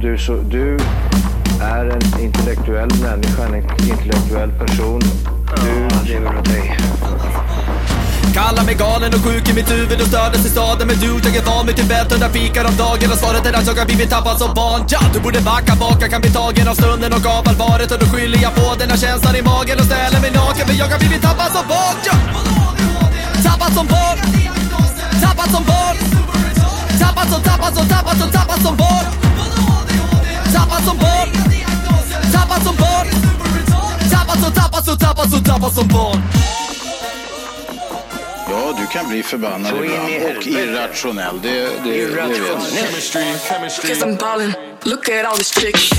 du, så, du är en intellektuell människa, en intellektuell person. Du lever av dig. Kallar mig galen och sjuk i mitt huvud och stördes i staden Men du, jag är van vid Tibet och där fikar om dagen Och svaret är att jag har blivit tappad som barn ja, Du borde backa bak, jag kan bli tagen av stunden och av allvaret Och då skyller jag på den här känslan i magen och ställer mig naken För jag har blivit tappad som barn ja. Tappad som barn Tappad som barn Tappad som, tappad som, tappad som, tappad som barn Tappad som barn Tappad som barn Tappad som, tappad som, tappad som, tappad som barn Ja, du kan bli förbannad Så in i ibland och helvete. irrationell. Det, det, det vet jag. Cause I'm ballin', look at all this chick shit.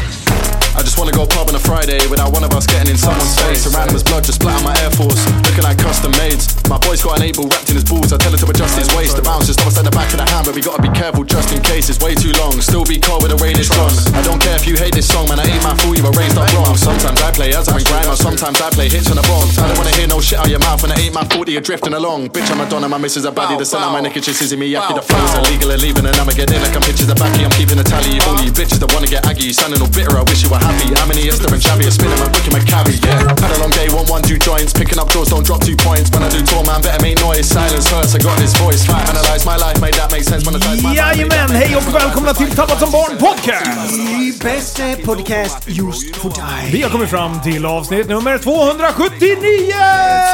I just wanna go pub on a Friday without one of us getting in someone's face. A random's blood just splat on my Air Force, looking like custom maids. My boy's got an eight ball wrapped in his balls. I tell it to adjust his waist. The bounce just almost at the back of the hand, but we gotta be careful just in case. It's way too long. Still be cold when the rain is gone. I don't care if you hate this song, man. I ain't my fool. You were raised up wrong. Sometimes I play as I'm in grime, or sometimes I play hits on the bombs. I don't wanna hear no shit out your mouth, and it ain't my fault that you're drifting along. Bitch, I'm Madonna, my missus a baddie. The sun on my neck, it's just is me. Yucky, the flow's illegal and leaving, and I'ma get in like I'm bitches a backy. I'm keeping a tally. You all you bitches that wanna get aggy. You sounding all bitter, I wish you were happy. I'm an Easter and shabby, a spinner, man, booking my cabby. Yeah. Had a long day, one, one, two joints. Picking up doors, don't drop two points. When I do tour, man, better make noise. Silence hurts, I got this voice. Fight, analyze my life, made that make sense. Monetize my life. Jajamän, hej och välkomna till Tappat som barn podcast! Ny bästa podcast just för dig. Vi har kommit fram till avsnitt nummer 279!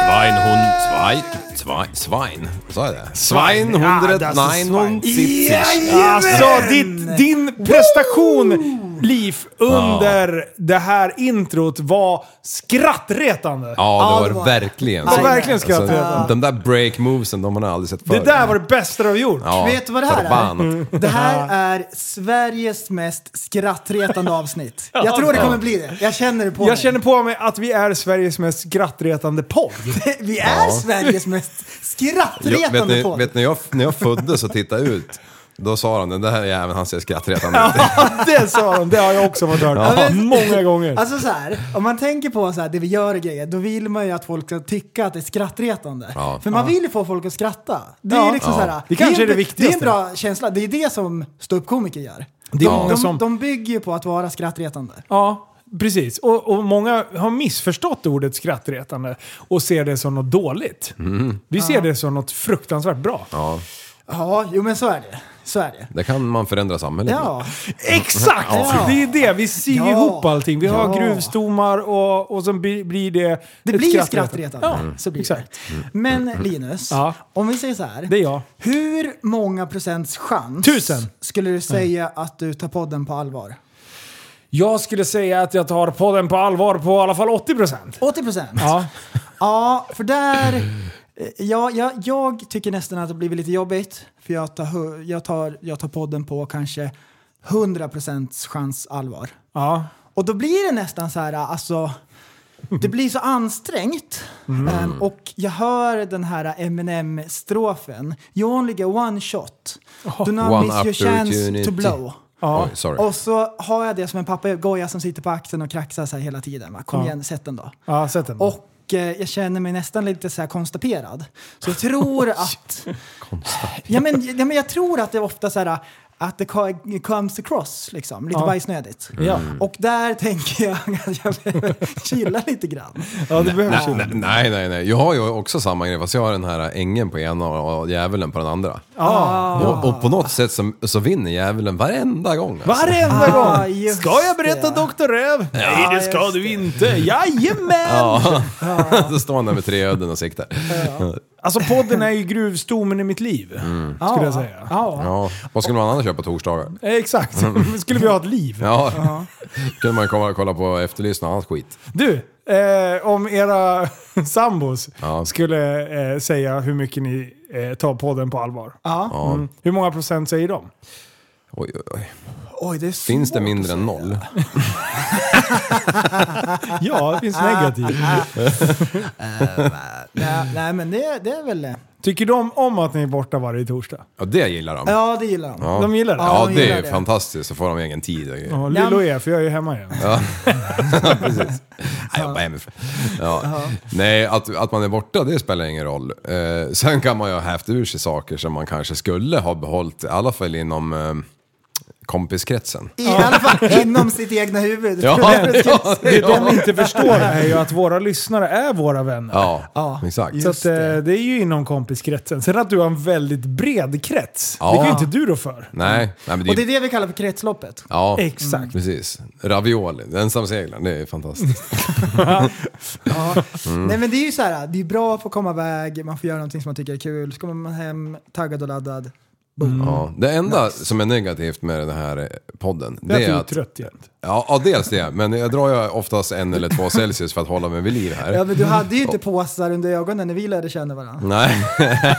Svein, hon, Svein, Svein, Svein, sa jag det? Svein, Ja, hundred, das ist nine, hon, sitt, sich. Alltså, ditt, din prestation, Liv, under det här introt var skrattretande. Ja, Ja, det det var var- verkligen. Ja, verkligen skrattretande. Alltså, De där break movesen, de har man aldrig sett Det förut. där var det bästa du har gjort. Ja, Vet du vad det här är? Mm. förbannat. Det här är Sveriges mest skrattretande avsnitt. Jag tror det kommer bli det. Jag känner det på mig. Jag känner på mig att vi är Sveriges mest skrattretande podd. Vi är Sveriges mest Jag, vet skrattretande ni, podd. vet ni jag, när jag föddes och tittade ut, då sa de den där jäveln, han ser skrattretande ut. det sa de, det har jag också fått höra. Ja, men- Många gånger. Alltså så här, om man tänker på så här, det vi gör i grejer, då vill man ju att folk ska tycka att det är skrattretande. Ja. För man vill ju få folk att skratta. Det är Ja. ju liksom Ja. så här, Det kanske en- är det viktigaste. Det är en bra känsla. Det är det som ståuppkomiker gör. Det är de, många de, som- de bygger ju på att vara skrattretande. Ja, precis. Och, och många har missförstått ordet skrattretande och ser det som något dåligt. Vi ser det som något fruktansvärt bra. Ja, Ja, jo men så är det. Så är det. det kan man förändra samhället med. Ja. Exakt! Ja. Det är det, vi syr Ja. ihop allting. Vi har Ja. gruvstommar och, och så blir blir det... Det ett blir skrattretande. skrattretande. Ja, Så blir exakt. Det. Mm. Men Linus, Mm. Ja. om vi säger så här. Det är jag. Hur många procents chans Tusen. Mm. skulle du säga att du tar podden på allvar? Jag skulle säga att jag tar podden på allvar på i alla fall 80%. 80 procent? Ja. Ja, för där... eh, Ja, ja, jag tycker nästan att det blivit lite jobbigt. För jag tar, hu- jag tar, jag tar podden på kanske 100% chans allvar. ja. Och då blir det nästan så här, alltså... Det blir så ansträngt. Ehm, och jag hör den här Eminem-strofen. You only get one shot. Do not One miss your chance opportunity. to blow. Ja. Oj, sorry. Och så har jag det som en papegoja som sitter på axeln och kraxar så här hela tiden. Va? Kom igen, sätt den då. ja, sett den. Och eh, jag känner mig nästan lite så här konstaperad. Så jag tror att... ja, men, ja, men jag tror att det är ofta så här att det co- comes across liksom, lite Ja. bajsnödigt. Ja. Och där tänker jag att jag behöver chilla lite grann. ja, det behövs ju. Nej, nej, nej, nej. Jag har ju också samma grej, fast jag har den här ängen på ena och djävulen på den andra. Ja. Ah. Och, och på något sätt så, så vinner djävulen varenda gång. alltså. Varenda Ah, gång! just Ska jag berätta det. Dr. Röv? Nej, det ska du inte! Jajamän! Ja. Då står han där med tre öden och siktar. Alltså podden är ju gruvstommen i mitt liv, skulle jag säga. Ja. Vad skulle man annars köra på torsdagar? Eh, Exakt. Skulle vi ha ett liv? Ja, kunde man komma och kolla på Efterlyst och annat skit. Du, eh, om era sambos Ja. skulle eh, säga hur mycket ni eh, tar podden på allvar. Ja. Mm. Hur många procent säger de? Oj, oj, oj. Oj, det är svårt. Finns det mindre än noll? Ja, det finns negativt. Nej, nej, men det, det är väl... Tycker de om att ni är borta varje torsdag? Ja, det gillar de. Ja, det gillar de. Ja. De gillar det? Ja, Ja, de det gillar är ju det. fantastiskt. Så får de egen tid och grejer. Ja, Lillo är, för jag är ju hemma igen. Precis. Jag jobbar hemifrån. Ja. Nej, att, att man är borta det spelar ingen roll. Eh, sen kan man ju ha hävt ur sig saker som man kanske skulle ha behållit, i alla fall inom eh, kompiskretsen. I alla fall inom sitt egna huvud. Ja, Problemet- ja, Det de ja, inte förstår är ju att våra lyssnare är våra vänner. ja, Ja. exakt. Så att, eh, det är ju inom kompiskretsen. Sen att du har en väldigt bred krets, Ja. det kan ju inte du då för. Nej, nej men det, Och är det är ju- det vi kallar för kretsloppet. ja, Exakt. precis. Ravioli, ensamseglaren, det är fantastiskt. Ja. Mm. Nej men det är ju så här, det är bra att få komma iväg, man får göra någonting som man tycker är kul, så kommer man hem taggad och laddad. Mm. Ja. Det enda som är negativt med den här eh, podden, det Det är att är du är att... trött jämt. Ja, ja, dels det. Men jag drar ju oftast en eller två Celsius för att hålla mig vid liv Ja här. men du hade ju inte påsar under ögonen när vi lärde känna varandra. Nej,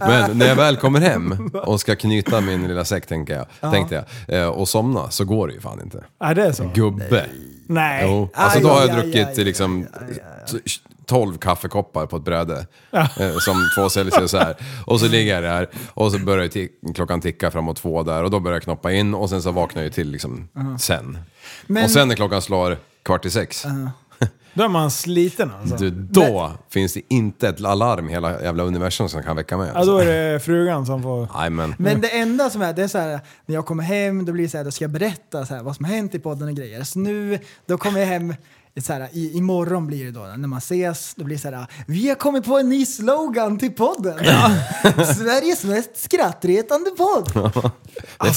men när jag väl kommer hem och ska knyta min lilla säck tänker jag, tänkte jag, eh, och somna så går det ju fan inte. Är det är så? Gubbe. Nej. Jo. Alltså Aj, då har jag aj, aj, druckit aj, aj, liksom 12 kaffekoppar på ett bräde. eh, Som två Celsius här. Och så ligger jag där och så börjar ti- klockan ticka framåt två där och då börjar jag knoppa in och sen så vaknar jag ju till liksom sen. Men- Och sen när klockan slår kvart i sex, Då är man sliten alltså. du, då finns det inte ett alarm i hela jävla universum som kan väcka mig. alltså. Ja, då är det frugan som får... Nej men, Men det enda som är, det är så här, när jag kommer hem då blir det så här, då ska jag berätta så här, vad som har hänt i podden och grejer. Så nu, då kommer jag hem, så här, i, imorgon blir det då, när man ses, då blir det så här, vi har kommit på en ny slogan till podden. Sveriges mest skrattretande podd. det är fan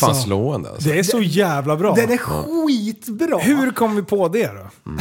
alltså, slående alltså. Det är så jävla bra. Den är skitbra. Hur kom vi på det då?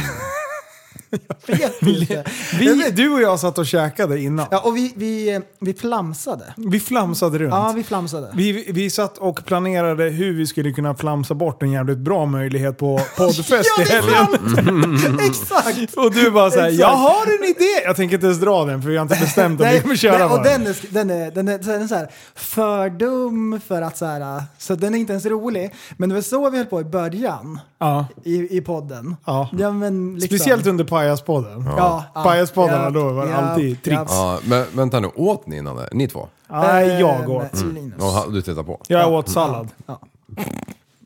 Jag vet inte. Vi, du och jag satt och käkade innan. Ja, och vi, vi, vi flamsade. Vi flamsade runt. Ja, vi flamsade. Vi, vi satt och planerade hur vi skulle kunna flamsa bort en jävligt bra möjlighet på poddfest ja, i det är helgen. sant! Exakt! Och du bara såhär, Exakt. jag har en idé! Jag tänker inte ens dra den för vi har inte bestämt om vi kommer köra nej, och bara. den är, den är, den är, den är så här, för dum för att så här, så den är inte ens rolig. Men det var så vi höll på i början Ja. i, i podden. Ja. men liksom, Speciellt under Pajaspodden. Ja, ja. Pajaspoddarna Ja, då var det ja, alltid ja. tricks. Ja, men vänta nu, åt ni innan det? Ni två? Mm. Nej, jag Ehm, åt. Linus. Och ha- du tittar på? Jag åt sallad. Ja.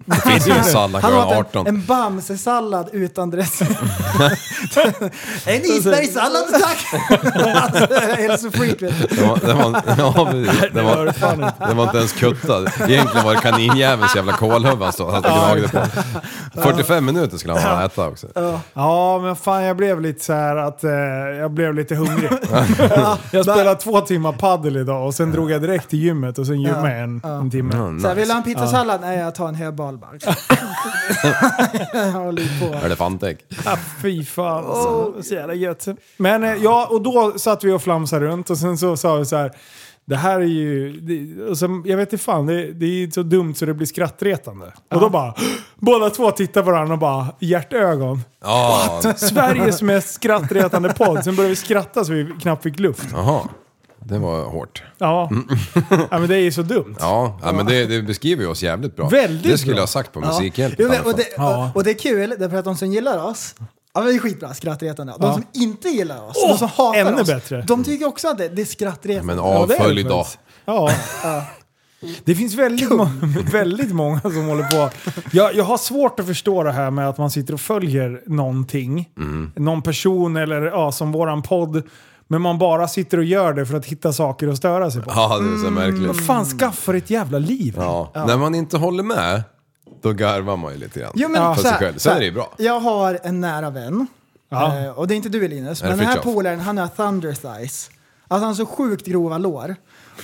Det finns ingen sallad Han klockan åt 18. en, en bamsesallad utan dressing. en isbergssallad tack! Alltså, Hälsofreak vet du. Det var, det var, ja, precis. det var var, det fan inte. det var inte ens kuttad. Egentligen var det kaninjävelns jävla kolhuvud han stod- satt och gnagde på. 45 minuter skulle han ha att äta också. Ja, men fan jag blev lite så här att eh, jag blev lite hungrig. jag spelade två timmar paddel idag och sen drog jag direkt till gymmet och sen gymmade jag en, en timme. Så här, vill du ha en pizzasallad? Nej, jag tar en höbal bara. Jag håller på. Elefantägg. Ah, fy fan alltså. Så jävla gött. Men eh, ja, och då satt vi och flamsade runt och sen så sa vi så här. Det här är ju... Det, och sen, jag vet inte fan, det, det är så dumt så det blir skrattretande. Och då bara... Båda två tittar på varandra och bara hjärtögon. Ja, Sveriges mest skrattretande podd. Sen började vi skratta så vi knappt fick luft. jaha. Det var hårt. Ja. ja men det är ju så dumt. Ja, ja men det, det beskriver ju oss jävligt bra. Väldigt det skulle bra. jag ha sagt på Musikhjälpen. Jo, i men, alla och, fall. det, och, och det är kul därför att de som gillar oss Ja, men det är skitbra, skrattretande. De Ja. som inte gillar oss, Åh, de som hatar ännu oss, bättre. de tycker också att det, det är skrattretande. Men Ja, det är avfölj det då. faktiskt. Ja. Det finns väldigt, må väldigt många som håller på. Jag, jag har svårt att förstå det här med att man sitter och följer någonting. Mm. Någon person eller ja, som våran podd. Men man bara sitter och gör det för att hitta saker att störa sig på. Ja, det är så märkligt. Mm, Vad fan skaffar ett jävla liv? Ja. När man inte håller med, då garvar man ju lite grann. Jo, för men så sig här- själv. så Sen här, är det ju bra. Jag har en nära vän, Ja. eh, och det är inte du Linus, men det den här Fritiof? polaren han har thunder thighs. Alltså han har så sjukt grova lår.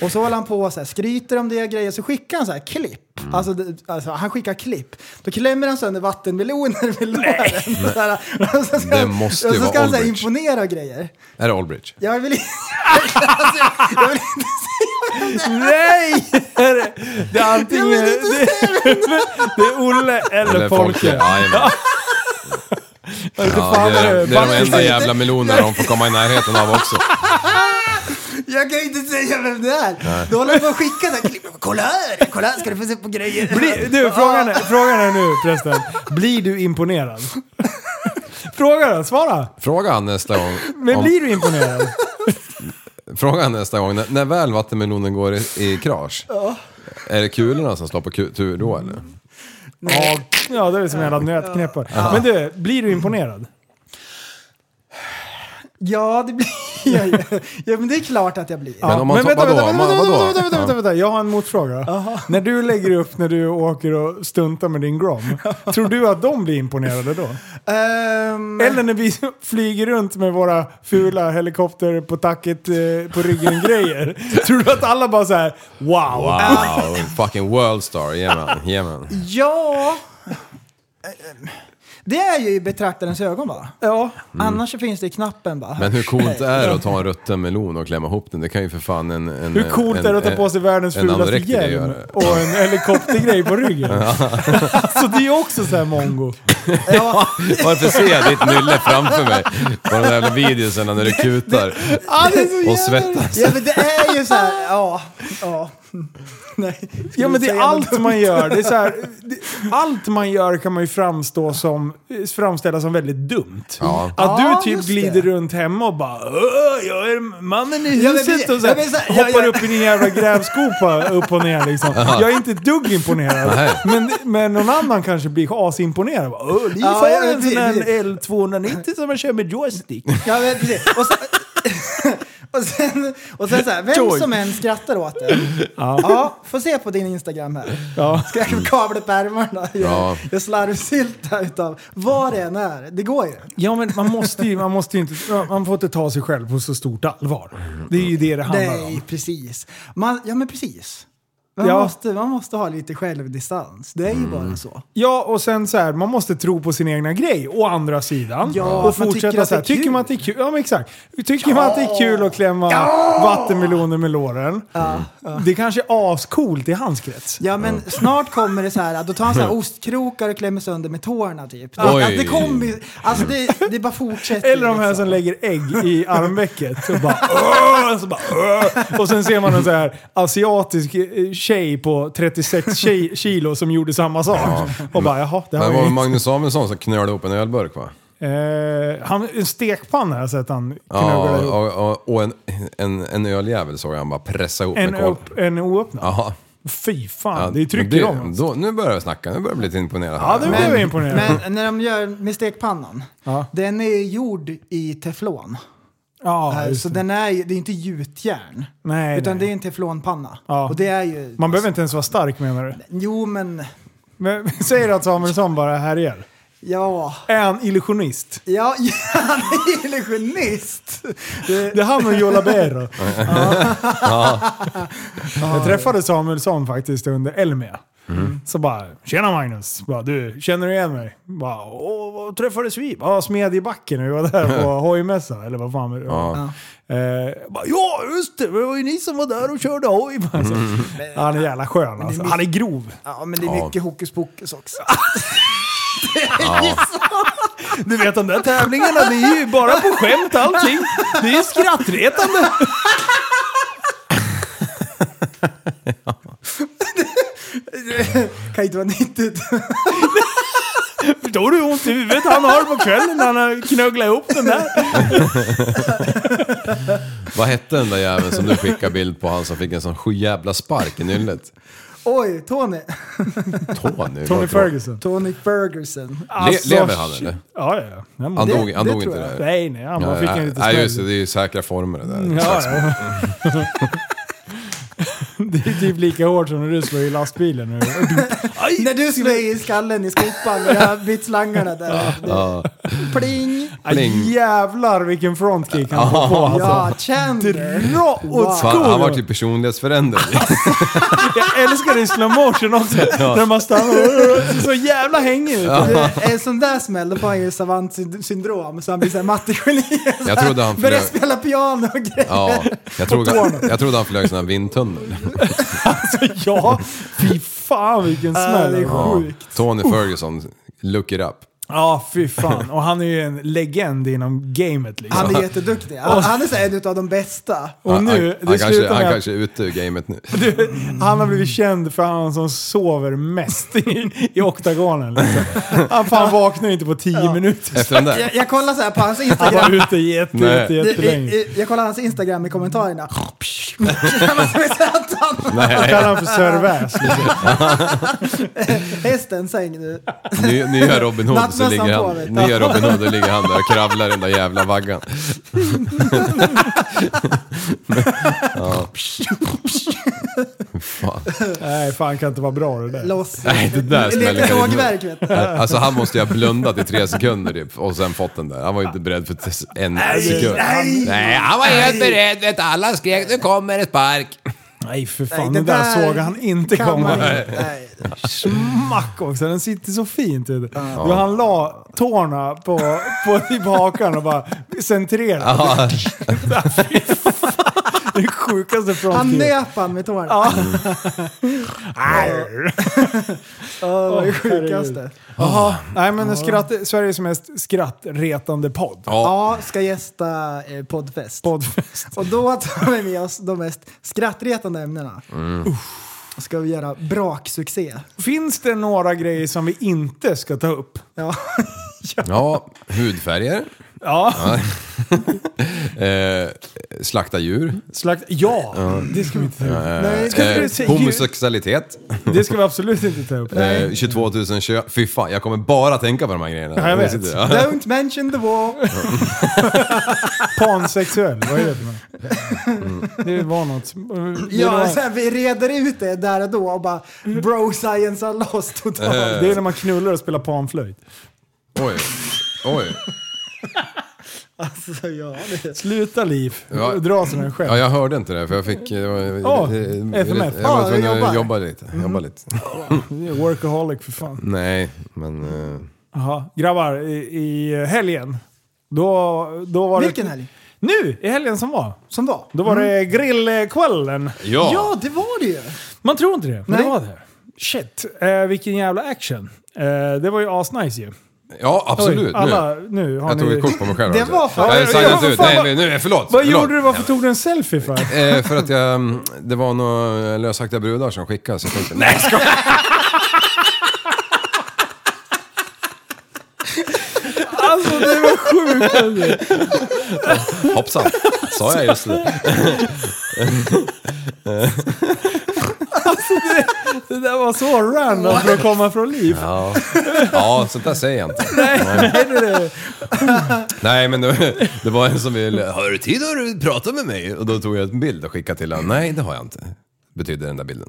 Och så håller han på och så här, skryter om det och grejer, så skickar han så här klipp. Mm. Alltså, det, alltså han skickar klipp. Då klämmer han sönder vattenmeloner med låren. Så här, och så ska Det han- måste Och så vara ska han så här, Aldrich. imponera och grejer. Är det Allbridge? Jag vill, alltså, jag, jag vill inte Nej! Det är antingen... Jag Det, vill inte det är Olle eller, Eller Folke? Folke. Jajamän. Jag vet inte Ja, fan det, vad är, det är de enda Backen- jävla melonerna de får komma i närheten av också. Jag kan ju inte säga vem det är. Då håller jag på att skicka så här klipp. Kolla här, kolla här ska du få se på grejer. Bli, du, frågan är, frågan är nu förresten. Blir du imponerad? Fråga då, svara. Fråga han nästa gång. Men om- blir du imponerad? Fråga han nästa gång, när, när väl vattenmelonen går i, i krasch, är det kulorna som står på ku- tur då eller? Ja, ja det är som en jävla nötknäppare. Men du, blir du imponerad? Ja, det blir... ja, ja. ja, men det är klart att jag blir. Men om man tar- vadå? vänta, vänta, Man- vänta, vadå? vänta, vänta, vänta, vänta. Jag har en motfråga. När du lägger upp när du åker och stuntar med din Grom, tror du att de blir imponerade då? Ehm, Eller när vi flyger runt med våra fula helikopter på tacket eh, på ryggen-grejer. tror du att alla bara så här, wow. Wow, fucking worldstar. Yeah man, yeah man. Ja... Det är ju i betraktarens ögon bara. Ja. Annars så finns det i knappen bara. Men hur coolt är det att ta en rutten melon och klämma ihop den? Det kan ju för fan en... en Hur coolt Eh, en, är det att ta på sig världens en fulaste anorektiker hjälm gör det. och en helikoptergrej på ryggen? alltså det är också så här mongo. Varför ser jag ditt nylle framför mig? På de där jävla videosen när du kutar Ja, det är så och jävla- svettas. Ja, men det är ju så här, ja. ja. Nej, skulle Ja men det är säga något allt man gör. Det är så här, det, allt man gör kan man ju framstå som, framställa som väldigt dumt. Ja. Att Ja, du typ just det. glider runt hemma och bara "Åh, jag är mannen i Ja, men huset vi- och så här, ja, men så här, jag- hoppar jag- upp i din jävla grävskopa upp och ner liksom. Jag är inte ett dugg imponerad. Nej. Men, men någon annan kanske blir asimponerad. Bara, Åh, Liv Ja, har ja, en sån det- här det- L290 som man kör med joystick. Ja, men precis. Och sen, och sen, och sen så här, vem Joy. som än skrattar åt det. Ja. få se på din Instagram här. Ja. Ska jag kavla upp ärmarna? Ja. Jag, jag slarvsylta utav vad det än är. Det går ju. Ja men man måste ju, man måste ju inte, man får inte ta sig själv på så stort allvar. Det är ju det det handlar om. Nej, precis. Man, ja, men precis. Man, Ja. Mm. måste, man måste ha lite självdistans. Det är ju bara så. Ja, och sen så här, man måste tro på sin egna grej, å andra sidan. Ja, och att man tycker att så här, det är tycker kul. man att det är kul? Ja, men exakt. Tycker man att det är kul att klämma vattenmeloner med låren? Det kanske är ascoolt i hans krets. Ja, men snart kommer det så här, då tar han så här ostkrokar och klämmer sönder med tårna typ. Att, Oj. att det kommer, ju- alltså det, det bara fortsätter. Eller de här liksom. som lägger ägg i armvecket och bara, "Åh!" så bara "Åh!" Och sen ser man en så här asiatisk eh, tjej på 36 tjej, kilo som gjorde samma sak. Och bara jaha, det här Men det var var ju... Magnus Samuelsson som knölade ihop en ölburk va? Eh, han, en stekpanna har jag sett han Ja, knögglade ihop. och, och, och en, en, en öljävel såg jag han bara pressa ihop En, med kol. upp, en oöppnad. Ja. Fy fan, Ja, det men det- trycker de. alltså. då, Nu börjar jag snacka, nu börjar jag bli lite imponerad. Ja, det blev jag imponerad. Men när de gör med stekpannan, Ja. den är ju gjord i teflon. Eh, ja, just så det. den är ju, det är inte gjutjärn. Nej, utan nej. det är en teflonpanna. Ja. Och det är ju... Man behöver inte ens vara stark menar du? Jo men, Men, säger du att Samuelsson bara härjar? ja. Är han illusionist? Ja, han är illusionist! Det är han och Joe Labero. Jag träffade Samuelsson faktiskt under Elmia. Så bara, tjena Magnus. Bara, du, känner du igen mig? Bara, Åh, vad träffades vi? Ja, smed i backen när vi var där på hojmässa. Eller vad fan var det var. Eh, bara, ja, just det. Det var ju ni som var där och körde hoj. Alltså, Han är jävla skön alltså. Han är grov. Ja, men det är Ja. mycket hokus pokus också. Du vet de där tävlingarna, det är ju bara på skämt allting. Det är ju skrattretande. kan inte vara nyttigt. Förstår du hur ont i huvudet han har på kvällen när han har knögglat ihop den där? Vad hette den där jäveln som du skickade bild på, han som fick en sån sjujävla spark i nyllet? Oj, Tony. Tony. Tony Ferguson. Tony Ferguson. lever han, eller? Ja, ja, ja. Han, Han det, dog, han det dog tror inte jag. där. Nej, nej. Han bara fick en liten Nej, just det. smäll. Mm, Det är ju säkra former det där. Ja, ja. Det är typ lika hårt som när du slår i lastbilen. När du slog i skallen i skopan med de här bitslangarna där. Pling! Pling. Jävlar vilken frontkick han får på alltså. Ja, Chandler. Dra åt Fan, han var skogen! typ personlighetsförändrad. Jag älskar det i slow motion också. När man stannar så jävla hängig ut. Det är En sån där smäll, då får han ju savantsyndrom. Så han blir såhär mattegeni. Jag trodde han Börjar flög... spela piano och grejer. Ja, jag, trodde, jag trodde han flög sån här vindtunnel. Ja, fy fan vilken Ja, det smäll. alltså. är Ja. sjukt. Tony Ferguson, look it up. Ja, fy fan. Och han är ju en legend inom gamet liksom. Han är jätteduktig. Han, han är så här en av de bästa. och Han, nu, han, han, det kanske, slutar han med att kanske är ute ur gamet nu. Du, han har blivit känd för han som sover mest i, i oktagonen. Liksom. Han fan vaknar inte på tio minuter. Efter den Jag, där. jag kollar så här på hans Han Instagram. var ute jätte, Nej. jätte, Det- i- jättelänge. i- Jag kollar hans Instagram i kommentarerna. Han han? Kallar han för Sir Väs. Hästen säng nu. Ny, nya Robin Hood så Nattmössan ligger på, han, vet du. nya Robin Hood, då ligger han där och kravlar den där jävla vaggan. ja. Fan. Nej, fan kan inte vara bra det där. Loss. Nej, det där smäller Leker jag inte. lågverk vet du. Alltså han måste ju ha blundat i tre sekunder typ och sen fått den där. Han var ju inte beredd för t- en sekund. nej. nej han var helt beredd. Vet, du. alla skrek nu kommer ett spark. Nej, för fan. Nej, det där, såg han inte kan man komma. inte. Nej. Smack också. Den sitter så fint. vet du. Då han la tårna på, på typ hakan och bara centrerade. Ja, Det sjukaste från Han nöp han med tårna. Ja. det var det sjukaste. Ah. Nej men skratt, Sveriges mest skrattretande podd. Ja, ska gästa eh, poddfest. Poddfest. Och då tar vi med oss de mest skrattretande ämnena. Mm. Uff. Ska vi göra braksuccé? Finns det några grejer som vi inte ska ta upp? Ja. ja hudfärger. Ja. Eh, slakta djur. Slakt, ja, det ska vi inte ta upp. Nej, Ska vi Eh, se- homosexualitet. Det ska vi absolut inte ta upp. Eh, 22 000 kö... Fy fan, jag kommer bara tänka på de här grejerna. Ja, jag vet. sitter- ja. Don't mention the war. Pansexuell, vad är det för något? Det var något. som- Det, Mm. Ja, så var, här, vi reder ut det där och då och bara bro-sciencear loss Eh. totalt. det är när man knullar och spelar panflöjt. Oj. Oj. Så Alltså, ja, det. Sluta Liv, Ja. dra som en själv. Ja, jag hörde inte det för jag fick... Jag, var- Åh, eh, FMF. Jag var Ah, tvungen du att jobbar. jobba lite. Mm. Jobba lite. Det är Workaholic för fan. Nej, men... eh, Jaha. Grabbar, i, i helgen, då, då var Vilken det... helg? Nu, i helgen som var. Mm. Som var? Då var det grillkvällen. Ja! Ja, det var det ju! Man tror inte det, men Nej. det var det. Shit, eh, vilken jävla action. Eh, det var ju asnice ju. Oj, Ja, absolut. alla, nu. nu. har Jag ni... tog ett kort på mig själv. Det också. var fan- Nej, Ja, signa vad inte ut. fan, Nej, vad- men nu, eh, förlåt. Vad förlåt. gjorde du? Varför tog du en selfie för? Eh, för att jag, mm, det var några lösaktiga brudar som skickade så jag tänkte, nej ska Alltså det var sjukt! Hoppsan, sa jag just det? Det där var så random för att komma från Liv. Ja, ja sånt där säger jag inte. Nej, men det, det var en som ville, har du tid att prata med mig? Och då tog jag en bild och skickade till honom. Nej, det har jag inte. Betyder den där bilden.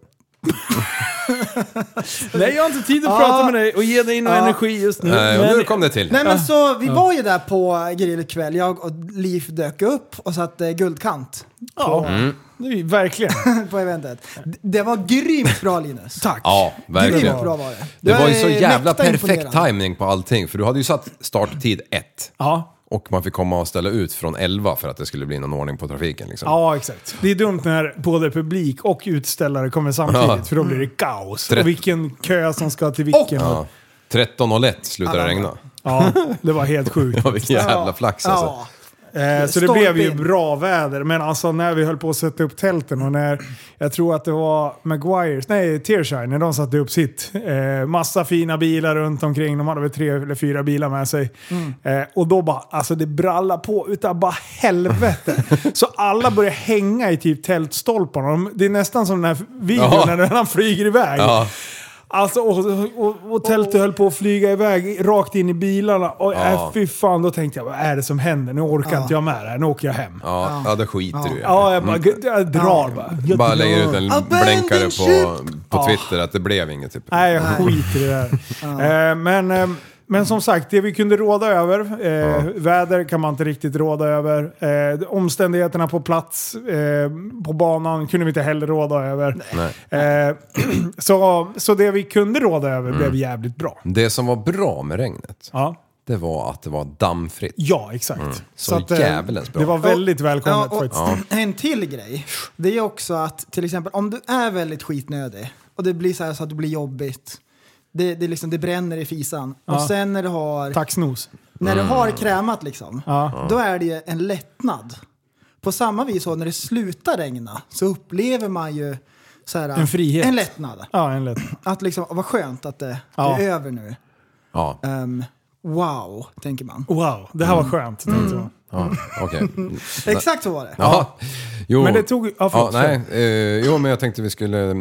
Nej, jag har inte tid att prata med dig och ge dig någon energi just nu. Nej, Eh, och Mm. Men- nu kom det till. Nej men så, vi var ju där på grillkväll, jag och Liv dök upp och satte guldkant Ja, Mm. det är ju verkligen. på eventet. D- Det var grymt bra Linus! Tack! Ja, verkligen. Grymt bra var det. Det Jag var ju så är jävla mäkta perfekt imponerad. timing på allting, för du hade ju satt starttid ett. Ja. Och man fick komma och ställa ut från 11 för att det skulle bli någon ordning på trafiken. Liksom. Ja, exakt. Det är dumt när både publik och utställare kommer samtidigt, Ja. för då blir det kaos. Trett- Och vilken kö som ska till vilken. Ja. 13.01 slutade det regna. Ja, det var helt sjukt. Ja, vilken jävla flax alltså. Ja. Eh, så det Stolpe blev ju in. bra väder, men alltså när vi höll på att sätta upp tälten och när jag tror att det var Maguires, nej Tearshine, när de satte upp sitt. Eh, massa fina bilar runt omkring, de hade väl tre eller fyra bilar med sig. Mm. Eh, och då bara, alltså det brallade på utan bara helvete. så alla började hänga i typ tältstolparna. De, det är nästan som den här videon Ja. när han flyger iväg. Ja. Alltså, och, och, och tältet höll på att flyga iväg rakt in i bilarna. Och äh, fy fan, då tänkte jag vad är det som händer? Nu orkar inte jag med det här, nu åker jag hem. Ja, Ja, ja, det skiter du i. jag bara g- jag drar bara. Jag Bara drar. lägger ut en Abandon blänkare på, ship! på Twitter att det blev inget. Typ. Nej, jag skiter i det här. Eh, men, eh, men som sagt, det vi kunde råda över, eh, väder kan man inte riktigt råda över. Eh, omständigheterna på plats, eh, på banan, kunde vi inte heller råda över. Eh, så, så det vi kunde råda över Mm. blev jävligt bra. Det som var bra med regnet, Ja. det var att det var dammfritt. Ja, exakt. Så, eh, jävelens bra. Det var väldigt välkommet Ja, och faktiskt. En till grej, det är också att till exempel om du är väldigt skitnödig och det blir så här så att det blir jobbigt, det, det, är liksom, det bränner i fisan och Ja. sen när du har Tack snus. När du har krämat liksom, Mm. Ja. då är det ju en lättnad. På samma vis så när det slutar regna så upplever man ju så här, En frihet. En lättnad. Ja, en lätt. Att liksom, vad skönt att det, Ja. det är över nu. Ja. Ehm, wow, tänker man. Wow, det här var skönt. tänkte jag. Ja, okej. Exakt så var det. Ja. Jo. Men det tog- ja, förlåt, nej, eh, jo, men jag tänkte vi skulle eh,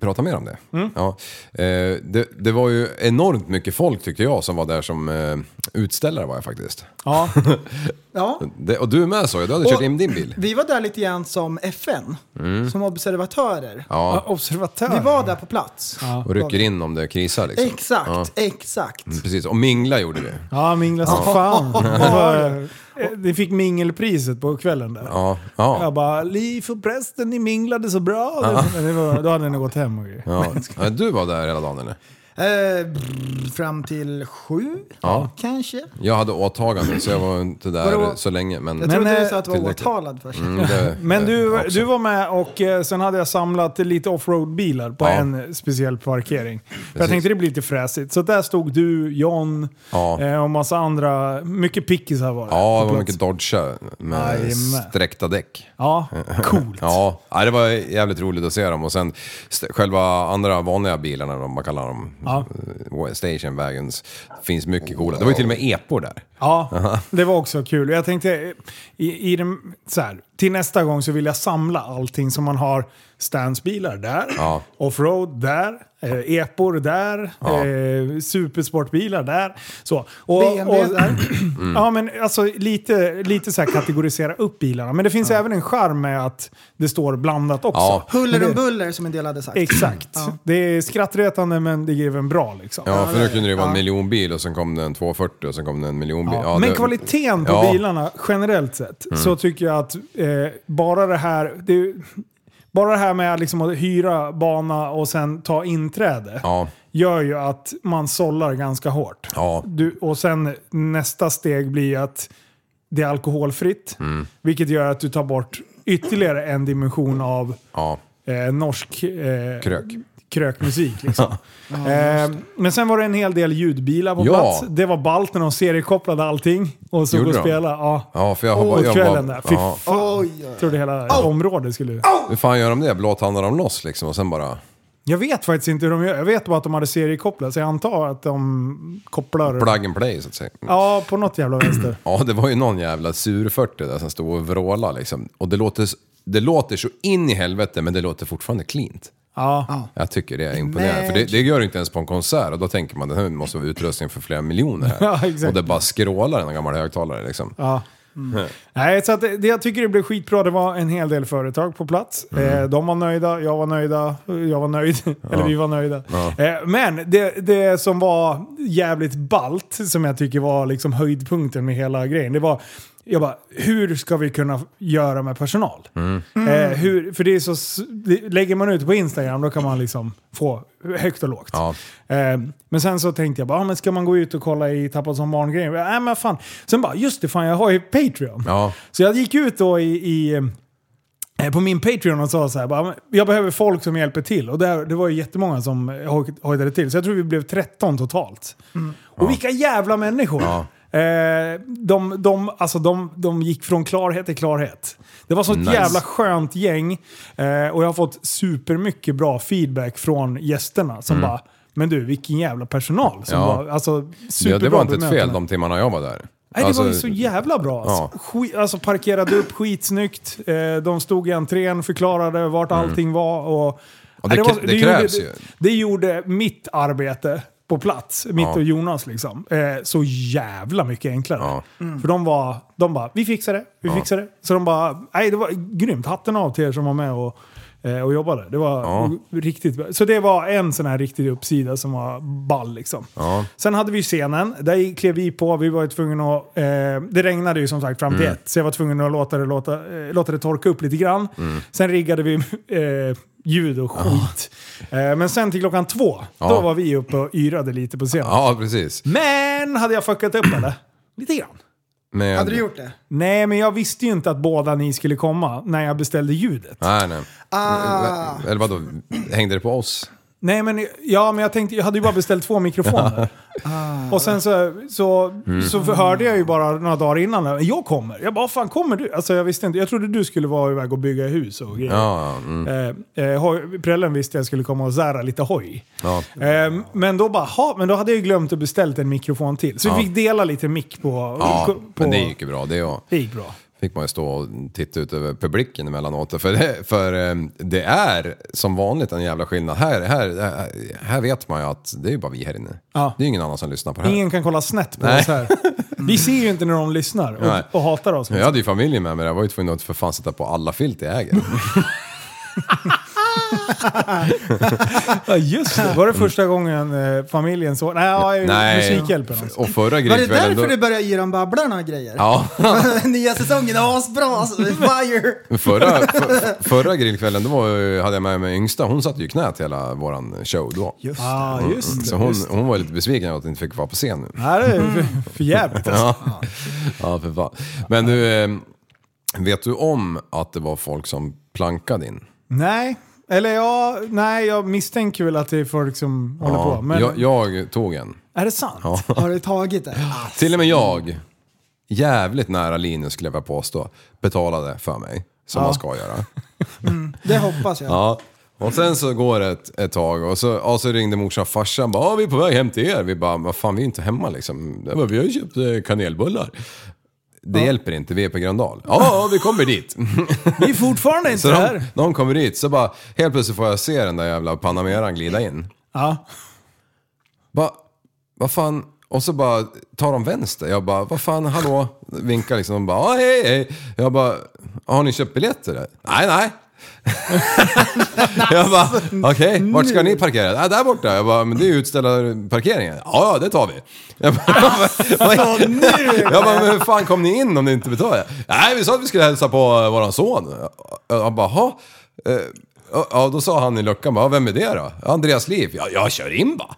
prata mer om det. Mm. Ja, eh, det. Det var ju enormt mycket folk tyckte jag som var där som eh, utställare var jag faktiskt. Ja. Ja. Det, och du med så ju, du hade Och- kört in din bil. Vi var där lite grann som FN, som observatörer. Mm. Ja, Ja, Observatör. Vi var där på plats. och rycker in om det krisar liksom. Exakt, Ja, exakt. Mm. precis, och mingla gjorde vi. Ja, mingla som Ja. fan. Ja. Det var- eh, Det fick mingelpriset på kvällen där. Ja, ja. Jag bara, Liv och prästen, ni minglade så bra. Men det var, då hade ni gått hem och grejer. ja. ja. Du var där hela dagen eller? Eh, brr, fram till sju, Ja. kanske. Jag Jag hade åtaganden så jag var inte där Vadå? så länge. Men, Men, trodde du eh, sa att du var tillräckligt. åtalad först. Mm, det- Men du, eh, också. du var med och eh, sen hade jag samlat lite offroad-bilar på Ja. en speciell parkering. För jag Precis. tänkte det blir lite fräsigt. Så där stod du, John Ja. eh, och massa andra. Mycket pickisar var det. Ja, på det plats. var mycket dodge med Jajamän. sträckta däck. Ja, coolt. Ja, ja, det var jävligt roligt att se dem. Och sen st- själva andra vanliga bilarna, de- man kallar dem, Ja. eh, station wagons, finns mycket coola. Det var ju till och med epor där. Ja, det var också kul. Jag tänkte, eh, i, i den, så här, till nästa gång så vill jag samla allting som man har. Stansbilar där, Ja. offroad där, eh, epor där, Ja. eh, supersportbilar där. Så. Och, BMW där. Ja, men alltså lite, lite så här kategorisera upp bilarna. Men det finns även en charm med att det står blandat också. Ja. Huller och buller, som en del hade sagt. Exakt. Det är skrattretande men det ger en bra liksom. Ja, för nu kunde det ju vara en Ja. miljonbil och sen kom det en 240 och sen kom det en miljonbil. Ja, Ja, men det- kvaliteten på Ja. Mm. bilarna generellt sett så tycker jag att eh, bara det här... Det, är ju- bara det här med liksom att hyra bana och sen ta inträde Ja, gör ju att man sållar ganska hårt. ja, Du, och sen nästa steg blir att det är alkoholfritt. Mm. Vilket gör att du tar bort ytterligare en dimension av ja. eh, norsk eh, Krök. krökmusik. Liksom. eh, men sen var det en hel del ljudbilar på Ja. plats. Det var ballt när de seriekopplade allting och så Gjorde och de? spela. Ja. Ja, för jag På hoppade... jag kvällen bara- där. Fy ja. fan. Jag trodde hela området skulle... Hur fan gör de det? Blåtandar de loss liksom och sen bara... Jag vet faktiskt inte hur de gör. Jag vet bara att de hade seriekopplat, så jag antar att de kopplar... Plug and play så att säga. Ja, på något jävla vänster. Ja, det var ju någon jävla sur-40 där som stod och vrålade liksom. Och det låter, s- det låter så in i helvete, men det låter fortfarande cleant. Ja. Jag tycker det är imponerande. För det, det gör du inte ens på en konsert. Och då tänker man, det här måste vara utrustning för flera miljoner här. Ja, exakt. Och det bara skrålar en gammal högtalare liksom. Ja. Mm. Nej, så att det, det jag tycker det blev skitbra, det var en hel del företag på plats. Eh, de var nöjda, jag var nöjda, jag var nöjd. Eller vi var nöjda. Eh, men det, det som var jävligt balt som jag tycker var liksom höjdpunkten med hela grejen, det var jag bara, hur ska vi kunna göra med personal? Eh, hur, för det är så, s- det, lägger man ut på Instagram då kan man liksom få högt och lågt. Ja. Eh, men sen så tänkte jag bara, ah, men ska man gå ut och kolla i Tappad som barn-grejen? Nej men fan. Sen bara, just det fan jag har ju Patreon. Ja. Så jag gick ut då i, i, eh, på min Patreon och sa så här, bara, "Men jag behöver folk som hjälper till. Och där, det var ju jättemånga som eh, hoj- hojtade till. Så jag tror vi blev 13 totalt. Mm. Och vilka jävla människor! Eh, de, de, alltså de, de gick från klarhet till klarhet. Det var så ett Nice. jävla skönt gäng. Eh, och jag har fått supermycket bra feedback från gästerna som bara men du, vilken jävla personal. Som Mm. Ja. var, alltså, Det, superbra det var inte ett fel bemötande. de timmarna jag var där. Nej, det Alltså, var ju så jävla bra. Ja. Skit, alltså parkerade upp skitsnyggt. Eh, de stod i entrén, förklarade vart allting var. Och, Och Mm. det Nej, krä- det krävs gjorde, ju. Det, gjorde mitt arbete på plats, mitt Ja. och Jonas liksom, eh, så jävla mycket enklare. Mm. Ja. För de var, de bara, vi fixar det, vi fixar det. Så de bara, nej det var grymt. Hatten av till er som var med och, eh, och jobbade. Det var Ja. riktigt bra. Så det var en sån här riktig uppsida som var ball liksom. Ja. Sen hade vi ju scenen, där klev vi på, vi var ju tvungna att... Eh, det regnade ju som sagt fram till Mm. ett, så jag var tvungen att låta det, låta, eh, låta det torka upp lite grann. Mm. Sen riggade vi eh, ljud och skit. Eh, men sen till klockan två, då Ja. var vi uppe och yrade lite på scenen. Ja, precis. Men hade jag fuckat upp eller? Lite grann. Med, Hade du gjort det? Nej, men jag visste ju inte att båda ni skulle komma när jag beställde ljudet. Nej, nej. Ah. Eller vadå, hängde det på oss? Nej men, ja, men jag tänkte, jag hade ju bara beställt två mikrofoner. Och sen så, så, Mm. så hörde jag ju bara några dagar innan, jag kommer. Jag bara, fan kommer du? Alltså jag visste inte, jag trodde du skulle vara iväg och bygga hus och grejer. Ja, mm. Eh, eh, hoj- Prällen visste jag skulle komma och sära lite hoj. ja. Eh, men då bara, ha, men då hade jag ju glömt att beställa en mikrofon till. Så Ja. vi fick dela lite mick på... ja på, men det gick ju bra det. Och. det gick bra. fick man ju stå och titta ut över publiken emellanåt. För det, för eh, det är som vanligt en jävla skillnad. Här, här, här vet man ju att det är ju bara vi här inne. Ja. Det är ju ingen annan som lyssnar på det här. Ingen kan kolla snett på Nej. oss här. Vi ser ju inte när de lyssnar Nej. och, och hatar oss. Jag hade ju familjen med mig, jag var ju tvungen att för fan sätta på alla filt jag äger. Ja, just det. Var det första gången eh, familjen såg... Nej, ja, Mm. Nej. Musikhjälpen alltså. också. Och förra Var det grillkvällen... därför Då, du började ge dem Babblarna grejer? ja, Nya säsongen, asbra! Alltså, fire! förra, för, förra grillkvällen då var, ju- hade jag med mig yngsta, hon satt ju i knät hela våran show då. Mm, Just Ja, just det. Så hon, Mm. just det. hon var lite besviken över att jag inte fick vara på scen nu. Nej, det är för, för jävligt alltså. Ja, ja för fan. Men du, eh, vet du om att det var folk som plankade in? Nej. Eller ja, nej, jag misstänker väl att det är folk som håller på. Men jag, jag tog en. är det sant? Har du tagit det? Till och med jag, jävligt nära Linus skulle jag vilja påstå, betalade för mig. Som man ska göra. Det hoppas jag. Ja. Och sen så går det ett, ett tag och så, ja, så ringde morsan och farsan bara "Ja, vi är på väg hem till er. Vi bara, vad fan vi är ju inte hemma liksom. Jag Bara, vi har ju köpt eh, kanelbullar. Det hjälper inte, vi är på Gröndal. Ja, ja, vi kommer dit. Vi är fortfarande inte Så de, här. de kommer dit, så bara helt plötsligt får jag se den där jävla Panameran glida in. Ja. Bara, vad fan? Och så bara tar de vänster. Jag bara, vad fan, hallå? Vinkar liksom. De bara, "Ja, hej, hej. Jag bara, har ni köpt biljetter? där?" Nej, nej. jag bara, okej, vart ska ni parkera? Ah, där borta. Jag bara, men det är ju utställarparkeringen. Ja, ja, det tar vi. Jag bara, vad- jag bara, men hur fan kom ni in om ni inte betalade? Nej, vi sa att vi skulle hälsa på eh, våran son. Jag jag bara, "Jaha." Eh, ja, Ja, då sa han i luckan bara, "Ja, vem är det då? Andreas Liv? Ja, jag kör in bara.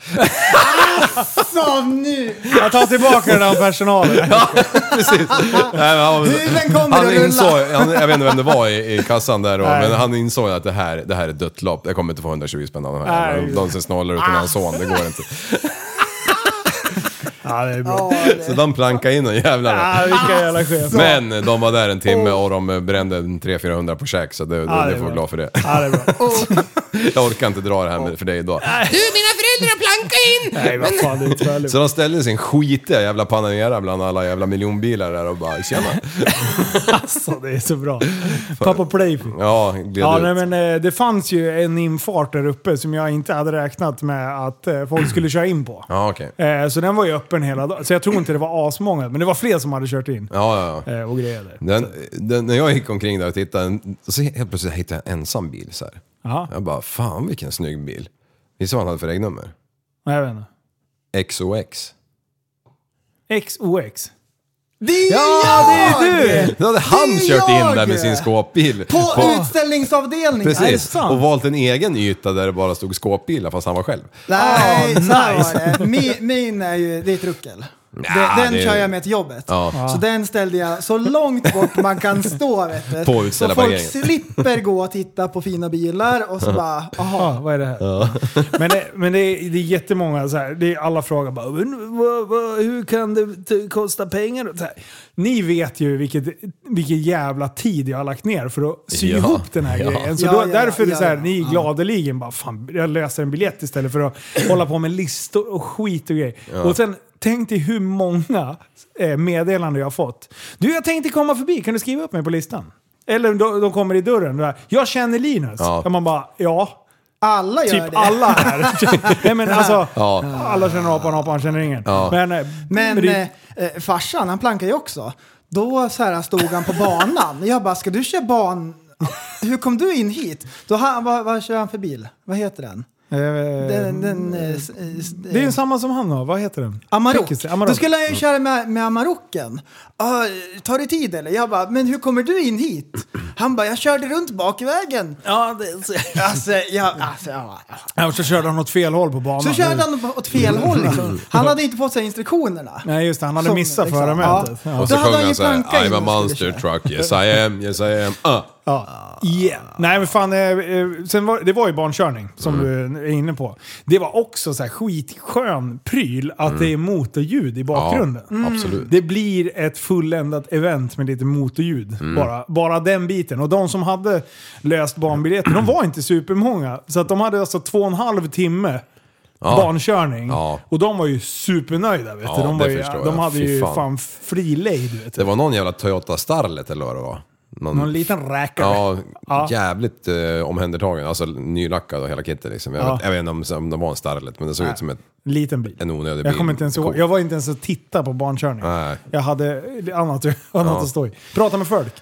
Så nu! Jag tar tillbaka den här personalen. Ja, precis. Nej, men han, Huvuden kommer att han rulla. insåg, han, jag vet inte vem det var i, i kassan där då, Nej. men han insåg att det här, det här är ett dött lopp. Jag kommer inte få 120 spänn av de Nej. här. jävlarna. De ser snålare ut än hans son, det går inte. Ja, det är bra. Så de plankade in de jävlarna. Ja, vilka jävla chefer. Men de var där en timme och de brände en 300-400 på käk, så det, Ja, det det, är får bra. vara glad för det. Ja, det är bra. Jag orkar inte dra det här med, för dig idag. Nej, vad fan, det är tvärlugnt. Så de ställde sin skitiga jävla Panamera bland alla jävla miljonbilar där och bara “tjena”. Alltså, det är så bra. Pappa Play. Ja, gled Ja, ut. nej, men eh, det fanns ju en infart där uppe som jag inte hade räknat med att eh, folk skulle köra in på. Ja, okej. Eh, så den var ju öppen hela dagen. Så jag tror inte det var asmånga, men det var fler som hade kört in. Ja, ja, ja. Eh, och grejer där. Den, den, när jag gick omkring där och tittade, så helt plötsligt hittade jag en ensam bil så här. Jaha. Jag bara, fan vilken snygg bil. Visst vad han hade för regnummer? Nej, jag vet inte. XOX. XOX. Ja, det är Du! Då hade han Det är kört in jag! där med sin skåpbil. På utställningsavdelningen! Är det Precis, sant? och valt en egen yta där det bara stod skåpbilar fast han var själv. Nej, så var det. Min, min är ju, det är ett ruckel. Nja, den den det är- kör jag med till jobbet. Ja. Så den ställde jag så långt bort man kan stå. Vet På du. så folk utställarparkeringen. slipper gå och titta på fina bilar och så bara, aha. Ja, vad är det här? Men, det, men det, är, det är jättemånga så här, det är alla frågar bara "Men vad, vad, hur kan det t- kosta pengar? Så här, ni vet ju vilket, vilken jävla tid jag har lagt ner för att sy Ja. ihop den här Ja. grejen. Så Ja, då, ja, ja, därför är det ja, så här, ja. ni gladeligen bara fan, jag löser en biljett istället för att hålla på med listor och skit och grejer. Och sen, Tänk dig hur många eh, meddelanden jag har fått. Du, jag tänkte komma förbi, kan du skriva upp mig på listan? Eller de, de kommer i dörren. och Där. Jag känner Linus. Ja. Och man bara, ja. Alla gör Typ det. alla här. Nej, men alltså, Ja. Alla känner apan, apan känner ingen. Men, eh, Men det- eh, eh, farsan, han plankar ju också. Då så här stod han på banan. Jag bara, ska du köra ban... Hur kom du in hit? Då han, vad, vad kör han för bil? Vad heter den? eh, Den, den, eh, s- eh, s- det är ju samma som han har. Vad heter den? Teckis, Amarok. Amarok. Då skulle jag ju köra med, med Amaroken. Ah, tar det tid eller? Jag bara, men hur kommer du in hit? Han bara, jag körde runt bakvägen. Ja, det, alltså, jag, alltså, ja. Ja, och så körde han åt fel håll på banan. Så körde han åt fel håll liksom. Han hade inte fått sig instruktionerna. Mm. Nej, just det. Han hade Som- missat exakt. förarmötet. Ja. Ja. Och Då så hade sjöng han ju han såhär, plankat in I'm a och skulle monster köra." truck, yes I am, yes I am, uh, Ja. Yeah. Nej men fan, eh, eh, sen var, det var ju barnkörning som Mm. du är inne på. Det var också så här skitskön pryl att det är motorljud i bakgrunden. Mm. Mm. absolut. Det blir ett fulländat event med lite motorljud. Mm. Bara, bara den biten. Och de som hade löst barnbiljetter, de var inte supermånga. Så att de hade alltså två och en halv timme barnkörning. Ja. Och de var ju supernöjda. Vet Ja, du. De, det var ju, förstår jag. de hade Fy ju fan. fan fri lejd. Vet du. Det var någon jävla Toyota Starlet eller vad det var. Någon liten räkare. Ja, Ja. jävligt eh, omhändertagen. Alltså nylackad och hela kitten liksom. Jag, Ja. vet, jag vet inte om, om det var en Starlet, men det såg ut som ett... Liten bil. En onödig jag bil. Kommer inte ens ihåg. Cool. Jag var inte ens och tittade på barnkörning. Nej. Jag hade annat, annat att stå i. Prata med folk.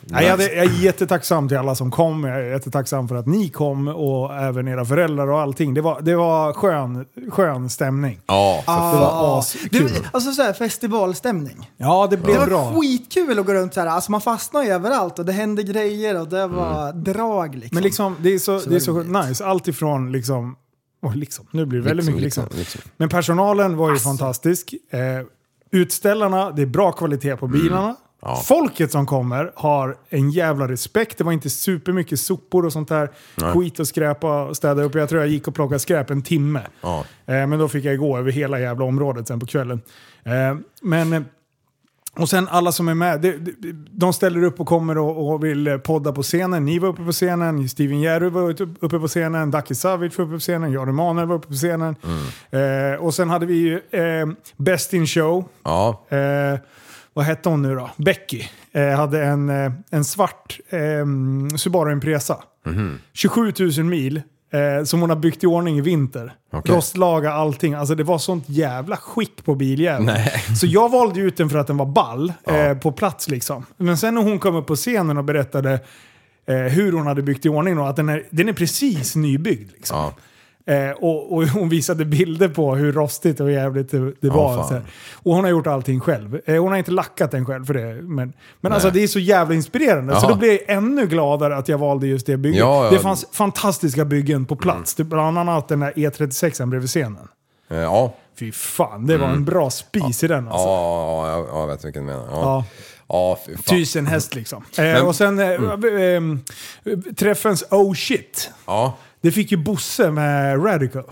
Nej, jag, hade, jag är jättetacksam till alla som kom. Jag är jättetacksam för att ni kom och även era föräldrar och allting. Det var, det var skön, skön stämning. Ja, för Det fan. var Du, askul. alltså såhär festivalstämning. Ja, det blev Det var bra. skitkul att gå runt såhär. Alltså man fastnar ju överallt och det hände grejer och Mm. det var drag liksom. Men liksom, det är så, det är så roligt. nice. Allt ifrån liksom... Åh, liksom. Nu blir det väldigt Liksom, mycket liksom. liksom, liksom. Men personalen var ju fantastisk. Eh, utställarna, det är bra kvalitet på bilarna. Folket som kommer har en jävla respekt. Det var inte supermycket sopor och sånt där. Skit och skräp och städa upp. Jag tror jag gick och plockade skräp en timme. Ja. Eh, men då fick jag gå över hela jävla området sen på kvällen. Eh, men... Eh, och sen alla som är med, de, de ställer upp och kommer och, och vill eh, podda på scenen. Ni var uppe på scenen, Steven Jerry var ute- uppe på scenen, Daki Savic var uppe på scenen, Jan Emanuel var uppe på scenen. Eh, och sen hade vi ju eh, Best in Show. Ja, Eh, vad hette hon nu då? Becky. Eh, hade en, eh, en svart eh, Subaru Impresa. 27 000 mil. Eh, som hon har byggt i ordning i vinter. Okej. Rostlaga allting. Alltså det var sånt jävla skick på biljäveln. Så jag valde ut den för att den var ball eh, på plats liksom. Men sen när hon kom upp på scenen och berättade eh, hur hon hade byggt i ordning och att den är, den är precis nybyggd. Liksom. ja. Eh, och, och hon visade bilder på hur rostigt och jävligt det, det var. fan. Så här. Och hon har gjort allting själv. Eh, hon har inte lackat den själv för det. Men, men alltså det är så jävla inspirerande. Så Ja. då blir jag ännu gladare att jag valde just det bygget. Ja, Mm. ja. Det fanns fantastiska byggen på plats. Det- Bland annat den där E36 bredvid scenen. Eh, ja. Fy fan, det var en bra spis i den alltså. Mm. Ja, ja, ja, jag vet vilken du menar. Ja. Ja, ja fy fan. Mm. Tusen häst liksom. Eh, och sen eh, eh, träffens Oh Shit. Ja, Det fick ju Bosse med Radical.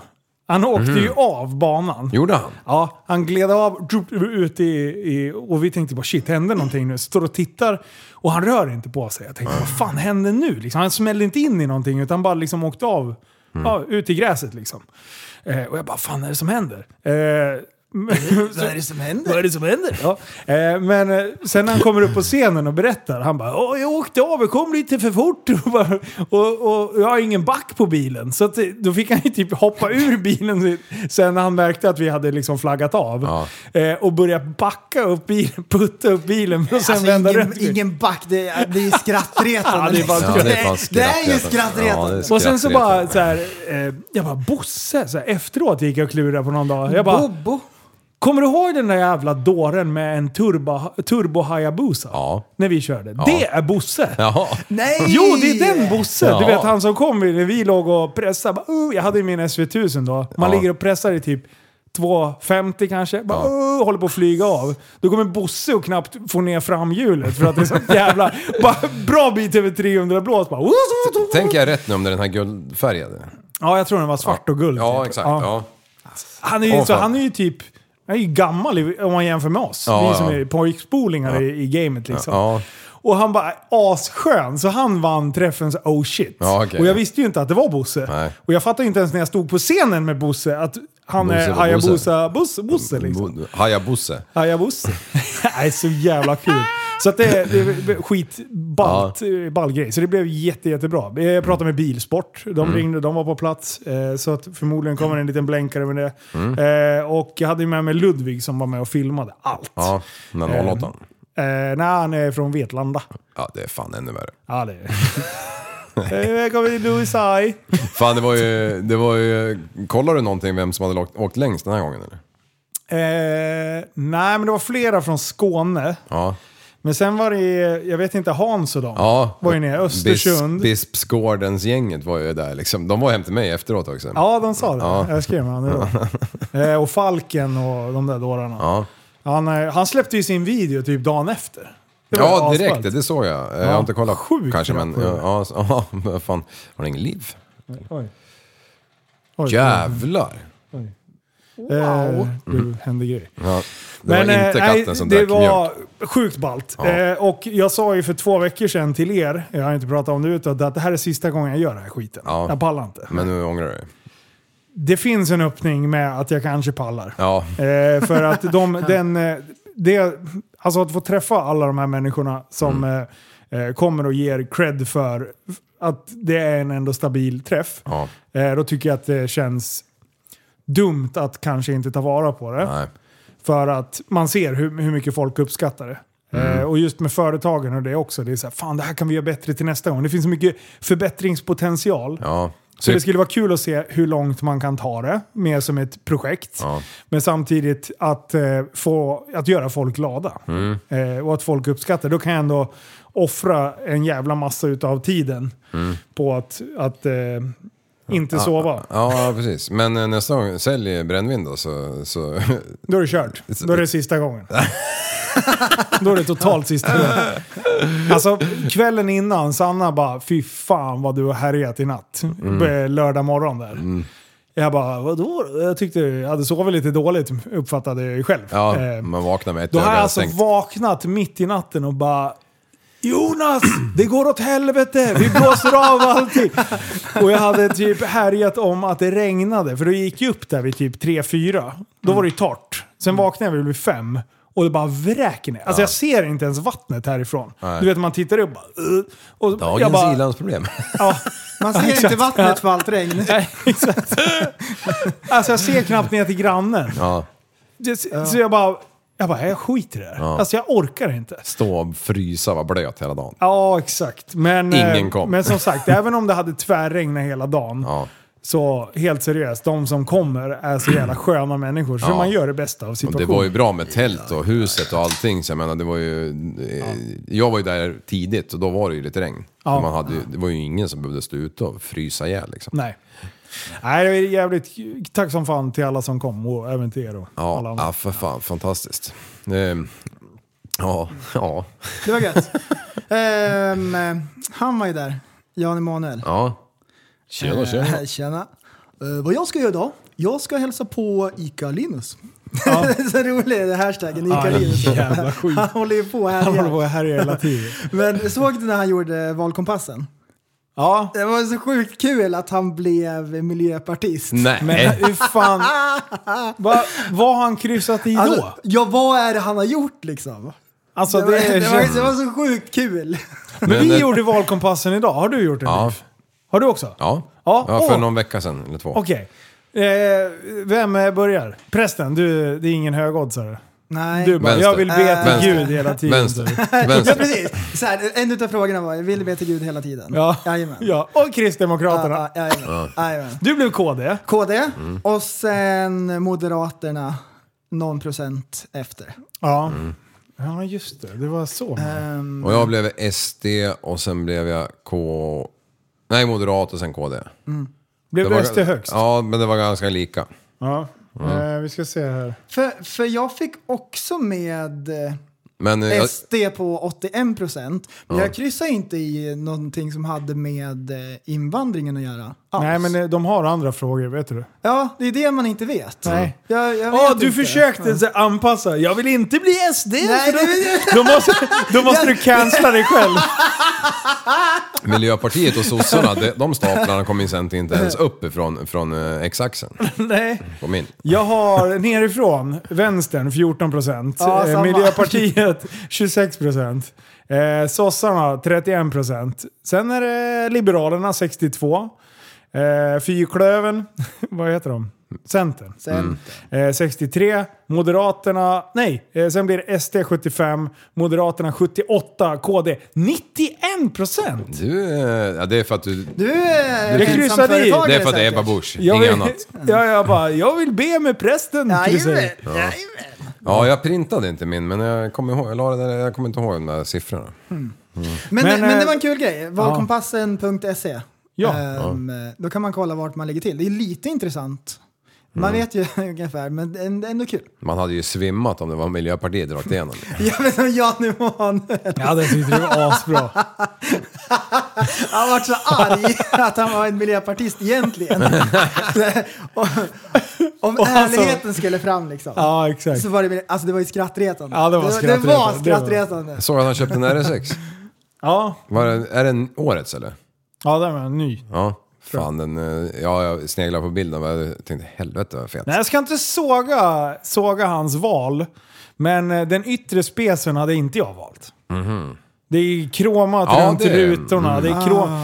Han åkte Mhm. ju av banan. gjorde han? Ja, han gled av drup, ut i, i, och vi tänkte bara shit, händer någonting nu? Står och tittar och han rör inte på sig. Jag tänkte vad fan händer nu? Liksom, han smällde inte in i någonting utan bara liksom åkte av ja, ut i gräset liksom. Eh, och jag bara fan är det som händer? Eh, Vad är det som händer? vad är det som händer? Ja. Eh, men eh, sen när han kommer upp på scenen och berättar, han bara Åh, jag åkte av, jag kom lite för fort och, bara, och, och jag har ingen back på bilen. Så att, eh, då fick han ju typ hoppa ur bilen sen när han märkte att vi hade liksom flaggat av. Eh, och börja backa upp bilen, putta upp bilen och sen Alltså, vända ingen, runt. ingen back, det är, det är skrattretande. Ja, det är bara- Ja, liksom. det är fan det är ju skrattretande. Ja, det skrattretande. är Och sen så bara skrattretande. så här, eh, jag bara Bosse, så här, efteråt gick jag och klurade på någon dag. Jag bara, Bobo. Kommer du ihåg den där jävla dåren med en turbo, turbo Hayabusa? Ja. När vi körde. Det är Bosse! Jaha. Nej! Jo, det är den Bosse! Du Ja. vet han som kom när vi låg och pressade. Bara, "Uh", jag hade ju min SV1000 då. Man Ja. ligger och pressar i typ 250 kanske. Bara, "Uh", håller på att flyga av. Då kommer Bosse och knappt får ner framhjulet för att det är så jävla... bara, bra bit över 300 blås. Bara, Tänker jag rätt nu om det är den här guldfärgade? ja, jag tror den var svart och guld. Ja, typ. exakt. Ja. Ja. Han är ju, Åh, så, fan. han är ju typ... Han är ju gammal i- om man jämför med oss. Ja, vi som ja. är pojkspolingar i, i gamet liksom. Ja. Och han bara asskön, så han vann träffens oh shit. Ja, okej. Och jag visste ju inte att det var Bosse. Nej. Och jag fattade ju inte ens när jag stod på scenen med Bosse att han Bosse är var Hayabusa Bosse, Bosse liksom. Bo- Hayabusa. Hayabusa. Nej, så jävla kul. Så att det, det är skitballt, ja. ball grej. Så det blev jätte, jättebra. Jag pratade med Bilsport. De Mm. ringde, de var på plats. Eh, Så att förmodligen kommer en liten blänkare med det. Mm. Eh, Och jag hade ju med mig Ludvig som var med och filmade allt. Ja, den där 08. Eh, Nej, han är från Vetlanda. Ja, det är fan ännu värre. Ja, det är det. kommer till Louis Eye. Fan, det var ju... Det var ju kollade du någonting vem som hade åkt, åkt längst den här gången eller? Eh, nej, men det var flera från Skåne. Ja. Men sen var det, jag vet inte, Hans och dem ja. var ju nere. Östersund. Bis, Bispgårdens-gänget var ju där liksom. De var hem till mig efteråt också. Ja, de sa det. Jag skrev med honom idag. eh, och Falken och de där dårarna. Ja. Han, eh, han släppte ju sin video typ dagen efter. var Ja, asfalt. direkt. Det såg jag. Eh, Jag har inte kollat Sjukt kanske, men... bra. Ja, ja, men fan. Har ni ingen liv? Oj. Oj. Jävlar! Wow. Det hände grejer. Ja, det var inte eh, katten nej, som det drack var mjölk. sjukt ballt. Ja. Eh, och jag sa ju för två veckor sedan till er, jag har inte pratat om det utåt, att det här är sista gången jag gör den här skiten. Ja. Jag pallar inte. Men nu ångrar du dig. Det finns en öppning med att jag kanske pallar. Ja. Eh, för att de, den, eh, det, alltså att få träffa alla de här människorna som Mm. eh, eh, kommer och ger cred för att det är en ändå stabil träff. ja. Eh, då tycker jag att det känns dumt att kanske inte ta vara på det. Nej. För att man ser hur, hur mycket folk uppskattar det. Mm. Eh, och just med företagen och det också. Det är så här, fan det här kan vi göra bättre till nästa gång. Det finns så mycket förbättringspotential. Ja. Typ. Så det skulle vara kul att se hur långt man kan ta det, mer som ett projekt. Ja. Men samtidigt att, eh, få, att göra folk glada. Mm. Eh, och att folk uppskattar. Då kan jag ändå offra en jävla massa utav tiden på att, att eh, inte sova. Mm. Ja, precis. Men eh, nästa gång, sälj brännvin då så... så Då är det kört. Då är det sista gången. Då är det totalt sista gången. Alltså kvällen innan, Sanna bara fy fan vad du har härjat i natt. Mm. B- Lördag morgon där. Jag bara vadå? Jag tyckte jag hade sovit lite dåligt uppfattade jag ju själv. ja, Eh, man vaknar med ett Då har jag öga alltså stängt. vaknat mitt i natten och bara Jonas! Det går åt helvete! Vi blåser av allting! Och jag hade typ härjat om att det regnade, för då gick jag upp där vid typ 3-4. Då var det ju torrt. Sen Mm. vaknade jag väl vid 5 och det bara vräker ner. Alltså jag ser inte ens vattnet härifrån. Nej. Du vet, man tittar upp bara, "Ugh." och jag Dagens bara... i-landsproblem. Ja, Man ser inte Exakt. vattnet för allt regn. nej, exakt. Alltså jag ser knappt ner till grannen. Ja, Det- Så jag bara... Jag bara, jag skiter i det här. Alltså jag orkar inte. stå och frysa, vara blöt hela dagen. Ja, exakt. Men, Ingen eh, kom. men som sagt, även om det hade tvärregnat hela dagen, Ja. så helt seriöst, de som kommer är så jävla sköna människor. Så Ja. man gör det bästa av Och det situationen. var ju bra med tält och huset och allting. Så jag menar, det var ju... eh, Jag var ju där tidigt och då var det ju lite regn. Ja. Man hade ju, det var ju ingen som behövde stå ute och frysa ihjäl liksom. Nej. Nej, det är jävligt... Tack som fan till alla som kom och även till er och alla Ja, andra. ja för fan. Fantastiskt. Ehm, ja, ja, Det var gött. Ehm, han var ju där, Jan Emanuel. Eh, ja. Tjena, tjena. Eh, tjena. Eh, vad jag ska göra idag? Jag ska hälsa på Ica Linus. det är så rolig den hashtaggen, Ica Ja, Linus. jävla skit. Han håller ju på Han håller här. på här hela tiden. Men såg du när han gjorde valkompassen? Ja, Det var så sjukt kul att han blev miljöpartist. Nej. men hur fan... Va, vad har han kryssat i då? Alltså, ja, vad är det han har gjort liksom? Alltså, det, var, det det, var, det är... var så sjukt kul. Men Men, vi eh, gjorde valkompassen idag. Har du gjort det? Ja. Leif? Har du också? Ja, Ja, ja, för åh. någon vecka sedan eller två. Okej. Eh, vem eh, börjar? Prästen, du, det är ingen högoddsare. Nej. Du bara, Vänster. jag vill be till Vänster. Gud hela tiden. typ. Vänster. Ja, Vänster. precis. Så här, en utav frågorna var, jag vill be till Gud hela tiden. Ja. Jajamän. ja. Och Kristdemokraterna. Ja, ja, jajamän. Jajamän. Du blev Mm. KD. KD och sen Moderaterna någon procent efter. Ja. Ja, just det. Det var så. Ehm, Och jag blev SD och sen blev jag K... Nej, moderat och sen KD. blev Det var- det SD högst? Ja, men det var ganska lika. Ja. Eh, vi ska se här. för, för jag fick också med eh, Men eh, jag, SD på 81 procent. Men jag kryssade inte i någonting som hade med eh, invandringen att göra. Alls. Nej, men eh, de har andra frågor, vet du. Ja, det är det man inte vet. Nej. Jag, jag Ja, vet du inte. försökte så här anpassa. Jag vill inte bli SD! Nej, för det vill då, då måste, då måste du cancella dig själv. Miljöpartiet och sossarna, de, de staplarna kom inte, inte ens upp ifrån, från eh, x-axeln. Nej. Kom in. Jag har nerifrån, vänstern 14 procent, Eh, Ja, samma. Miljöpartiet 26 procent, eh, sossarna 31 procent, sen är det Liberalerna 62, eh, Fyrklövern, vad heter de? Centern. Sen, Eh, 63, Moderaterna, nej, eh, sen blir det SD 75, Moderaterna 78, KD 91 procent! Du, eh, ja, det är för att du... Du är Jag kryssade i. ensamföretagare Det är för att det är säkert. Ebba Busch, Jag inget vill, annat. ja, jag, bara, jag vill be med prästen, kryssar jag i. Jajamän, jajamän. Ja, jag printade inte min, men jag kommer ihåg, jag, la det där, jag kommer inte ihåg de där siffrorna. Men, Men, men, eh, det var en kul grej. Valkompassen.se. Ja. Ehm, Då kan man kolla vart man ligger till. Det är lite intressant Man vet ju ungefär, men änd- ändå kul. Man hade ju svimmat om det var Miljöpartiet rakt igenom. Ja, men som Jan Emanuel. Jag hade tyckt det var asbra. Han var så arg att han var en miljöpartist egentligen. och, om Och han sa- ärligheten skulle fram liksom. Ja, exakt. Så var det, alltså det var ju skrattretande. Ja, det var Det var skrattretande. Det var- skrattretande. Jag såg att han köpte en RS6. Ja, Var det, är den årets eller? ja där var han ny. Ja. Fan, den, eh, ja, jag sneglade på bilden och jag tänkte helvete vad fet. Nej, jag ska inte såga, såga hans val. Men eh, den yttre specen hade inte jag valt. Det är kromat Mhm. Ja, runt det är- Mm. Ah. rutorna. Det är krom,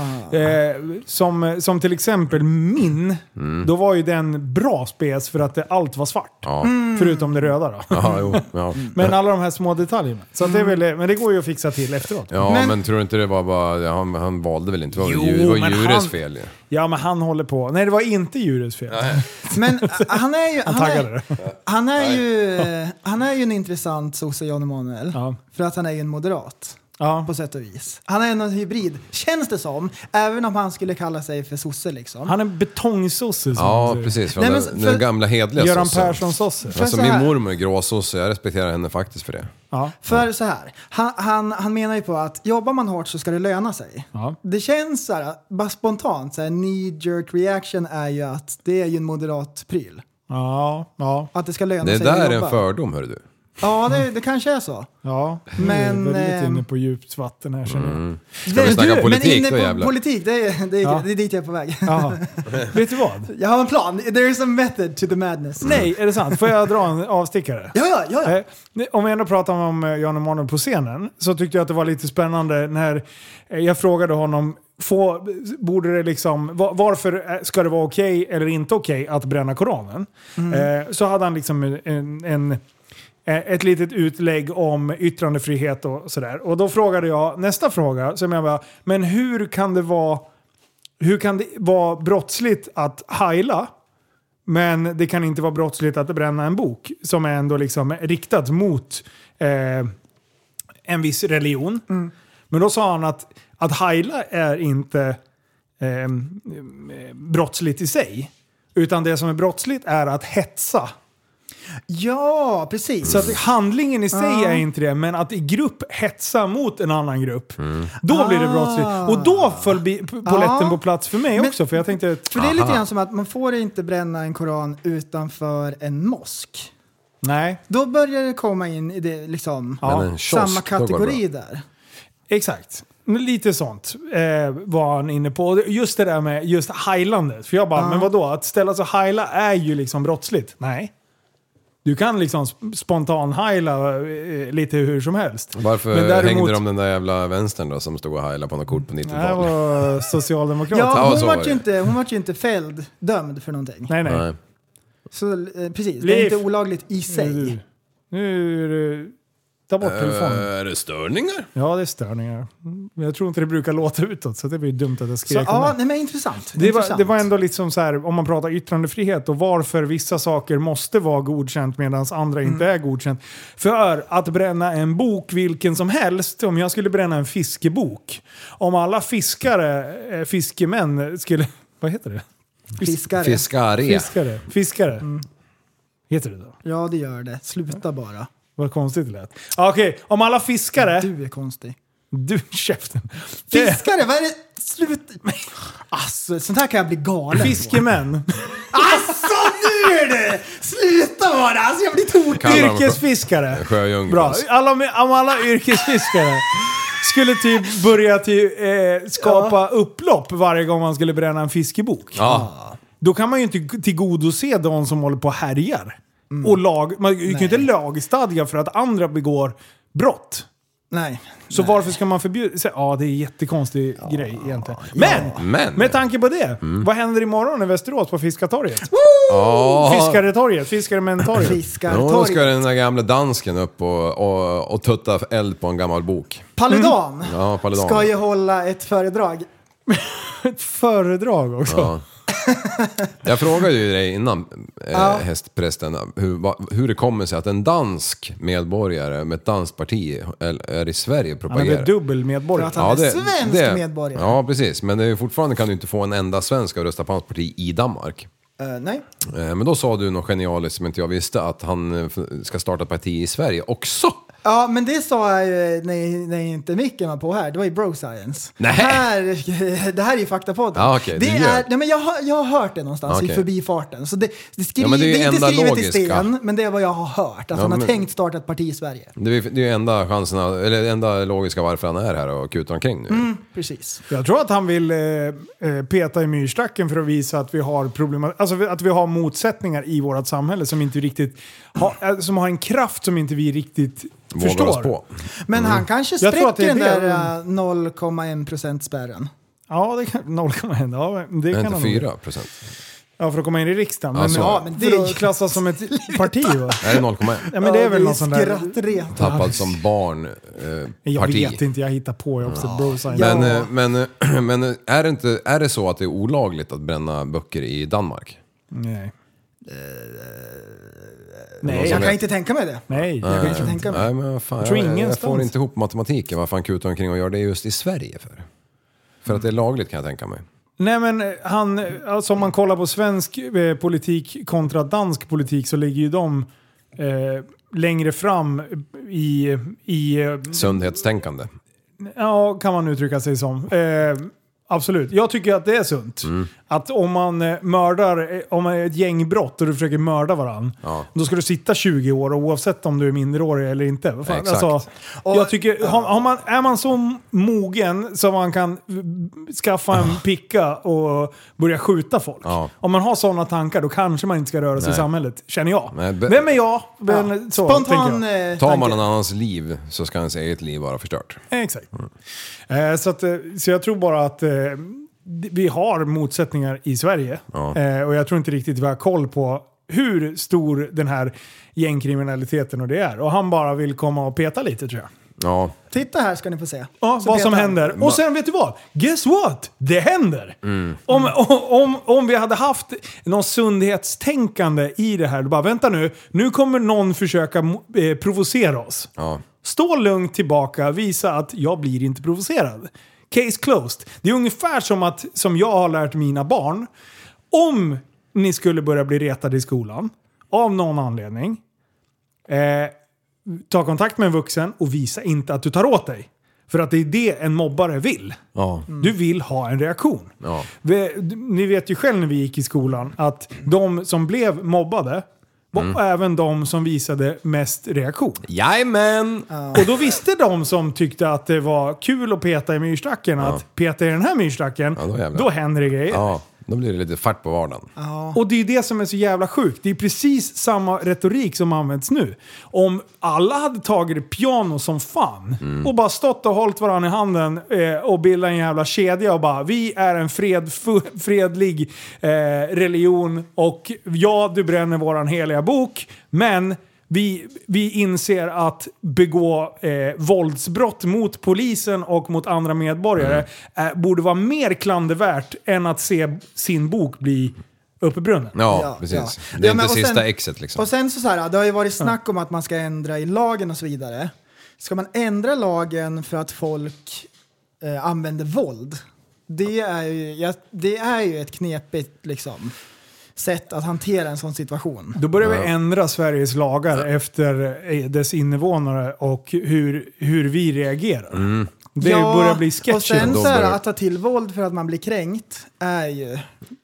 eh, som, som till exempel min. Mm. Då var ju den bra spec för att det, allt var svart. Mm. Förutom det röda då. Ja, jo, ja. Men alla de här små detaljerna. Så att det är väl, men det går ju att fixa till efteråt. Ja, men, tror du inte det var bara... Han, han valde väl inte? Det var, Jo, ju- det var men djurets han- fel ju. Ja, men han håller på. Nej, det var inte djurets fel. Men eh, han är ju... Han, taggade är, han, är ju, han är ju en intressant sosse, Jan Emanuel. Ja. För att han är ju en moderat. Ja. På sätt och vis. Han är en hybrid, känns det som. Även om han skulle kalla sig för sosse liksom. Han är betongsosse. som man Ja, säger. precis. Från Nej, men den, för- den gamla hedliga Göran sossen. Persson-sosse. För Alltså så min här- mormor är gråsosse, jag respekterar henne faktiskt för det. Ja. För så här, han, han, han menar ju på att jobbar man hårt så ska det löna sig. Ja. Det känns så här, bara spontant, så här, knee jerk reaction är ju att det är ju en moderat pryl. Ja, ja, Att det ska löna Det sig att där är en jobba. fördom hörru du. Ja, det, det kanske är så. ja. Men, Men... eh, Jag är väldigt ehm, inne på djupt vatten här känner jag. Mm. Det- vi snacka du, politik men inne då, på jävlar? politik, det är, det, är, Ja. det är dit jag är på väg. Jaha. Vet du vad? Jag har en plan, there is a method to the madness. Nej, är det sant? Får jag dra en avstickare? Ja, ja, ja. ja. Eh, nej, Om vi ändå pratar om eh, Jan Emanuel på scenen så tyckte jag att det var lite spännande när eh, jag frågade honom få, borde det liksom, va- varför eh, ska det vara okej eller inte okej att bränna Koranen? Mm. Eh, så hade han liksom en, en, en eh, ett litet utlägg om yttrandefrihet och sådär. Och då frågade jag nästa fråga, som jag bara, men hur kan det vara, hur kan det vara brottsligt att heila men det kan inte vara brottsligt att bränna en bok som är ändå liksom riktad mot eh, en viss religion. Mm. Men då sa han att, att heila är inte eh, brottsligt i sig. Utan det som är brottsligt är att hetsa. Ja, precis. Så att handlingen i sig är inte det, men att i grupp hetsa mot en annan grupp. Då blir det brottsligt. Och då föll bi- p- poletten Ah. Ja. på plats för mig Men- också. För jag tänkte att, För det är lite grann som att man får inte bränna en koran utanför en mosk. nej, Då börjar det komma in i det, liksom, Ja, Men en kiosk, samma då går det bra. kategori där. Exakt. Men Lite sånt eh, var han inne på. Och Just det där med just heilandet. För jag bara, men vadå? Att ställa sig och heila är ju liksom brottsligt. Nej. Du kan liksom sp- spontan heila eh, lite hur som helst. Varför Men däremot- hängde de den där jävla vänstern då som stod och heilade på något kort på Det här 90-talet? var socialdemokrat. Ja, Ja, så hon var vart det. ju inte, hon vart ju inte fälld, dömd för någonting. Nej, nej. Nej. Så eh, precis, det Liv. är inte olagligt i sig. Nu, nu är det... Ta bort telefonen. Äh, är det störningar? Ja, det är störningar. Mm, Men jag tror inte det brukar låta utåt, så det blir dumt att jag Så, skrek om det. ja, nej, men intressant. Det var, intressant. det var ändå liksom så här, om man pratar yttrandefrihet och varför vissa saker måste vara godkänt medan andra inte är godkänt. För att bränna en bok, vilken som helst, om jag skulle bränna en fiskebok, om alla fiskare, eh, fiskemän skulle... Vad heter det? Fiskare. Fiskare. Fiskare. Fiskare. Heter det då? Ja, det gör det. Sluta bara. Vad konstigt det lät. Ja, Okej, om alla fiskare... Du, Du är konstig. käften. Fiskare, vad är det? Sluta! Alltså, sånt här kan jag bli galen på. Eh, Fiskemän. Alltså nu du! Sluta bara! Alltså jag blir tokig! Kallar dem för- Yrkesfiskare. Sjöjungfru. Bra. Alla, om alla yrkesfiskare skulle typ börja till, eh, skapa upplopp varje gång man skulle bränna en fiskebok. Ja. Då kan man ju inte tillgodose de som håller på och härjar. Mm. Och lag, man kan ju inte lagstadga för att andra begår brott. Nej. Så varför ska man förbjuda? så- Ja, det är en jättekonstig grej egentligen. Men, Men. Mm. Med tanke på det, vad händer imorgon i Västerås på Fiskatorget? Ja. Fiskaretorget, Fiskaremäntorget. Jo, då ska Fiskartorget. den där gamla dansken upp och, och, och tutta eld på en gammal bok. Paludan Mm. Ja, Paludan. ska ju hålla ett föredrag. Ett föredrag också. Ja. Jag frågade ju dig innan, eh, hästprästen, hur, va, hur det kommer sig att en dansk medborgare med ett danskt parti är, är i Sverige och Han är väl propagerar. dubbel medborgare. För att han är svensk medborgare. Ja, precis. Men det är ju fortfarande kan du inte få en enda svensk att rösta på hans parti i Danmark. Eh, nej. Eh, Men då sa du något genialiskt som inte jag visste, att han eh, f- ska starta ett parti i Sverige också. Ja, men det sa jag ju när, när inte micken var på här. Det var ju bro science. Nej. Det Här, det här är ju faktapodden. Ja, okej, det du ljög. är, nej, men jag, har, jag har hört det någonstans i Okej. förbifarten. Så det, det, skri, Ja, men det, det är ju är inte enda skrivet i logiska. sten, men det är vad jag har hört. Att Ja, han har men- tänkt starta ett parti i Sverige. Det är det är ju enda chansen, eller enda logiska varför han är här och kutar omkring nu. Precis. Jag tror att han vill eh, eh, peta i myrstacken för att visa att vi har problem, alltså att vi har motsättningar i vårt samhälle som inte riktigt har, eh, som har en kraft som inte vi riktigt Vågar förstår. oss på. Men Mm. han kanske Jag tror att det spräcker är den där det. eh, 0,1 procent spärren. Ja, det kan 0,1. Ja, men det Men kan inte han 4 procent. Ja, för att komma in i riksdagen. Men, Ja, så. ja, men men det det- för att klassas som ett parti va? Är det 0,1? Ja, men det är Ja, väl någon sån där... skrattretande. Tappad som barn, eh, Jag parti. vet inte, jag hittar på. Jag har också bro science. Men, Ja. eh, men, eh, men eh, är, det inte, är det så att det är olagligt att bränna böcker i Danmark? Eh, Nej. Någon som Nej, jag kan vet? inte tänka mig det. Nej. Jag kan inte tänka mig. Nej, men vad fan, Jag jag, tror jag, jag ingenstans. får inte ihop matematiken varför han kutar omkring och gör det just i Sverige för. För att det är lagligt kan jag tänka mig. Nej men eh, han, eh, alltså om man kollar på svensk eh, politik kontra dansk politik så ligger ju de eh, längre fram i, i eh, Sundhetstänkande. ja kan man uttrycka sig som. Eh, absolut, jag tycker att det är sunt. Mm. Att om man eh, mördar, eh, om man är ett gängbrott och du försöker mörda varandra, då ska du sitta 20 år oavsett om du är minderårig eller inte. Vad fan? Exakt. Alltså, jag tycker, har, har man, är man så mogen så man kan eh, skaffa en picka och börja skjuta folk. Ja. Om man har sådana tankar då kanske man inte ska röra sig i Nej. samhället, känner jag. Nej, be- Vem är jag? Men, så, tänker jag. Spontan eh, Tar man tanke. någon annans liv så ska ens eget liv vara förstört. Exakt. Eh, så, att, eh, så jag tror bara att eh, d- vi har motsättningar i Sverige. Ja. Eh, och jag tror inte riktigt vi har koll på hur stor den här gängkriminaliteten och det är. Och han bara vill komma och peta lite tror jag. Ja, Titta här ska ni få se. Ja, Så vad som petar han. händer. Och sen vet du vad? Guess what? Det händer! Om, om, om vi hade haft någon sundhetstänkande i det här, då bara vänta nu, nu kommer någon försöka mo- eh, provocera oss. ja. Stå lugnt tillbaka, visa att jag blir inte provocerad. Case closed. Det är ungefär som, att, som jag har lärt mina barn. Om ni skulle börja bli retade i skolan, av någon anledning, eh, ta kontakt med en vuxen och visa inte att du tar åt dig. För att det är det en mobbare vill. Mm. ja. Mm. Du vill ha en reaktion. Ja. Vi, ni vet ju själv när vi gick i skolan att de som blev mobbade var Mm. även de som visade mest reaktion. Jajamän! Och då visste de som tyckte att det var kul att peta i myrstacken att peta i den här myrstacken, Ja, då då, jävlar. händer det grejer. Ja, då blir det lite fart på vardagen. Och det är ju det som är så jävla sjukt. Det är precis samma retorik som används nu. Om alla hade tagit det piano som fan och bara stått och hållit varandra i handen eh, och bildat en jävla kedja och bara vi är en fred, fu- fredlig eh, religion och ja, du bränner våran heliga bok, men vi, vi inser att begå eh, våldsbrott mot polisen och mot andra medborgare eh, borde vara mer klandervärt än att se sin bok bli uppe i brunnen. Ja, Ja, precis. ja. Det är Ja, men inte och sen- sista exet liksom. Och sen så, så här, det har ju varit snack om att man ska ändra i lagen och så vidare. Ska man ändra lagen för att folk eh, använder våld? Det är, ju, ja, det är ju ett knepigt liksom, sätt att hantera en sån situation. Då börjar vi ändra Sveriges lagar efter eh, dess invånare och hur, hur vi reagerar. Det börjar bli Och sketchy. sen De så här, börjar- att ta till våld för att man blir kränkt är ju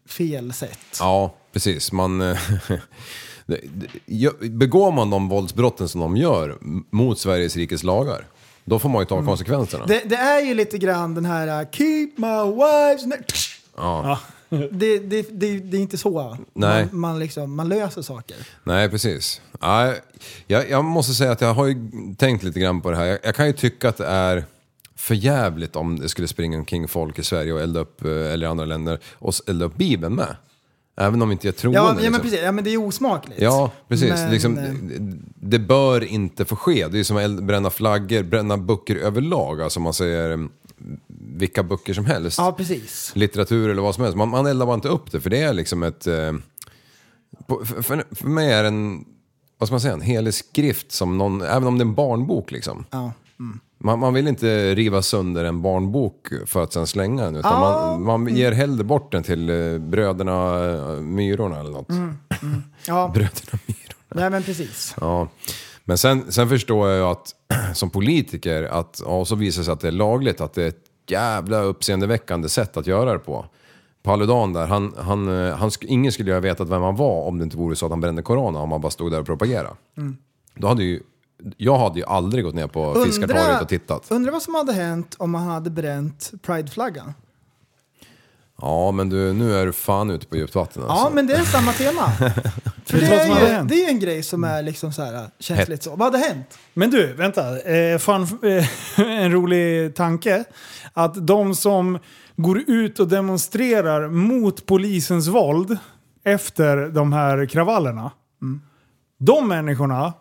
fel sätt. Ja, precis. Man, eh, det- det- gö- begår man de våldsbrotten som de gör m- mot Sveriges rikes lagar, då får man ju ta konsekvenserna. Mm. Det, det är ju lite grann den här uh, keep my wives... na- Det, det, det, det är inte så Nej. Man, man, liksom, man löser saker. Nej, precis. Nej, jag, jag måste säga att jag har ju tänkt lite grann på det här. Jag, jag kan ju tycka att det är för jävligt om det skulle springa omkring folk i Sverige och elda upp, eh, eller i andra länder, och s- elda upp Bibeln med. Även om inte jag tror Ja, det, ja, men liksom. precis. Ja, men det är osmakligt. Ja, precis. Men, liksom, eh, det, det bör inte få ske. Det är ju som att eld- bränna flaggor, bränna böcker överlag. Alltså man säger mm, vilka böcker som helst. Ja, precis. Litteratur eller vad som helst. Man, man eldar bara inte upp det för det är liksom ett... Eh, på, för, för, för mig är det en, vad ska man säga, en helig skrift som någon, även om det är en barnbok liksom. Ja. Man, man vill inte riva sönder en barnbok för att sen slänga den. Utan man, man ger hellre bort den till eh, bröderna eh, Myrorna eller något. Mm. Ja, Bröderna Myrorna. nej men precis. Ja. Men sen, sen förstår jag ju att som politiker, att, ja, och så visar det sig att det är lagligt, att det är ett jävla uppseendeväckande sätt att göra det på. Paludan där, han, han, eh, han, sk- ingen skulle ju ha vetat vem han var om det inte vore så att han brände corona, om han bara stod där och propagerade. Då hade ju, jag hade ju aldrig gått ner på Fiskartorget och tittat. undrar vad som hade hänt om man hade bränt prideflaggan. Ja, men du, nu är du fan ute på djupt vatten alltså. Ja, men det är samma tema. För det, vad som hade är ju, hänt? det är ju en grej som är liksom så här känsligt så. Vad hade hänt? Men du, vänta. Eh, fan, eh, en rolig tanke. Att de som går ut och demonstrerar mot polisens våld efter de här kravallerna. mm. De människorna,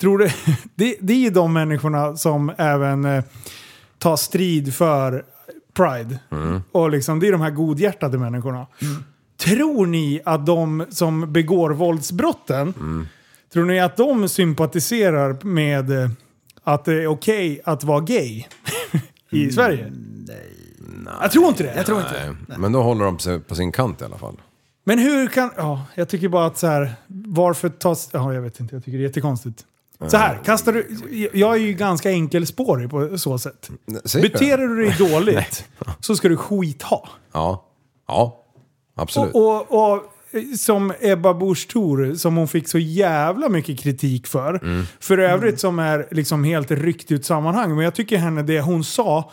tror du, det, det är de människorna som även eh, tar strid för Pride. Och liksom, det är de här godhjärtade människorna. Tror ni att de som begår våldsbrotten Tror ni att de sympatiserar med eh, att det är okej att vara gay i Sverige? Mm, Nej. Jag tror inte det. Jag tror inte det. Nej. Men då håller de sig på sin kant i alla fall. Men hur kan... Ja, jag tycker bara att så här... Varför tas... Ja, jag vet inte. Jag tycker det är jättekonstigt. Så här, kastar du... Jag är ju ganska enkelspårig på så sätt. Säger du? Beter du dig dåligt så ska du skit ha. Ja. Ja. Absolut. Och, och, och eh, som Ebba Busch Thor, som hon fick så jävla mycket kritik för. Mm. För övrigt som är liksom helt ryckt ut sammanhang. Men jag tycker henne, det hon sa,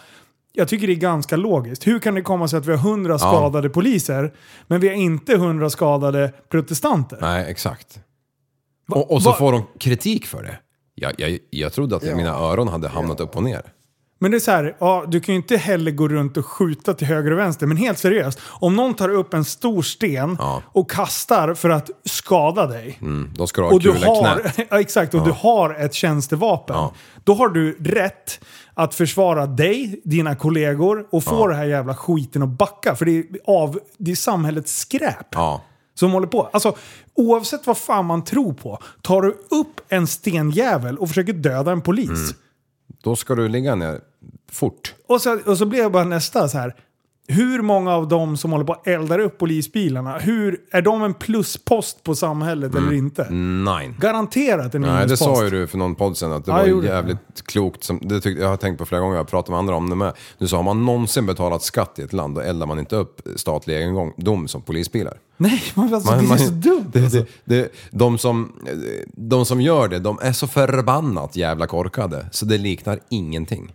jag tycker det är ganska logiskt. Hur kan det komma sig att vi har hundra skadade poliser, men vi har inte hundra skadade protestanter? Nej, exakt. och, och så va- får de kritik för det. Jag, jag, jag trodde att mina öron hade hamnat upp och ner. Men det är så här, ja, du kan ju inte heller gå runt och skjuta till höger och vänster. Men helt seriöst, om någon tar upp en stor sten Ja. och kastar för att skada dig. Mm, då ska du ha och du kula har, knät. ja, exakt, och du har ett tjänstevapen. Ja. Då har du rätt att försvara dig, dina kollegor och få den här jävla skiten att backa. För det är, av, det är samhällets skräp Ja. som håller på. Alltså, oavsett vad fan man tror på, tar du upp en stenjävel och försöker döda en polis. Mm. Då ska du ligga ner fort. Och, så, och så blev jag bara nästa så här. Hur många av dem som håller på att eldar upp polisbilarna, hur, är de en pluspost på samhället eller inte? Nej. Garanterat en Mm. Nej, det minuspost. sa ju du för någon podd sen att det Mm, Ja, var jag ju gjorde det. jävligt klokt. Som, det tyckte, jag har tänkt på flera gånger, jag har pratat med andra om det med. Du sa, har man någonsin betalat skatt i ett land, då eldar man inte upp statlig egendom som polisbilar. Nej, man, alltså, Man- det man- är så dumt. alltså. Det, det, det, de, som, de som gör det, de är så förbannat jävla korkade. Så det liknar ingenting.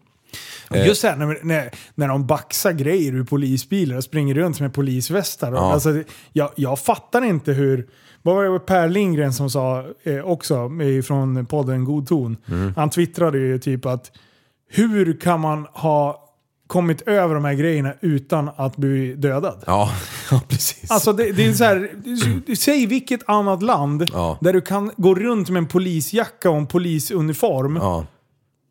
eh. Just det här när, när, när de baxar grejer ur polisbilar och springer runt med polisvästar. Och, Alltså, det- jag, jag fattar inte hur... Vad var det Per Lindgren som sa eh, också eh, från podden God ton? Mm. Han twittrade ju typ att hur kan man ha kommit över de här grejerna utan att bli dödad? Ja, ja precis. Alltså det, det är så här, säg vilket annat land Ja. där du kan gå runt med en polisjacka och en polisuniform. ja.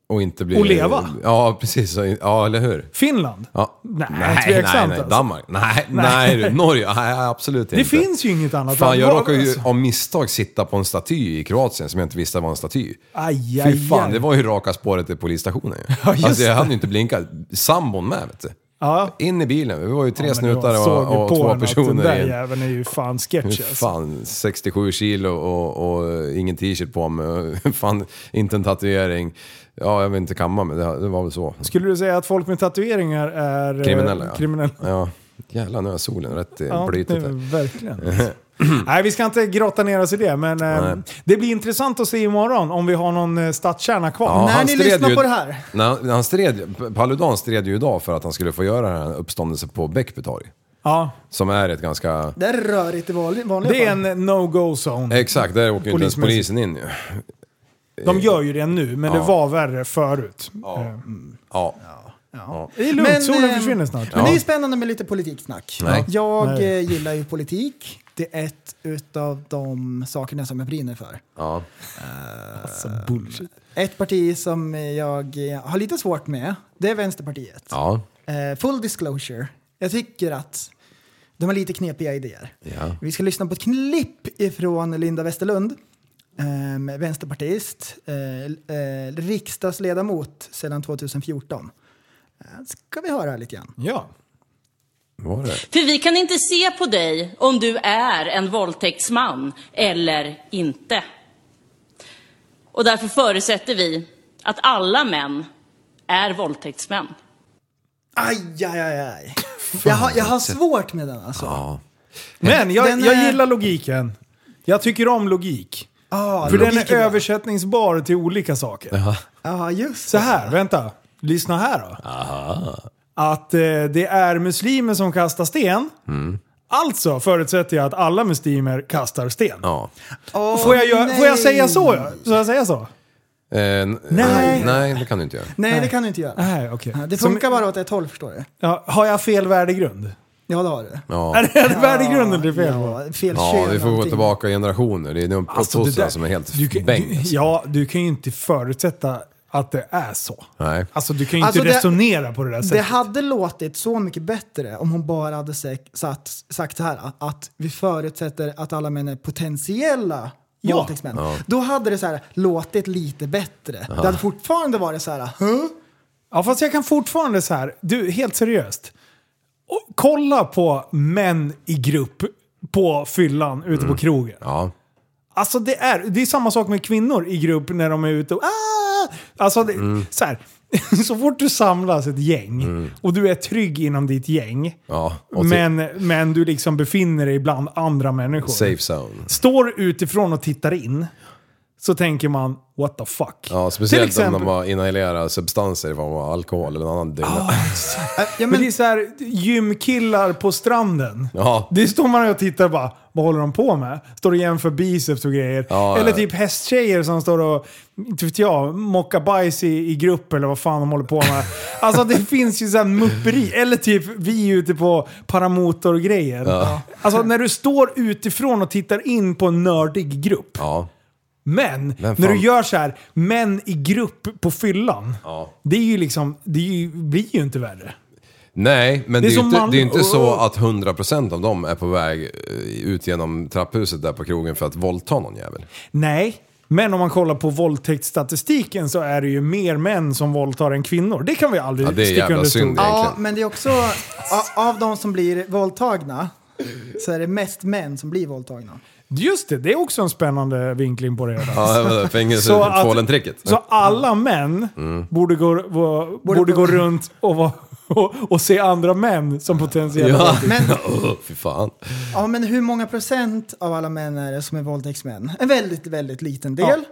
Och inte bli... Och leva. Ja, precis. Ja, eller hur? Finland? Ja. Nej, nej, tveksamt nej. alltså. Danmark? Nej, nej. du. Norge? Nej, absolut inte. Det finns ju inget annat Fan, jag Vad- råkade ju alltså. av misstag sitta på en staty i Kroatien som jag inte visste var en staty. Aj, aj, Fy fan, aj. det var ju raka spåret till polisstationen ju. just alltså jag det. hade ju inte blinkat. Sambon med vet du. Ja. In i bilen, vi var ju tre snutar Jag såg ju och, och på den två att Den där personer i en. jäveln är ju fan Hur sketch alltså. Fan, 67 kilo och, och, eh, ingen t-shirt på mig. Fan, inte en tatuering. Ja, jag vill inte kamma men det, det var väl så. Skulle du säga att folk med tatueringar är eh, Kriminella ja. kriminella? ja. Jävlar, nu har solen rätt i Ja, blytet det här. är verkligen. Nej, vi ska inte grotta ner oss i det, men eh, Nej. det blir intressant att se imorgon om vi har någon eh, stadskärna kvar. Ja, När han ni stred lyssnar ju- på det här. När han, när han stred, Paludan stred ju idag för att han skulle få göra den här uppståndelsen på Bäckby torg. Ja, Som är ett ganska... Det är rörigt i vanlig- vanliga det är fall. en no-go-zone. Exakt, där åker ju inte ens Polismässigt. polisen in ju. De gör ju det nu, men det var värre förut. Eh, Eh, Ja. Det är lugnt, Men, solen eh, försvinner snart. Men det är ju spännande med lite politiksnack. Nej. Jag Nej. eh, gillar ju politik. Det är ett utav de sakerna som jag brinner för. ja. Ett parti som jag eh, har lite svårt med, det är Vänsterpartiet. Ja. Eh, full disclosure. Jag tycker att de har lite knepiga idéer. Ja. Vi ska lyssna på ett klipp ifrån Linda Westerlund. ehm, vänsterpartist, eh, eh, riksdagsledamot sedan 2014. Eh, Ska vi höra lite grann. Ja. Var det? För vi kan inte se på dig om du är en våldtäktsman eller inte. Och därför förutsätter vi att alla män är våldtäktsmän. Aj, aj, aj, aj. Jag har, jag har svårt med den alltså. Ja. Men jag, Den jag är- gillar logiken. Jag tycker om logik. Ah, För den är logiken. översättningsbar till olika saker. Ja, just Så här, vänta. Lyssna här då. Att eh, det är muslimer som kastar sten. Mm. Alltså förutsätter jag att alla muslimer kastar sten. Ja. Åh, Får, jag göra, nej. får jag säga så? ja? Får jag säga så? Eh, n- Nej. Nej, det kan du inte göra. Nej, det kan du inte göra. Nej, okej. Det Som- funkar bara åt ett håll förstår du. Ja, har jag fel värdegrund? Ja, det har du. Ja. Är det värdegrunden det är fel på? Ja, fel Ja, kön vi får gå allting. tillbaka generationer. Det är en Alltså, det där- uppfostran som är helt du, kan- bäng. du, Ja, du kan ju inte förutsätta att det är så. Nej. Alltså du kan ju inte Alltså, det- resonera på det där sättet. Det hade låtit så mycket bättre om hon bara hade sä- satt, sagt så här att, att vi förutsätter att alla män är potentiella Ja. våldtäktsmän. Då hade det så här låtit lite bättre. Det hade fortfarande varit så här, huh? Ja, fast jag kan fortfarande så här, du, helt seriöst. Och, kolla på män i grupp på fyllan ute på krogen. Mm. Ja. Alltså det är, det är samma sak med kvinnor i grupp när de är ute och ah! Alltså det, Mm. så här, så fort du samlas ett gäng och du är trygg inom ditt gäng. ja. Och Men, men du liksom befinner dig bland andra människor. Safe zone. Står utifrån och tittar in så tänker man what the fuck. Ja, Till speciellt exempel- om de har inhalerat substanser i form av alkohol eller någon annan dyna. Ah. Äh, ja, Men men, det är så här, gymkillar på stranden. Ja. Det står man och tittar och bara, vad håller de på med? Står och jämför biceps och grejer. Ja, eller ja. typ hästtjejer som står och, inte vet jag, mockar bajs i, i grupp eller vad fan de håller på med. alltså det finns ju sån mupperi. Eller typ vi ute på paramotor och grejer. Alltså när du står utifrån och tittar in på en nördig grupp. Ja. Men fan- när du gör så här, män i grupp på fyllan. Ja. Det är ju liksom, det är ju, blir ju inte värre. Nej, men Det är det är ju som inte, man- det är ju inte så Åh. att 100% av dem är på väg eh, ut genom trapphuset där på krogen för att våldta någon jävel. Nej, men om man kollar på våldtäktsstatistiken så är det ju mer män som våldtar än kvinnor. Det kan vi aldrig Ja, det är sticka jävla under stol. synd. ja, egentligen. men det är också, a- av de som blir våldtagna så är det mest män som blir våldtagna. Just det, det är också en spännande vinkling på det. hela. Ja, Så att- fängelsefålen-tricket. Så alla män borde, gå, gå, borde, gå runt och, vara- och, och se andra män som potentiella Ja, Men, Åh, fy fan. ja, men hur många procent av alla män är det som är våldtäktsmän? En väldigt, väldigt liten del.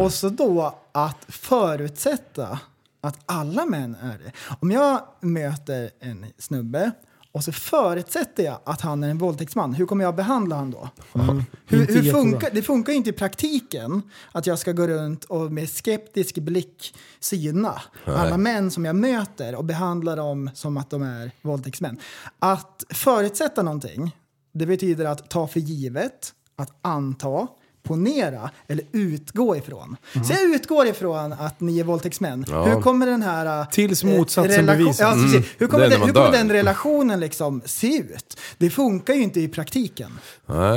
Och så då att förutsätta att alla män är det. Om jag möter en snubbe och så förutsätter jag att han är en våldtäktsman, hur kommer jag behandla han då? Hur, Inte hur jättebra. funkar, det funkar ju inte i praktiken att jag ska gå runt och med skeptisk blick syna alla män som jag möter och behandla dem som att de är våldtäktsmän. Att förutsätta någonting, det betyder att ta för givet, att anta, ponera eller utgå ifrån. Så jag utgår ifrån att ni är våldtäktsmän. Hur kommer den här... eh, Tills motsatsen relation- bevisas. Ja, precis. Hur Det kommer, är när den, man hur kommer dör. den relationen liksom se ut? Det funkar ju inte i praktiken.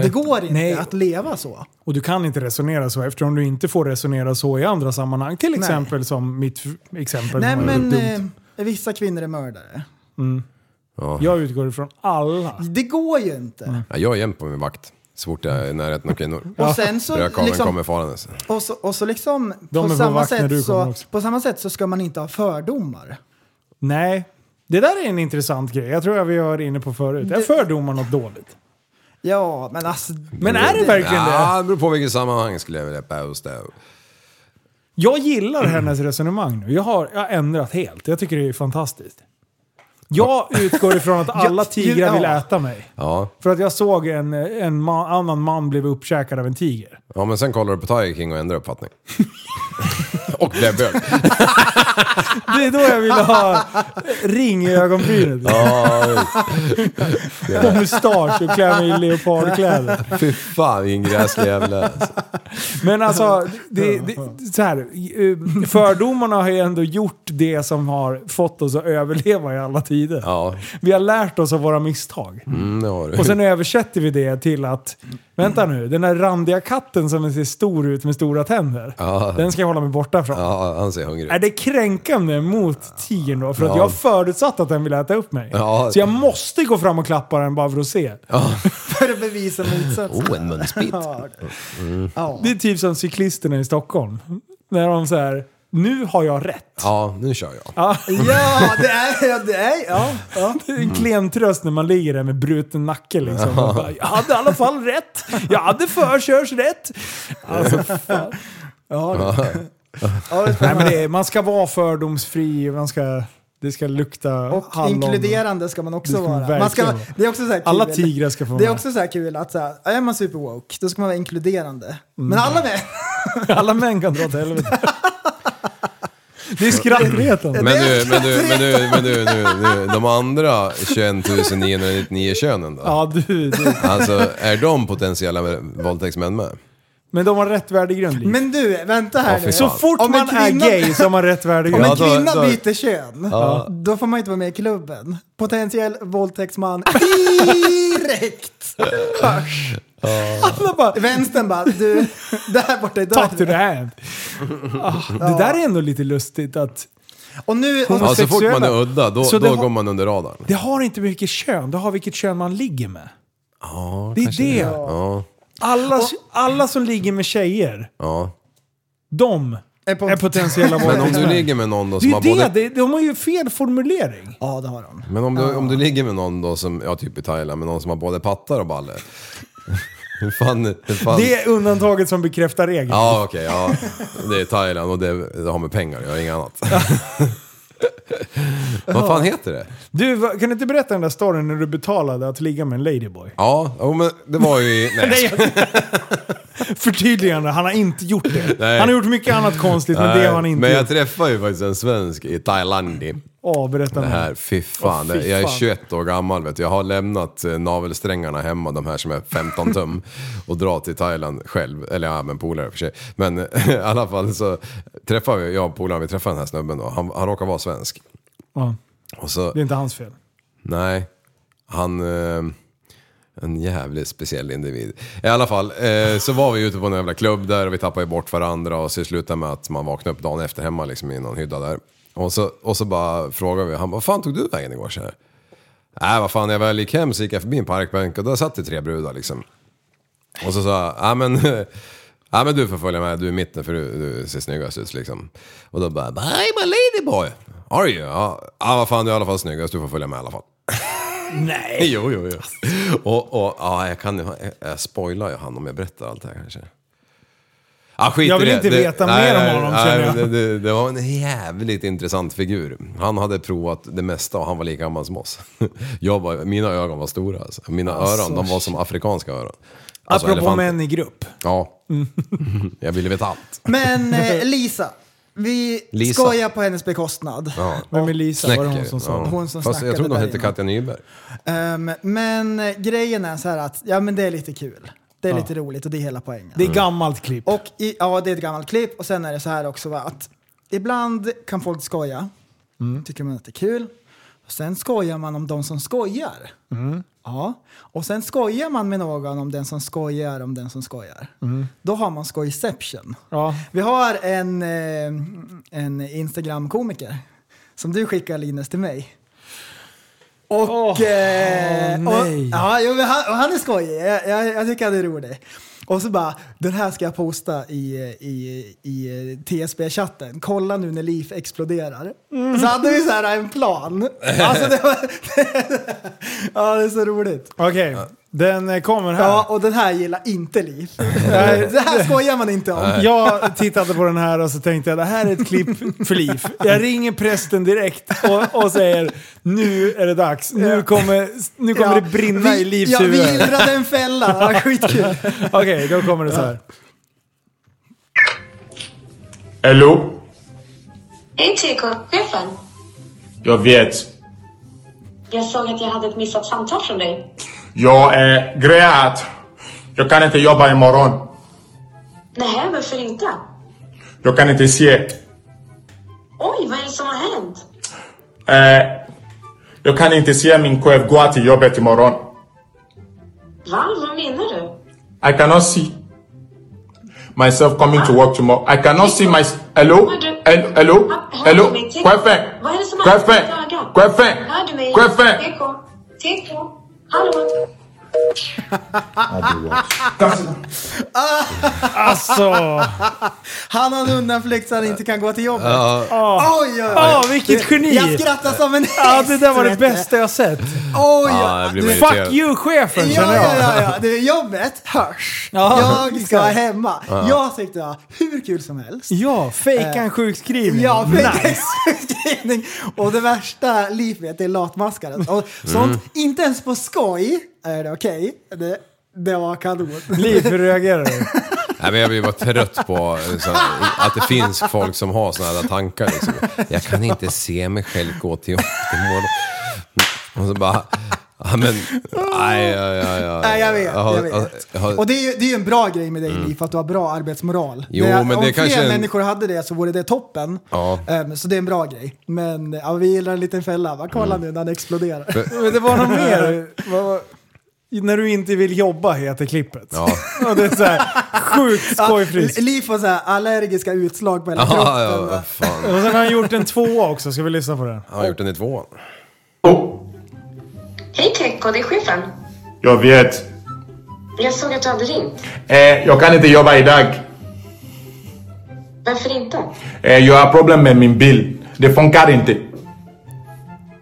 Det går inte Nej. att leva så. Och du kan inte resonera så eftersom du inte får resonera så i andra sammanhang. Till exempel som mitt f- exempel. Nej som var men dumt. eh, vissa kvinnor är mördare. Jag utgår ifrån alla. Det går ju inte. Ja, jag är jämt på min vakt. Så fort jag är i närheten av kvinnor. Och sen så, Rödkarlen kommer liksom, farandes. och så, och så liksom är på på samma, vakt när du sätt kommer så, också. på samma sätt så ska man inte ha fördomar. Nej, det där är en intressant grej. Jag tror jag vi var inne på förut. Är fördomar något dåligt? Ja men alltså. Men är det verkligen det? Ja, det beror på vilket sammanhang skulle jag vilja påstå. Jag gillar hennes resonemang nu. Jag har, jag har ändrat helt. Jag tycker det är fantastiskt. Jag utgår ifrån att alla Ja, tigrar vill ja. äta mig. Ja. För att jag såg en, en ma- annan man blev uppkäkad av en tiger. ja, men sen kollar du på Tiger King och ändrar uppfattning. och blev bög. Det är då jag ville ha ring i ögonbrynet. Ja, Och mustasch och klä mig i leopardkläder. fy fan vilken gräslig jävla... Men alltså, det, det, så här, eh, fördomarna har ju ändå gjort det som har fått oss att överleva i alla tider. Ja, Vi har lärt oss av våra misstag. mm, det har du. Och sen översätter vi det till att Vänta nu, den där randiga katten som ser stor ut med stora tänder. Ja. Den ska jag hålla mig borta från. Ja, han ser hungrig Är ut. det kränkande mot tigern då? För att Ja. jag förutsatt att den vill äta upp mig. Ja. Så jag måste gå fram och klappa den bara för att se. För att bevisa motsatsen. Oh, en munsbit. Ja. Det är typ som cyklisterna i Stockholm. När de så här, nu har jag rätt. Ja, nu kör jag. ja, det är... Ja, det är ja. Ja, det är en klen tröst när man ligger där med bruten nacke liksom. Och Bara, jag hade i alla fall rätt. Jag hade förkörsrätt. Alltså, fan. Ja, det är Nej, spännande. men det är, man ska vara fördomsfri. Man ska, det ska lukta Och inkluderande ska man också Det ska man vara. Man ska, verkligen. det är också så här kul. Alla tigrar ska få vara Det är med. också så här kul att så här, är man superwoke, då ska man vara inkluderande. Mm. Men alla med! Alla män kan dra åt helvete. Det är skrattretande. Men du, men du, men du, men du, nu, nu, de andra 21 999 könen då? Ja, du, du. Alltså, är de potentiella våldtäktsmän med? Men de har rätt värdegrund. Liv. Men du, vänta här Åh, fy nu. Så fan. fort Om en man är kvinna- gay så har man rätt Om värdegrund. Ja, en då- kvinna då- byter kön, Ja. då får man inte vara med i klubben. Potentiell våldtäktsman direkt! Hörs. Alla bara, vänstern bara, du, där borta är Talk to dörren. the hand. Ah, Det där är ändå lite lustigt att Och nu, och, Hon- Ja, så fort man är Sexuella. udda, då, Så det då har- går man under radarn. det har inte mycket kön, det har vilket kön man ligger med. det är det. Ja, Alla, alla som ligger med tjejer, ja. de Är på- är potentiella Men om du våldtäktsmän. ligger med någon då Det som är har ju det, både... det, de har ju fel formulering. ja det har de. Men om du, om du ligger med någon då som, ja typ i Thailand, med någon som har både pattar och baller. Hur fan, hur fan... Det är undantaget som bekräftar regeln. Ja okej, ja. Det är Thailand och det, det har med pengar jag har inget annat. Vad fan heter det? Du, va- kan du inte berätta den där storyn när du betalade att ligga med en ladyboy? Ja, jo, men det var ju i... Nej, Nej, jag- Förtydligande, han har inte gjort det. Nej. Han har gjort mycket annat konstigt, men det har han inte Men jag gjort. träffade ju faktiskt en svensk i Thailand. Åh, berätta Det nu. Äh, här, fy fan. Åh, fy Det- jag är fan. 21 år gammal vet du. Jag har lämnat eh, navelsträngarna hemma, de här som är 15 tum. Och drar till Thailand själv. Eller ja, men polare i och för sig. Men i alla fall så träffar vi, jag och polaren, vi träffar den här snubben då. Han, han råkar vara svensk. Ja, Och så, det är inte hans fel. nej, han... Eh, en jävligt speciell individ. I alla fall, eh, så var vi ute på en jävla klubb där och vi tappade ju bort varandra och så slutade med att man vaknade upp dagen efter hemma liksom i någon hydda där. Och så, och så bara frågade vi, han bara, vad fan tog du vägen igår så här? Nej, vad fan, när jag väl gick hem så gick jag förbi en parkbänk och där satt det tre brudar liksom. Och så sa jag, ja men, ja men du får följa med, du är i mitten för du, du ser snyggast ut liksom. Och då bara, I'm a ladyboy! Are you? Ja, ja, vad fan du är i alla fall snyggast, du får följa med i alla fall. Nej! jo, jo, jo. Och, och ja, jag kan ju, jag, jag spoilar ju han om jag berättar allt det här kanske. Ah, skit Jag i vill det. inte det, veta mer om honom, känner jag. det, det, det var en jävligt intressant figur. Han hade provat det mesta och han var lika gammal som oss. Jag var, mina ögon var stora alltså. Mina öron, de var som afrikanska öron. Alltså, Apropå elefanter. män Mm. i grupp. Ja. jag ville veta allt. Men eh, Lisa, vi Lisa. skojar på hennes bekostnad. Ja. Vem är Lisa? Var det hon som sa ja. det? Hon som Fast jag snackade tror hon hette där innan. Katja Nyberg. Ehm, men eh, grejen är så här att, ja men det är lite kul. Det är lite roligt och det är hela poängen. Det är Mm. gammalt klipp. Och i, ja, det är ett gammalt klipp och sen är det så här också va, att ibland kan folk skoja. Tycker man att det är kul. Och sen skojar man om de som skojar. Ja. Och sen skojar man med någon om den som skojar om den som skojar. Då har man skojception. Ja. Vi har en, eh, en Instagram-komiker som du skickar Linus till mig. Och, eh, och, nej. ja, jo, men han, och han är skojig. Jag, jag, jag tycker han är rolig. Och så bara, den här ska jag posta i, i, i TSB-chatten. Kolla nu när Liv exploderar. Mm. Så hade vi så här en plan. Alltså det var, ja, det är så roligt. Okej, den eh, kommer här. Ja, och den här gillar inte Liv. det här skojar man inte om. Jag tittade på den här och så tänkte jag det här är ett klipp för liv. Jag ringer prästen direkt och, och säger nu är det dags. Nu kommer, nu kommer Ja, det brinna vi- i Livs Ja, vi huvud. gillrade en fälla. Ja, Skitkul. Okej, då kommer det så här. Hello? Hej Teko, chefen. Jag vet. Jag såg att jag hade ett missat samtal från dig. Jag är grät. Jag kan inte jobba imorgon. Nej, varför inte? Jag kan inte se. Oj, vad är det som har hänt? Eh, jag kan inte se min chef gå till jobbet imorgon. Va? Vad menar du? I cannot see myself coming to work tomorrow. I cannot see my. Hello? Hel- Hello? Hello? Kwefe? Vad är det som Kwefe? Kwefe? Hör du mig? Kwefe? Teko? Teko? Hallå? Alltså. Han har en undanflykt så han inte kan gå till jobbet. Ja. Oj, oj, oj. Åh, vilket geni! Jag skrattar som en häst. Ja, det där var det vet du. bästa jag sett. Oj, Ja, jag oj. blir Du, väldigt ja, Fuck you chefen känner ja, jag. ja, ja. Du, jobbet hörs. Ja, jag ska exakt. hemma. Jag tyckte det var hur kul som helst. Ja, fejka en sjukskrivning. Ja, nice. fejksjukskrivning. Och det värsta livet är latmaskaren. Och sånt, inte ens på skoj är det okej. Det, det var kanon. Liv, hur reagerar du? Nej, men jag blir bara trött på eh, så, att det finns folk som har sådana där tankar. Liksom. Jag kan inte se mig själv gå till jobbet imorgon. Och så bara... Ja, men, nej, ja, ja, ja, Nej, jag vet. har- Jag vet. jag har- Och det är ju det är ju en bra grej med dig, Mm. Li, för att du har bra arbetsmoral. Jo, det, är- men det om är fler kanske en- människor hade det så vore det toppen. Ja. Ehm, så det är en bra grej. Men ja, vi gillar en liten fälla. Bara kolla Mm. nu när den exploderar. Men det var något mer. Vad- När du inte vill jobba heter klippet. Ja. Och det är så här, sjukt skojfriskt. Li får så här allergiska utslag på hela Ja, ja, kroppen. vad fan. Och sen har han gjort en tvåa också, ska vi lyssna på den? Jag har gjort den i tvåan. Hej Teko, det är chefen. Jag vet. Jag såg att du Alltså, hade ringt. Eh, jag kan inte jobba idag. Varför inte? Alltså, Eh, jag har problem med min bil. Det funkar inte.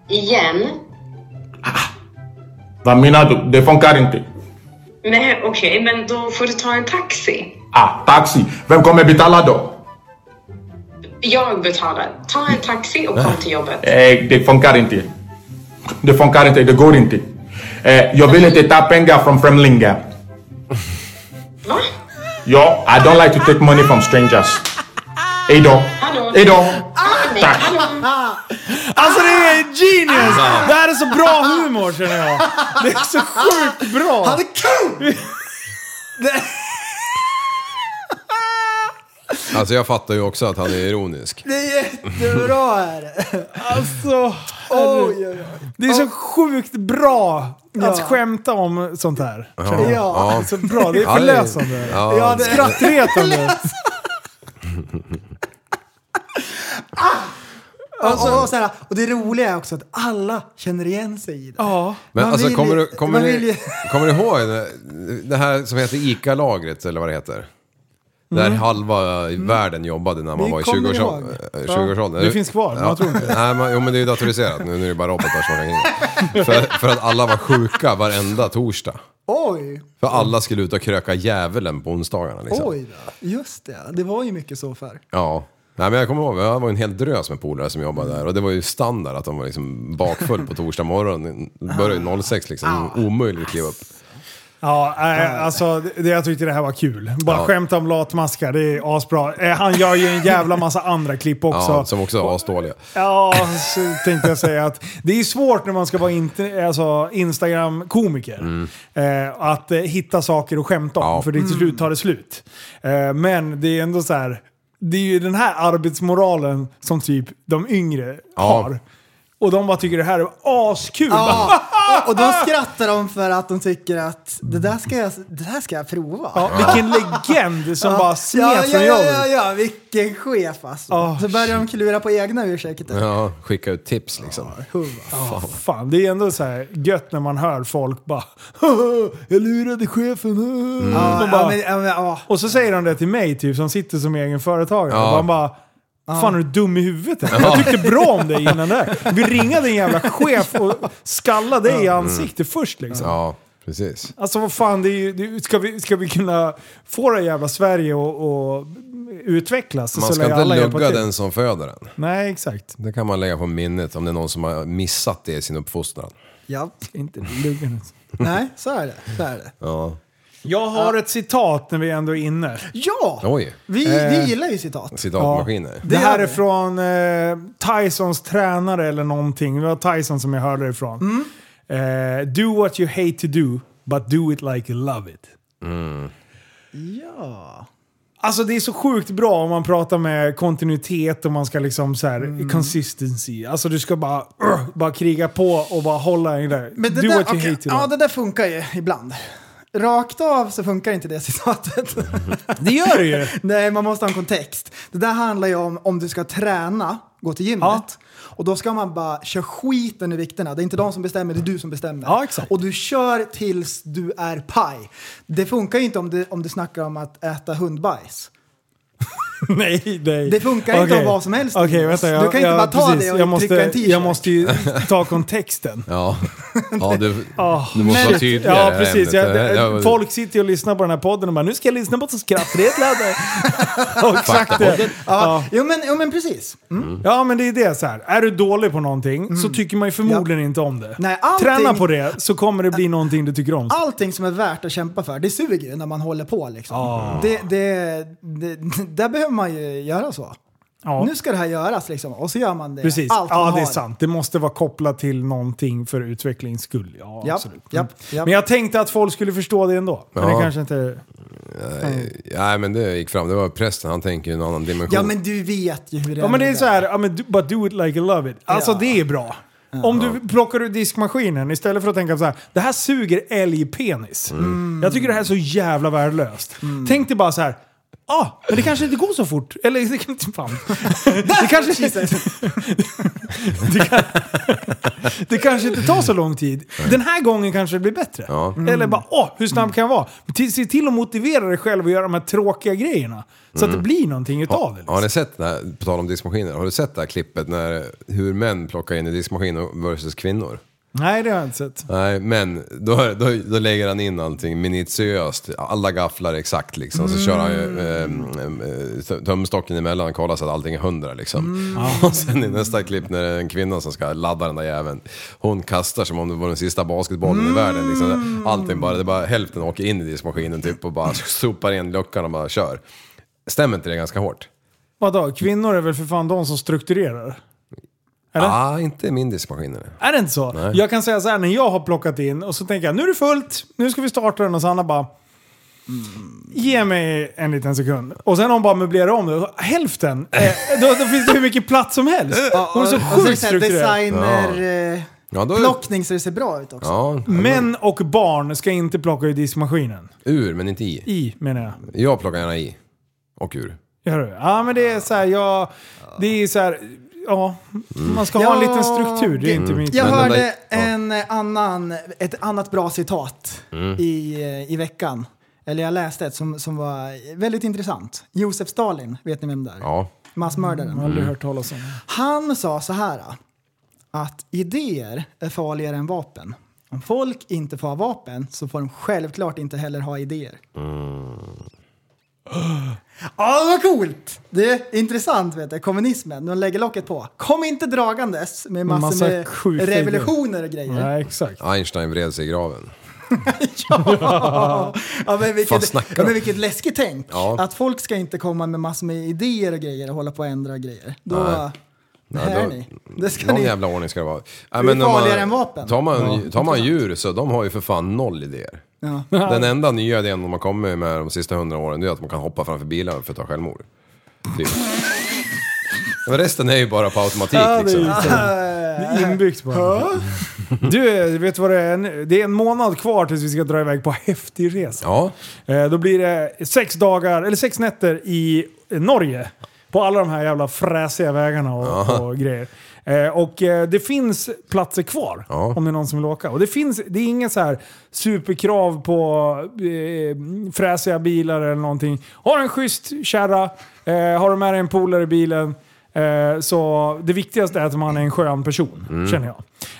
Igen? Ah, Vad menar du? Det funkar inte. Nej, okej, men då får du ta en taxi. Ah, taxi. Vem kommer betala då? Jag betalar. Ta en taxi och kom till jobbet. Eh, det funkar inte. Det funkar inte. Det går inte. Eh, jag vill inte ta pengar från främlingar. Va? Yo, I don't like to take money from strangers. Hej då. Hallå? Hej då. Hör du mig? Tack. Hallå? Alltså det är genius! Det här är så bra humor känner jag. Det är så sjukt bra. Han är kul! Det- Alltså jag fattar ju också att han är ironisk. Det är jättebra här. Alltså, Oj, oj, oj. det är så sjukt bra att Ja. skämta om sånt här. känner jag. Ja. alltså, Så bra, det är Ja, det- förlösande. Ja, Ja, det- Skrattretande. Och, och, så här, och det roliga är också att alla känner igen sig i det. Ja. Men Man alltså vill kommer ju- du, kommer, man vill ju- ni, kommer ni ihåg det, det här som heter ICA-lagret eller vad det heter? Där halva världen jobbade när man Vi var i Mm. kommer 20-årsåldern. ihåg. 20 Det finns kvar, man tror inte. Nej, men, jo, men det är ju datoriserat nu, nu är det bara robotar som ringer. För, för att alla var sjuka varenda torsdag. Oj, För alla skulle ut och kröka djävulen på onsdagarna liksom. oj då. Just det, det var ju mycket så förr. Ja. Nej men jag kommer ihåg, jag var en hel drös med polare som jobbade där och det var ju standard att de var liksom bakfull på torsdag morgon. Det Började ju 06 liksom, omöjligt att kliva upp. Ja, äh, alltså det, det- jag tyckte det här var kul. Bara Ja. skämta om latmaskar, det är asbra. Eh, han gör ju en jävla massa andra klipp också. Ja, som också var asdåliga. Ja, så tänkte jag säga att det är svårt när man ska vara inte, alltså, Instagram-komiker. Eh, att eh, hitta saker att skämta om, Ja. för det till slut tar det slut. Eh, men det är ändå så här. Det är ju den här arbetsmoralen som typ de yngre har. Och de bara tycker det här är askul. Ja, och, och då skrattar de för att de tycker att det där ska jag, det där ska jag prova. Ja, vilken legend som bara smet ja, ja, från ja, jobbet. ja, ja, vilken chef alltså. Ah, så börjar de klura på egna ursäkter. Ja, skicka ut tips liksom. Fan, det är ändå så här gött när man hör folk bara “Jag lurade chefen”. Mm. Ja, De ja, bara, men, ja, men, ja. Och så säger de det till mig typ, som sitter som egen företagare. Ja. Och man bara Fan är du dum i huvudet? eller? Jag tyckte bra om dig innan det här. Vi ringa din jävla chef och skalla dig i ansiktet först liksom. Mm. Ja, precis. Alltså vad fan, det är ju, det, är ju- ska, vi, ska vi kunna få det jävla Sverige och, och utvecklas? Man ska lär inte alla hjälpa lugga till. den som föder den. Nej, exakt. Det kan man lägga på minnet om det är någon som har missat det i sin uppfostran. ja. Inte lugga den. Nej, så är det. Så är det. Ja. Jag har ett citat när vi ändå är inne. Ja, Oj, Eh. vi, vi gillar ju citat. citatmaskiner. Det här gör är vi. från eh, Tysons tränare eller någonting. Det var Tyson som jag hörde det ifrån. Mm. Eh, do what you hate to do, but do it like you love it. Ja. Alltså det är så sjukt bra om man pratar med kontinuitet och man ska liksom så här Mm. consistency. Alltså du ska bara, urgh, bara kriga på och bara hålla i det. Men det, do där, what you okej, hate to do. ja, det där funkar ju ibland. Rakt av så funkar inte det citatet. Det gör det ju. Nej, man måste ha en kontext. Det där handlar ju om om du ska träna, gå till gymmet. Och då ska man bara köra skiten ur vikterna. Det är inte de som bestämmer, det är du som bestämmer. Ja, exakt. Och du kör tills du är paj. Det funkar ju inte om du, om du snackar om att äta hundbajs. Nej, nej. Det funkar inte Okej. om vad som helst. Okej, Jonas. vänta, jag, du kan inte jag, bara ta precis. det och jag måste, trycka en t-shirt. Jag måste ju ta kontexten. Ja, ja du, Ah, du måste men- vara tydligare. eh, Ja, i precis. ämnet. Jag, Det- det- folk sitter ju och lyssnar på den här podden och bara nu ska jag lyssna på så skrattretladdare. Exakt det. Ja. Jo, men, jo, men precis. ja, men det är det så här. Är du dålig på någonting så tycker man ju förmodligen inte om det. Nej, Mm. allting- Äh, Träna på det så kommer det bli någonting du tycker om. Allting som är värt att kämpa för, det suger ju när man håller på liksom. Ah. Det, det, det, där behöver man ju göra så. Ja. Nu ska det här göras liksom. Och så gör man det. Precis. Allt man ja, det är har. sant. Det måste vara kopplat till någonting för utvecklings skull. Ja, Japp, absolut. japp, japp. Men jag tänkte att folk skulle förstå det ändå. Men Ja. det kanske inte... Nej, men det gick fram. Det var prästen, han tänker i en annan dimension. Ja, men du vet ju hur det Ja men det är med så här, ja, men, do- but do it like you love it. Alltså det är bra. Om du plockar ur diskmaskinen istället för att tänka så här, det här suger älgpenis. Jag tycker det här är så jävla värdelöst. Tänk dig bara så här, ah, men det kanske inte går så fort. Eller det kan inte fan. Det kanske, det, kan, det kanske inte tar så lång tid. Den här gången kanske det blir bättre. Ja. Eller bara, åh, hur snabb kan jag vara? Till- Se till att motivera dig själv att göra de här tråkiga grejerna. Så att det blir någonting utav det. liksom. Har ni sett, det här, på tal om diskmaskiner, har du sett det här klippet när hur män plockar in i diskmaskiner versus kvinnor? Nej, det har jag inte sett. Nej, men då, då, då lägger han in allting minutiöst. Alla gafflar exakt liksom. Så kör han ju eh, eh, tumstocken emellan och kollar så att allting är hundra liksom. Och sen i nästa klipp när det är en kvinna som ska ladda den där jäveln. Hon kastar som om det var den sista basketbollen i världen. Liksom. Allting bara, det är bara hälften åker in i diskmaskinen typ och bara sopar in luckan och bara kör. Stämmer inte det ganska hårt? Vadå? Kvinnor är väl för fan de som strukturerar? Eller? Ja, ah, inte i min diskmaskin. nej. Är det inte så? Jag kan säga så här, när jag har plockat in och så tänker jag nu är det fullt, nu ska vi starta den och Sanna bara Mm. Ge mig en liten sekund. Och sen har hon bara möblerat om det. Och Hälften! Eh, då, då finns det hur mycket plats som helst. Hon är så Och alltså, sjukt så är det Alltså, så här strukturerad. designer... eh, Ja, då är det, Plockning så det ser bra ut också. ja, Män och barn ska inte plocka i diskmaskinen. ur men inte i. I, menar jag. Jag plockar gärna i. Och ur. Gör du? Ja, men det är så här, jag... Det är så här... Ja, man ska ha en liten struktur. Det är inte min... Jag Men den hörde där- Mm. ja. Mm. en annan, ett annat bra citat i, eh, i veckan. Eller jag läste ett som, som var väldigt intressant. Josef Stalin, vet ni vem det är? Ja. Massmördaren. Jag har Mm. aldrig hört talas om det. Han sa så här att idéer är farligare än vapen. Om folk inte får ha vapen så får de självklart inte heller ha idéer. Ja, Mm. vad coolt! Det är intressant, vet du. kommunismen. De lägger locket på. Kom inte dragandes med massor Massa med sjuka revolutioner och grejer. Nej, exakt. Einstein vred sig i graven. ja, men Fan, vilket, snackar ja, men de? vilket läskigt tänk. Ja. Att folk ska inte komma med massor med idéer och grejer och hålla på och ändra grejer. Då, Nej. här då- ni. Det ska Någon ni. jävla ordning ska det vara. Ja, är när farligare än vapen. Tar man, tar man djur så de har ju för fan noll idéer. Ja. Den enda nya idén de har kommit med de sista hundra åren det är att man kan hoppa framför bilar för att ta självmord. Typ. Men resten är ju bara på automatik Ja, det är liksom. ju Äh, så. Det är inbyggt bara. Du, vet du vad det är nu? Det är en månad kvar tills vi ska dra iväg på häftig resa. Ja, Eh, Då blir det sex dagar, eller sex nätter i eh, Norge. På alla de här jävla fräsiga vägarna och, och grejer. Eh, och eh, det finns platser kvar Ja. om det är någon som vill åka. Och det, finns, det är inget så här superkrav på eh, fräsiga bilar eller någonting. Har en schysst kärra, eh, har du med dig en polare i bilen. Eh, så det viktigaste är att man är en skön person, Mm. känner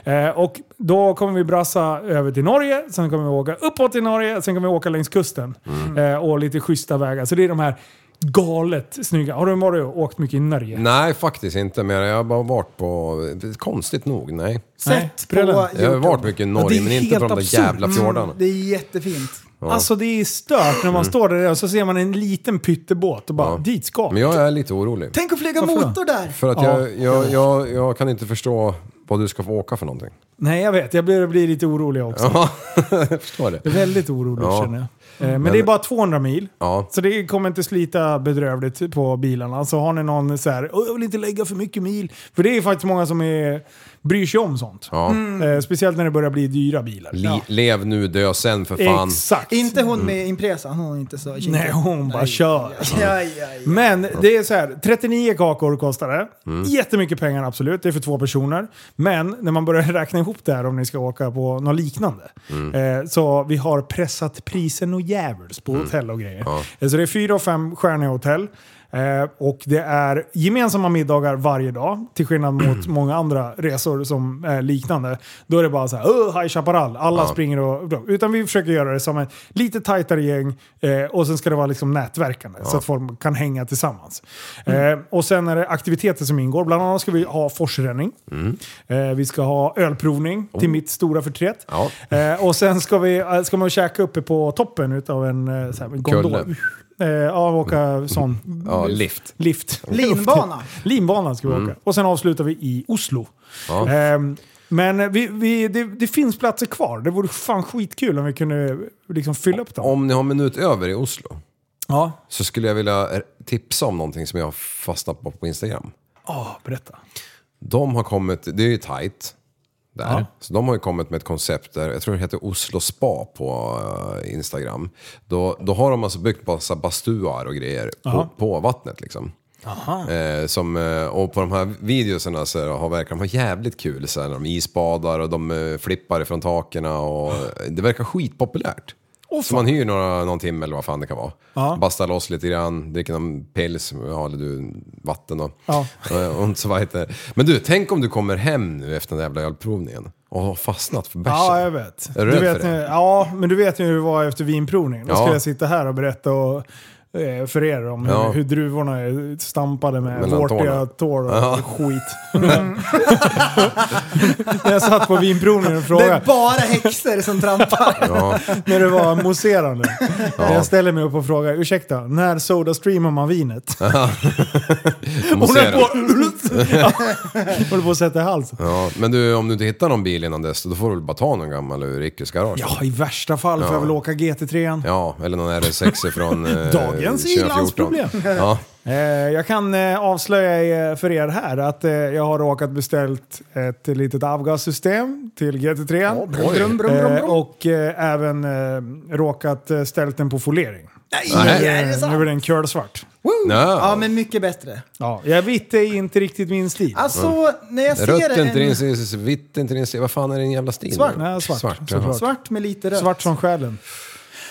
jag. Eh, och då kommer vi brassa över till Norge, sen kommer vi åka uppåt till Norge, sen kommer vi åka längs kusten. Mm. Eh, och lite schyssta vägar. Så det är de här galet snygga. Har du varit och åkt mycket i Norge? nej faktiskt inte. Men jag har bara varit på, konstigt nog, nej. Nej, Sett på prällen. Jag har YouTube. varit mycket i Norge Ja, det är men inte helt på de där absurt. Mm. jävla fjordarna. Mm, Det är jättefint. Alltså det är stört när Mm. man står där och så ser man en liten pyttebåt och bara dit ska Men jag är lite orolig. Tänk att flyga Varför då? motor där! För att Ja. jag, jag, jag, jag kan inte förstå vad du ska få åka för någonting. Nej jag vet, jag blir, blir lite orolig också. Ja, jag förstår det. Väldigt orolig Ja. känner jag. Eh, Men, det är bara 200 mil. Ja. Så det kommer inte slita bedrövligt Alltså, på bilarna. Så har ni någon så här, "Åh, jag vill inte lägga för mycket mil. För det är faktiskt många som är bryr sig om sånt. Ja. Eh, speciellt när det börjar bli dyra bilar. Li- Lev nu, dö sen för fan. Exakt. Inte hon Mm. med Impresa, hon är inte så kinkig. Nej, hon Mm. bara kör. Ja, ja, ja. Men det är så här, 39 kakor kostar det. Mm. Jättemycket pengar absolut, det är för två personer. Men när man börjar räkna ihop det här om ni ska åka på något liknande. Mm. Eh, så vi har pressat prisen och djävuls på Mm. hotell och grejer. Eh, Så det är fyra och fem stjärniga hotell. Eh, och det är gemensamma middagar varje dag, till skillnad Mm. mot många andra resor som är liknande. Då är det bara så här, "Öh, High Chaparral, alla Ja. springer och... Utan vi försöker göra det som ett lite tajtare gäng eh, och sen ska det vara liksom nätverkande så att folk kan hänga tillsammans. Mm. Eh, och sen är det aktiviteter som ingår, bland annat ska vi ha forsränning. Mm. Oh. Eh, vi ska ha ölprovning till mitt stora förtret. Ja. Eh, och sen ska, vi, eh, ska man käka uppe på toppen utav en, eh, så här, en gondol. Kulle. Eh, ja, Mm. åka sån. Ja, lift. Lift. Linbana. Linbanan ska vi Mm. åka. Och sen avslutar vi i Oslo. Ja. Ehm, men vi, vi, det, det finns platser kvar. Det vore fan skitkul om vi kunde liksom fylla upp dem. Om ni har en minut över i Oslo Ja. så skulle jag vilja tipsa om någonting som jag har fastnat på på Instagram. Ja, berätta. De har kommit, det är ju tight där. Ja. Så de har ju kommit med ett koncept där, jag tror det heter Oslo Spa på eh, Instagram. Då, då har de alltså byggt massa bastuar och grejer på, Jaha. på vattnet liksom. Eh, som, eh, och på de här videoserna så har verkar de ha jävligt kul. Så här, när de isbadar och de eh, flippar ifrån taken och det verkar skitpopulärt. så man hyr några, någon timme eller vad fan det kan vara. Ja. Bastar loss lite grann, dricker någon pils, ja, eller du, vatten och, Ja. eh, och så vidare. Men du, tänk om du kommer hem nu efter den där jävla ölprovningen och har fastnat för bärsen. Ja, jag vet. Är du du rädd vet för det? nu- Ja, men du vet ju hur det var efter vinprovningen. Då Ja. skulle jag sitta här och berätta och, eh, för er om Ja. hur, hur druvorna är stampade med Mellan vårtiga tårna. tår och Ja. skit. När jag satt på vinprovningen och Det är frågade. bara häxor som trampar. Ja. När det var mousserande. Ja. Jag ställer mig upp och frågar, ursäkta, när soda streamar man vinet? Hon är Mousserande. på, Ja, håller på att sätta i halsen. Ja, men du, om du inte hittar någon bil innan dess, då får du väl bara ta någon gammal ur Rickys garage. Ja, i värsta fall får Ja. jag väl åka GT3. Ja, eller någon RS6 från eh, Dagens 2014. i-landsproblem. Ja. Eh, Jag kan eh, avslöja eh, för er här att eh, jag har råkat beställt ett litet avgassystem till GT3. brum, brum, brum, brum. Eh, Och eh, även eh, råkat eh, ställt den på folering. Nej, är det Eh, Nu sant? är den curlsvart. No. Ja, men mycket bättre. Ja, jag vet är inte riktigt min stil. Alltså, när jag ser Rött är inte en... Mm. din stil, vitt är inte din stil. Vad fan är din jävla stil? Svart. Nej, svart, jaha. såklart. Svart med lite rött. Svart som själen.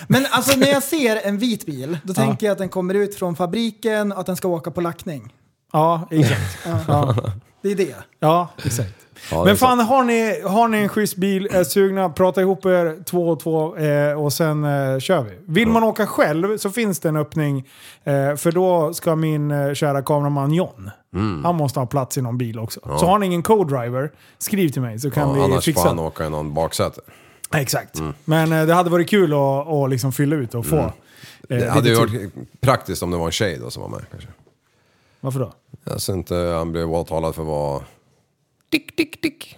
Men alltså när jag ser en vit bil, då tänker jag att den kommer ut från fabriken och att den ska åka på lackning. Ja, exakt. ja. Det är det. ja, exakt. Ja, det är Men fan, har ni, har ni en schysst bil, är sugna, prata ihop er två och två eh, och sen eh, kör vi. Vill man åka själv så finns det en öppning eh, för då ska min eh, kära kameraman John, Mm. han måste ha plats i någon bil också. Så har ni ingen co-driver, skriv till mig så Ja, kan Eh, vi annars fixa. får han Mm. det. åka i någon baksäte. Exakt. Men eh, det hade varit kul att, att liksom fylla ut och få. eh, Mm. Det lite hade ju tid. varit praktiskt om det var en tjej då som var med kanske. Varför då? Jag ser inte han blev åtalad för att vara... Tick, tick, tick.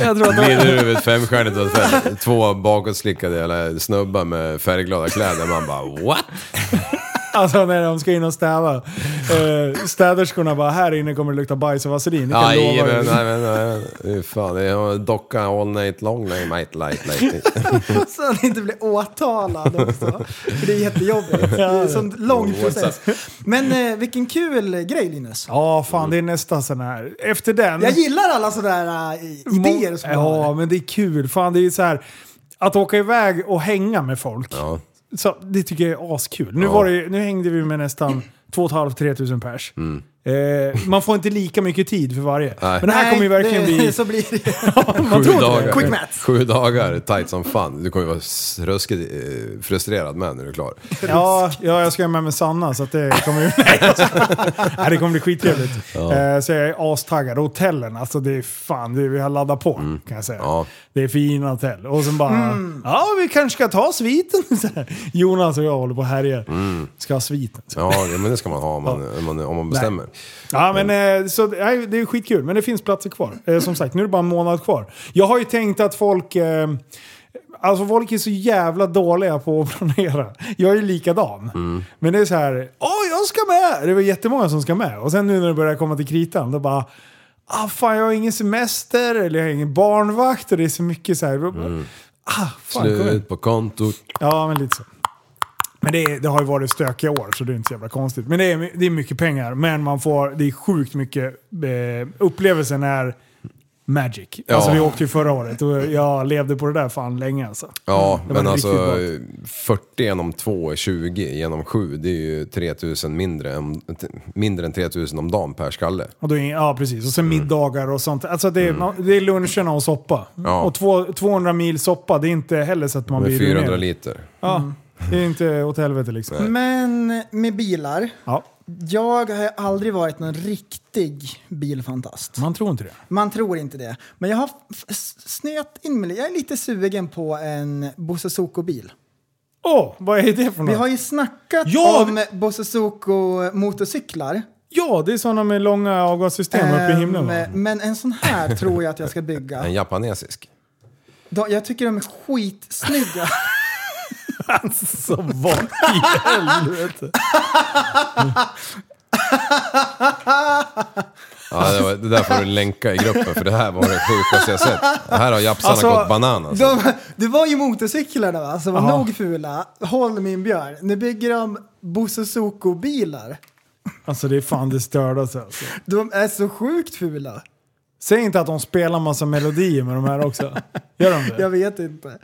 Jag tror att det Glider ur ett femstjärnigt hotell. Två bakåtslickade jävla snubbar med färgglada kläder. Man bara what? Alltså när de ska in och städa. Eh, städerskorna bara, här inne kommer det lukta bajs och vaselin. Det kan jag Aj, lova men, er. nej, men, nej, men. Fan, det är en docka all night long. Nej, night, night, night. Så att den inte blir åtalad också. För det är jättejobbigt. Det är en sån lång process. Men eh, vilken kul grej Linus. Ja, fan det är nästa sån här. Efter den... Jag gillar alla sådana där eh, idéer som du har. Ja, men det är kul. Fan, det är ju så här... Att åka iväg och hänga med folk, Ja. så, det tycker jag är askul. Nu, Ja. var det, ju- nu hängde vi med nästan 2 tusen pers. Mm. Eh, man får inte lika mycket tid för varje. Men det här Nej, kommer ju verkligen det, bli... Så blir det. Man Sju tror inte det. dagar. Quick maths. Sju dagar, tight som fan. Du kommer ju vara s- ruskigt eh, frustrerad med när du är klar. Ja, ja, jag ska med med Sanna så att det kommer ju... Nej, jag skojar. Nej, det kommer bli skittrevligt. Eh, så jag är astaggad. Hotellen, alltså det är fan, det, vi har laddat på kan jag säga. Ja. Det är fina hotell. Och sen bara, ja vi kanske ska ta sviten. Så här. Jonas och jag håller på och härjar. Ska ha sviten. Så. Ja, ja, men det ska man ha om man, om man, om man bestämmer. Ja, men, eh, så, nej, det är skitkul, men det finns platser kvar. Eh, som sagt, nu är det bara en månad kvar. Jag har ju tänkt att folk... Eh, alltså folk är så jävla dåliga på att planera. Jag är ju likadan. Men det är så här, åh jag ska med! Det var jättemånga som ska med. Och sen nu när det börjar komma till kritan, då bara... Ah, fan, jag har ingen semester eller jag har ingen barnvakt och det är så mycket så här. Ah, fan, kom igen. Slut på kontot. Ja, men lite så. Men det, är, det har ju varit stökiga år så det är inte så jävla konstigt. Men det är, det är mycket pengar. Men man får, det är sjukt mycket. Eh, upplevelsen är magic. Ja. Alltså vi åkte ju förra året och jag levde på det där fan länge alltså. Ja, Det var men riktigt alltså 40 genom 2 är 20 genom 7. Det är ju 3000 mindre, än- mindre än 3000 om dagen per skalle. Och då, är- ja, precis. Och sen Mm. middagar och sånt. Alltså det är, man- det är luncherna och soppa. Ja. Och två, 200 mil soppa, det är inte heller så att man Med Mm. blir 400 ruinerad. liter. Ja, det är inte åt helvete liksom. Men med bilar. Ja. Jag har aldrig varit någon riktig bilfantast. Man tror inte det. Man tror inte det. Men jag har f- s- snöat in mig. Jag är lite sugen på en Bosse Soko-bil. Åh, vad är det för något? Vi har ju snackat Ja, om Bosse Soko-motorcyklar. Ja, det är sådana med långa avgassystem uppe i himlen. Va? Ehm, men en sån här tror jag att jag ska bygga. En japanesisk. Då- Jag tycker de är skitsnygga. Alltså vad i helvete? Ja, det, var, det där får du länka i gruppen för det här var det sjukaste jag sett. Här har japsarna Alltså, gått bananas. De, det var ju motorcyklarna va, som var Ja. nog fula. Håll min björn. Nu bygger de Bosse Soko-bilar. Alltså det är fan det stördaste. Alltså. De är så sjukt fula. Säg inte att de spelar massa melodier med de här också. Gör de det? Jag vet inte.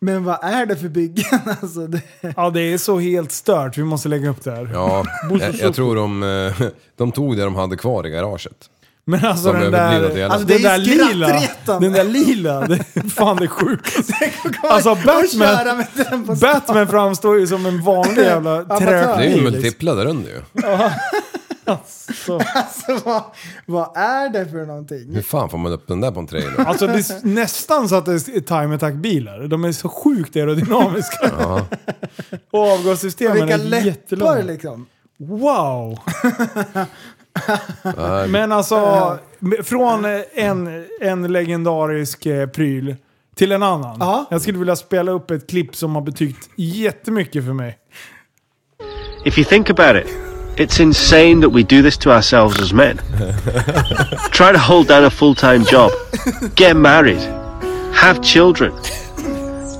Men vad är det för byggen alltså? Det... Ja, det är så helt stört. Vi måste lägga upp det här. Ja, jag, jag tror de, eh, de tog det de hade kvar i garaget. Men alltså Som den överblivna där, delen. alltså Det den där är lila, skrattretande. den där lila, det är fan det sjukaste. Alltså att köra Batman, med den på stan. Batman framstår ju som en vanlig jävla Amatör. Det är ju träbil. liksom. multipla där under ju. Alltså vad, vad är det för någonting? Hur fan får man upp den där på en trailer? Alltså det är s- nästan så att det är time attack-bilar. De är så sjukt aerodynamiska. Ja. Och Och avgassystemen vilka är läppar jättelånga. liksom. Wow! Men alltså, från en, en legendarisk eh, pryl till en annan. Jag skulle vilja spela upp ett klipp som har betytt jättemycket för mig. If you think about it, it's insane that we do this to ourselves as men. Try to hold down a full time job, get married, have children,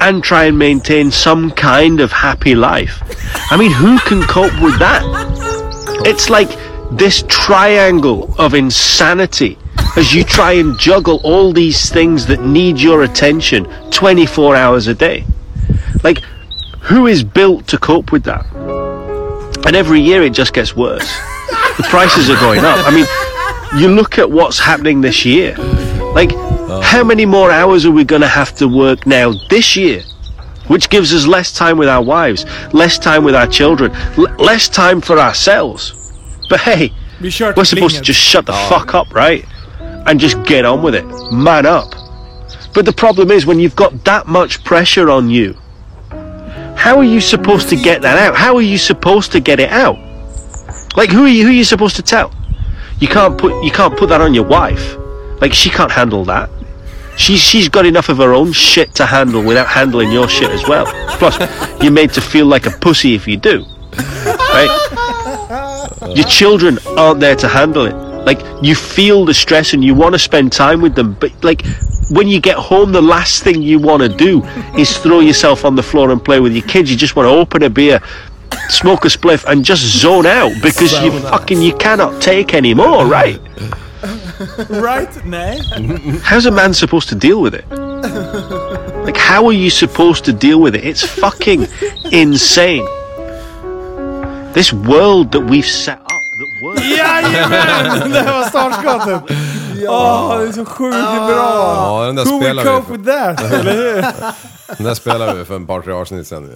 and try and maintain some kind of happy life. I mean, who can cope with that? It's like this triangle of insanity as you try and juggle all these things that need your attention 24 hours a day. Like, who is built to cope with that? And every year it just gets worse. The prices are going up. I mean, you look at what's happening this year. Like, how many more hours are we going to have to work now this year? Which gives us less time with our wives, less time with our children, l- less time for ourselves. But hey, Vi kör we're till supposed to plinget. just shut the fuck up, right? And just get on with it. Man up. But the problem is when you've got that much pressure on you, how are you supposed to get that out? How are you supposed to get it out? Like who are you who are you supposed to tell? You can't put you can't put that on your wife. Like she can't handle that. She's she's got enough of her own shit to handle without handling your shit as well. Plus, you're made to feel like a pussy if you do. Right? Your children aren't there to handle it. Like you feel the stress and you want to spend time with them, but like when you get home, the last thing you want to do is throw yourself on the floor and play with your kids. You just want to open a beer, smoke a spliff, and just zone out because you fucking you cannot take anymore, right? Right? Nej. How's a man supposed to deal with it? Like, how are you supposed to deal with it? It's fucking insane. This world that we've set up. Jajamän! Det var startskottet. Åh, det är så sjukt bra. Ja, den där Who will spelar vi cope för. with that? Eller hur? Den där spelar vi för en par, tre avsnitt sedan.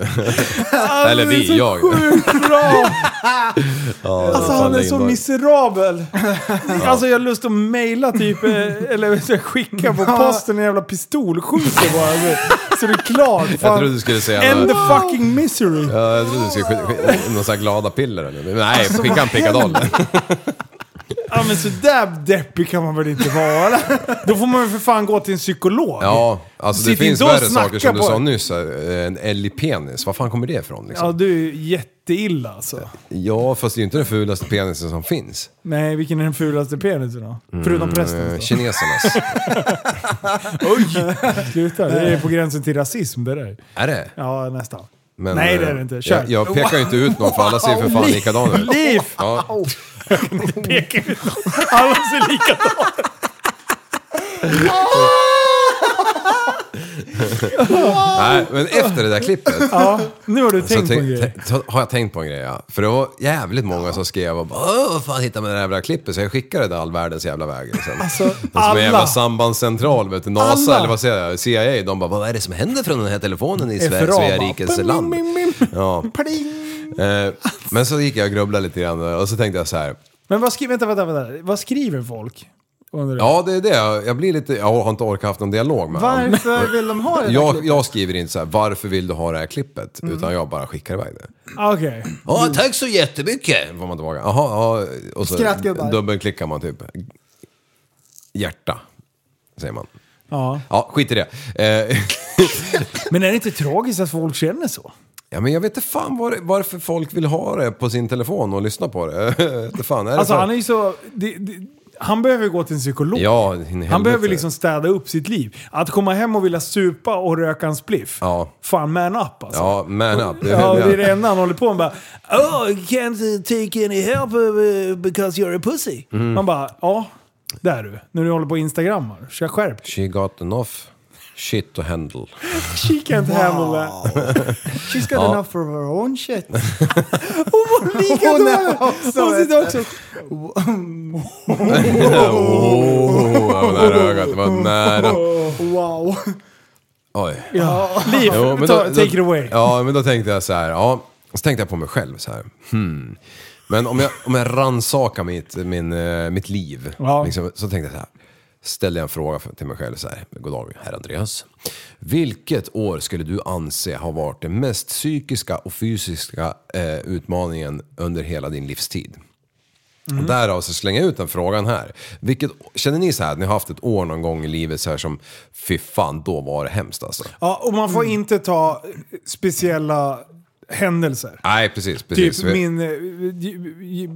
Eller det är vi, så jag. Sjukt bra! Ja, Alltså fan han är så legendar. miserabel. Alltså jag har lust att mejla typ, eh, eller så här, skicka på posten en jävla pistolskjuter bara. så- Så det är klart. Jag Fan. trodde du skulle säga End the något. fucking misery. Ja, Alltså, jag trodde du skulle skicka någon sån här glada piller eller Nej, skicka en pickadoll. Ja men sådär deppig kan man väl inte vara? Då får man väl för fan gå till en psykolog. Ja, alltså det Sitt finns inte och värre saker snacka som du på sa det. nyss. här, En älgpenis, var fan kommer det ifrån liksom? Ja, du är jätteilla alltså. Ja, fast det är ju inte den fulaste penisen som finns. Nej, vilken är den fulaste penisen då? Mm, Förutom prästens eh, då? Kinesernas. Oj! Sluta, det är på gränsen till rasism det där. Är det? Ja, nästan. Men, Nej, det är eh, det inte. Kör. Jag, jag pekar ju inte ut någon för alla ser ju för fan Liv! likadana ut. Liv! Ja. Pekar vi- Alla ser likadana Nej, men efter det där klippet. Ja, nu har du Så tänkt på en Alltså, tänk- grej. tänk- har jag tänkt på en grej, ja. För det var jävligt många som skrev och bara, "Åh, vad fan hittar man det där jävla klippet? Så jag skickade det all världens jävla väg. Liksom. Alltså, Som en jävla alla. sambandscentral, vet du, NASA Alla. eller vad säger jag, CIA, de bara vad är det som händer från den här telefonen i FRA, Sverige, Svea bara, rikes ping, land? ping, ping, Ja. Eh, Men så gick jag och grubblade lite grann och så tänkte jag så här, Men vad skriver, vänta, vänta, vänta. Vad skriver folk? Undrar jag. ja det är det, jag blir lite, jag har inte orkat haft någon dialog med honom. Varför vill de ha det där Jag, klippet? jag skriver inte så här, varför vill du ha det här klippet? Mm. Utan jag bara skickar iväg det. Ah, Okej. Ja, tack så jättemycket! Får man tillbaka. Jaha, ja. Och så Skrattgubbar. dubbelklickar man typ. Hjärta, säger man. Ja. Ja, skit i det. Eh, Men är det inte tragiskt att folk känner så? ja, men jag vet inte fan var, varför folk vill ha det på sin telefon och lyssna på det. Jag vet inte fan, är det Alltså för- han är ju så... Det, det, han behöver gå till en psykolog. Ja, in i helvete. han behöver liksom städa upp sitt liv. Att komma hem och vilja supa och röka en spliff. Ja. Fan man up alltså. Ja, man up. Ja, det är det enda han håller på med. Bara, oh, you can't take any help uh, because you're a pussy. Mm. Man bara, ja, där är du. När du håller på och instagrammar. Så jag skärp. She got enough shit to handle. She can't handle that. She's got Ja. enough for her own shit. Likadan! Hon sitter också... Åh, vad Oh, nära ögat. Vad nära. Wow. Oj. Ja. Liv, ta- take it away. Ja, men då tänkte jag så här. Ja, så tänkte jag på mig själv så här. Hmm. Men om jag, om jag rannsakar mitt, min, eh, mitt liv, Ja. liksom, så tänkte jag så här. Ställde jag en fråga för, till mig själv så här. God dag, herr Andreas. Vilket år skulle du anse har varit den mest psykiska och fysiska eh, utmaningen under hela din livstid? Mm. Och Därav så slänger jag ut den frågan här. Vilket, känner ni så här att ni har haft ett år någon gång i livet så här som, fy fan, då var det hemskt alltså. Ja, och man får inte ta speciella händelser. Nej, precis. precis. Typ min... eh, j- j-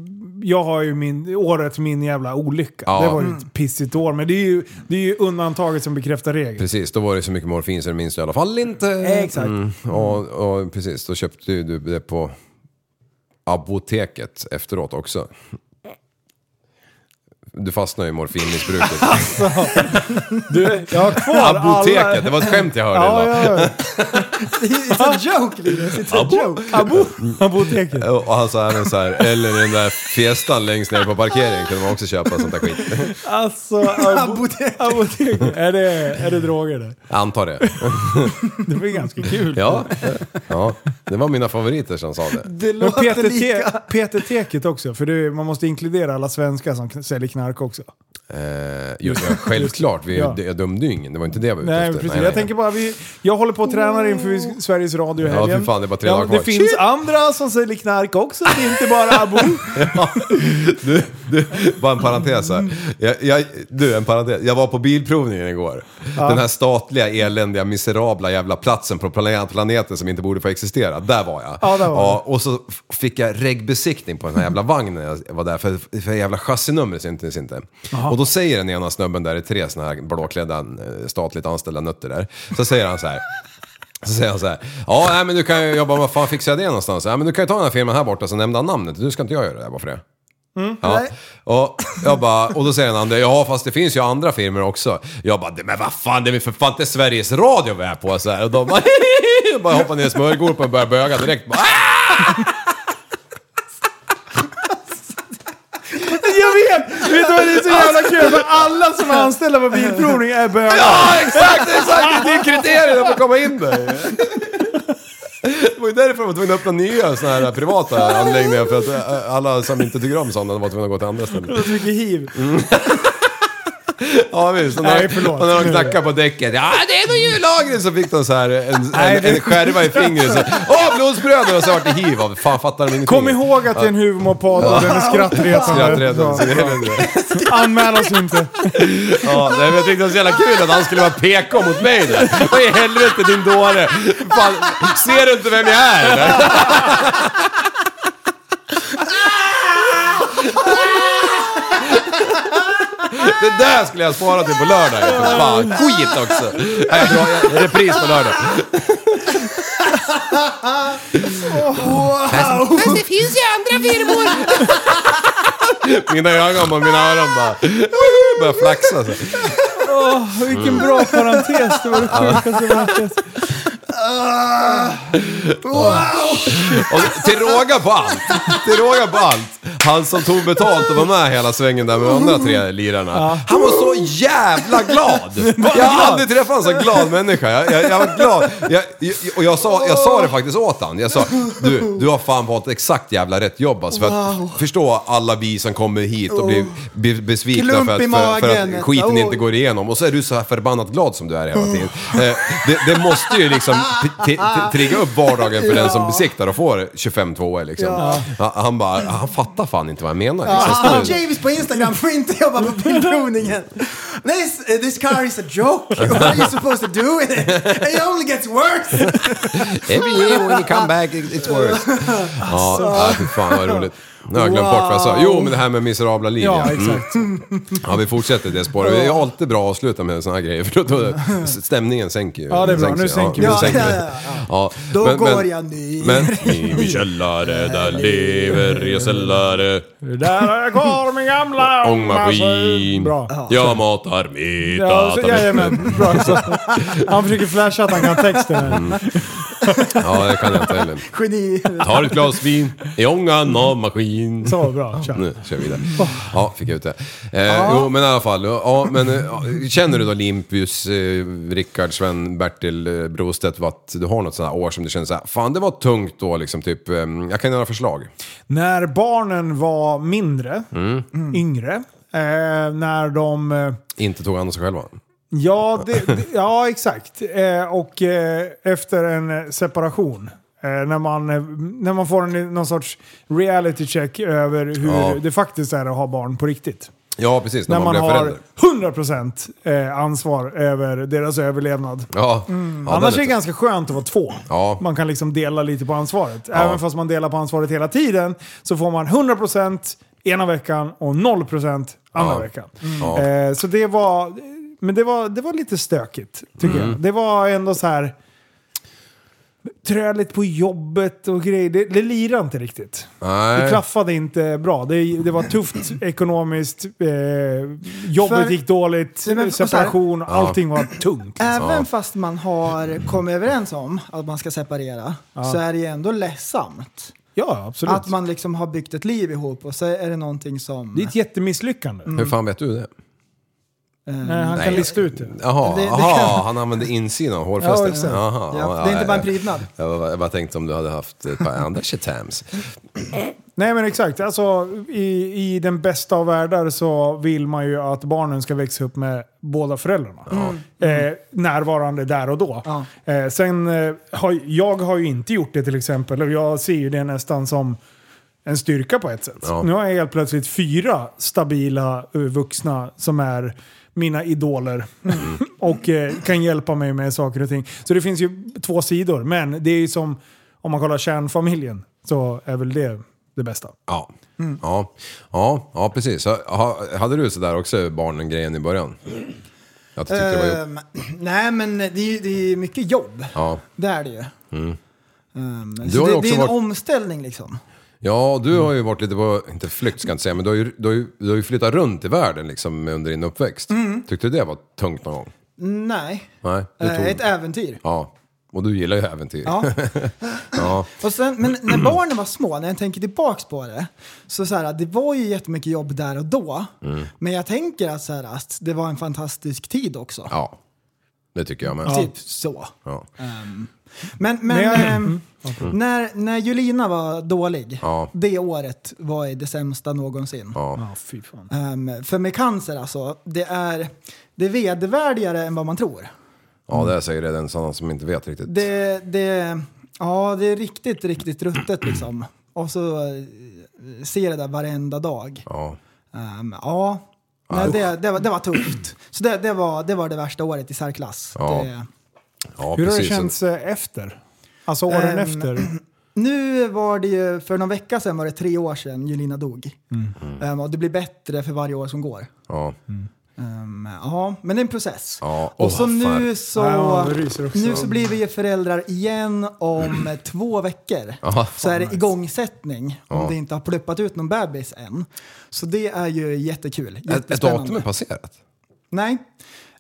Jag har ju min, året min jävla olycka. Ja. Det var ju Mm. ett pissigt år, men det är ju, det är ju undantaget som bekräftar regeln. Precis, då var det så mycket morfin så det minns du i alla fall inte. Exakt. Mm, och, och precis, då köpte ju du det på apoteket efteråt också. Du fastnar ju i morfinmissbruket. Du, jag har kvar alla- Apoteket, det var ett skämt jag hörde Ja, idag. ja, ja. It's a joke, Linus. It's a Abo- joke. Abo- Apoteket. Och han sa även så här, eller den där festan längst ner på parkeringen kunde man också köpa sånt där skit. Alltså, apoteket. apoteket. Är, det, är det droger det? Jag antar det. Det blir ganska kul. Ja, ja, det var mina favoriter som sa det. Det låter lika. PT-teket också, för det, är- man måste inkludera alla svenskar som k- säljer knark också. Eh, just det, självklart. Vi, Ja. Jag dömde ju ingen, det var inte det jag var ute Nej, efter. precis. jag tänker bara, vi, jag håller på och tränar inför Sveriges Radio i Ja, helgen. för fan, det är bara tre dagar kvar. Det finns Shit. andra som säljer knark också, det är inte bara Abo. Du, du, bara en parentes här. Jag, jag, du, en parentes. Jag var på bilprovningen igår. Ja. Den här statliga, eländiga, miserabla jävla platsen på planet, planeten som inte borde få existera. Där var jag. Ja, där var och så f- fick jag regbesiktning på den här jävla vagnen jag var där för. För jävla chassinumret syntes inte. Jaha. Och då säger den ena snubben där, det är tre såna här blåklädda eh, statligt anställda nötter där. Så säger han så här. Så säger han så här. Ja, nej, men du kan ju jobba, vad fan fixar jag det någonstans? Ja, men du kan ju ta den här firman här borta, så nämnde han namnet. Du ska inte jag göra det här, bara för det? Mm. Ja. Och, jag bara, och då säger den andra, ja fast det finns ju andra firmor också. Jag bara, men vad fan, det är väl för fan inte Sveriges Radio vi är på så här. Och de bara, bara hoppar ner i smörgropen och börjar böga direkt. Bara, "Ah!" Jag vet! Vet du vad det är så jävla kul? För alla som är anställda på Bilprovning är bögar. Alltså, Ja, exakt, exakt! Det är kriterierna för att komma in där. Det var ju därför de var tvungna att öppna nya såna här privata anläggningar. För att eh, alla som inte tycker om sådana var tvungna att gå till andra Det ställen. var så mycket hiv. Mm. Ja visst. Och när, Nej, förlåt. och när de knackade på däcket. Ja, det är nog jullagret! Så fick de så här en, Nej, en, det- en skärva i fingret. Så, Åh, blodsbröder! Och så vart det hiv av det. Fan fattar de ingenting. Kom ihåg att det är en humorpodd Ja. och den är skrattretande. Skrattretande, så det är Så. Anmäl oss inte. Ja, nej, men jag tyckte det var så jävla kul att han skulle vara PK mot mig där. Vad i helvete din dåre! Fan, ser du inte vem jag är eller? Det där skulle jag spara till på lördag ju, för fan. Skit också! Nej, bra, jag- repris på lördag. Wow! Fast det finns ju andra firmor! Mina ögon och mina öron bara... Börjar flaxa så. Åh, vilken bra parentes. Det var det Ja. sjukaste parentes. Och till råga på allt, till råga på allt, han som tog betalt och var med hela svängen där med de andra tre lirarna. Han var så jävla glad! Jag har aldrig träffat en så glad människa. Jag, jag, jag var glad. Jag, jag, och jag sa, jag sa det faktiskt åt han. Jag sa, du, du har fan valt exakt jävla rätt jobb alltså, för att Wow. förstå alla vi som kommer hit och blir be- besvikna Klump för att, i för, för magen. att skiten inte Oj. går igenom. Och så är du så här förbannat glad som du är hela tiden. Eh, Det, det måste ju liksom t- t- trigga upp vardagen för den som Ja. besiktar och får 25 tvåor liksom. Ja. Ja, Han bara, han fattar fan inte vad jag menar. Ja, Liksom. han- Står- Ah, James på Instagram får inte jobba på bilprovningen. This, uh, this car is a joke. What are you supposed to do with it? It only gets worse. Every year when you come back it- it's worse. Ja, Alltså. ja fy fan vad roligt. Nu har jag glömt bort vad jag sa. Jo, men det här med miserabla liv. Ja, Mm. exakt. Ja, vi fortsätter det spåret. Det är alltid bra att avsluta med såna här grejer för då, då stämningen sänker ju. Ja, det är bra. Nu ju. sänker Ja, vi. nu sänker Ja, vi. ja, Ja, Då men- går men- jag ner. Men i min källare där lever jag sällare. Där har jag kvar min gamla Ångmaskin. Bra. Jag matar mitt Ja, så, jajamän, bra. Så, han försöker flasha att han kan texten. Mm. här. Ja, det kan jag inte heller. Geni. Tar ett glas vin i ångan av maskin. Så bra, kör. Nu kör vi vidare. Ja, fick jag ut det. Eh, Jo, men i alla fall. Ja, men, eh, känner du då Limpius, eh, Rickard, Sven, Bertil, eh, Brostedt, vad att du har något sånt här år som du känner så här, fan det var tungt då liksom, typ, eh, jag kan göra förslag. När barnen var mindre, Mm. yngre, eh, när de... Eh, Inte tog hand om sig själva. Ja, det, det, ja exakt. Eh, och eh, efter en eh, separation. Eh, när, man, eh, när man får en, någon sorts reality check över hur Ja. det faktiskt är att ha barn på riktigt. Ja, precis, när, när man, blev har förälder. 100% eh, ansvar över deras överlevnad. Ja. Mm. ja, den Annars är är det tung. ganska skönt att vara två. Ja. Man kan liksom dela lite på ansvaret. Ja. Även fast man delar på ansvaret hela tiden så får man 100% ena veckan och 0% andra Ja. veckan. Mm. Eh, så det var... Men det var, det var lite stökigt, tycker Mm. jag. Det var ändå så här... Träligt på jobbet och grejer. Det, det lirade inte riktigt. Nej. Det klaffade inte bra. Det, det var tufft ekonomiskt. Eh, jobbet För- gick dåligt. Nej, men- och så här- separation. Ja. Allting var tungt. Alltså, Även Ja. fast man har kommit överens om att man ska separera Ja. så är det ju ändå ledsamt. Ja, absolut. Att man liksom har byggt ett liv ihop och så är det någonting som... Det är ett jättemisslyckande. Hur fan vet du det? Nej, han kan Mm. Nej. lista ut det. Jaha, Det- det aha, kan- han använde insidan av Ja, hårfästet. exakt. Jaha, Ja, det är inte ja, bara en ja. prydnad. Jag bara- jag bara tänkte om du hade haft ett par andra shetams. Nej men exakt, alltså, i, i den bästa av världar så vill man ju att barnen ska växa upp med båda föräldrarna. Eh, närvarande där och då. Eh, sen eh, har, jag har ju inte gjort det till exempel och jag ser ju det nästan som en styrka på ett sätt. Ja. Nu har jag helt plötsligt fyra stabila eh, vuxna som är mina idoler och eh, kan hjälpa mig med saker och ting. Så det finns ju två sidor, men det är ju som om man kollar kärnfamiljen så är väl det det bästa. Ja. Ja. ja, ja precis. Ha- ha- Hade du sådär också barnen-grejen i början? Att du tyckte det var jobb- Ehm, nej, men det är, ju- det är mycket jobb. Ja. Det är det ju. Mm. Ehm, Du så har ju det, också det är en varit- omställning liksom. Ja, du har ju varit lite på, inte flykt ska jag inte säga, men du har ju, du har ju, du har ju flyttat runt i världen liksom under din uppväxt. Mm. Tyckte du det var tungt någon gång? Nej, Nej, du Eh, ett äventyr. Ja, och du gillar ju äventyr. Ja. ja. Och sen, men när barnen var små, när jag tänker tillbaks på det, så, så här, det var ju jättemycket jobb där och då. Mm. Men jag tänker att, så här, att det var en fantastisk tid också. Ja. Det tycker jag med. Ja. Typ så. Ja. Ehm, men men Men jag- ehm, Mm. när, när Julina var dålig, Ja. det året var ju det sämsta någonsin. Ja. Ehm, för med cancer alltså, det är, det är vedervärdigare än vad man tror. Ja, det här säger redan sådana som inte vet riktigt. Det, det, ja, det är riktigt, riktigt ruttet liksom. Och så eh, ser det där varenda dag. Ja. Ehm, ja. Nej, det, det, var, det var tufft. Så det, det, var, det var det värsta året i särklass. Ja. Det, Ja, Hur har det precis. känts eh, efter? Alltså åren Ehm, efter? Nu var det ju, för någon vecka sedan var det tre år sedan Julina dog. Mm. Ehm, och det blir bättre för varje år som går. Ja. Ehm, ja, men det är en process. Ja. Och åh, så vad fan. nu så, Ja, det ryser också. nu så blir vi ju föräldrar igen om två veckor. Ja, så är det nice. igångsättning om Ja. det inte har pluppat ut någon bebis än. Så det är ju jättekul. Ett, ett jättespännande. datum är passerat. Nej.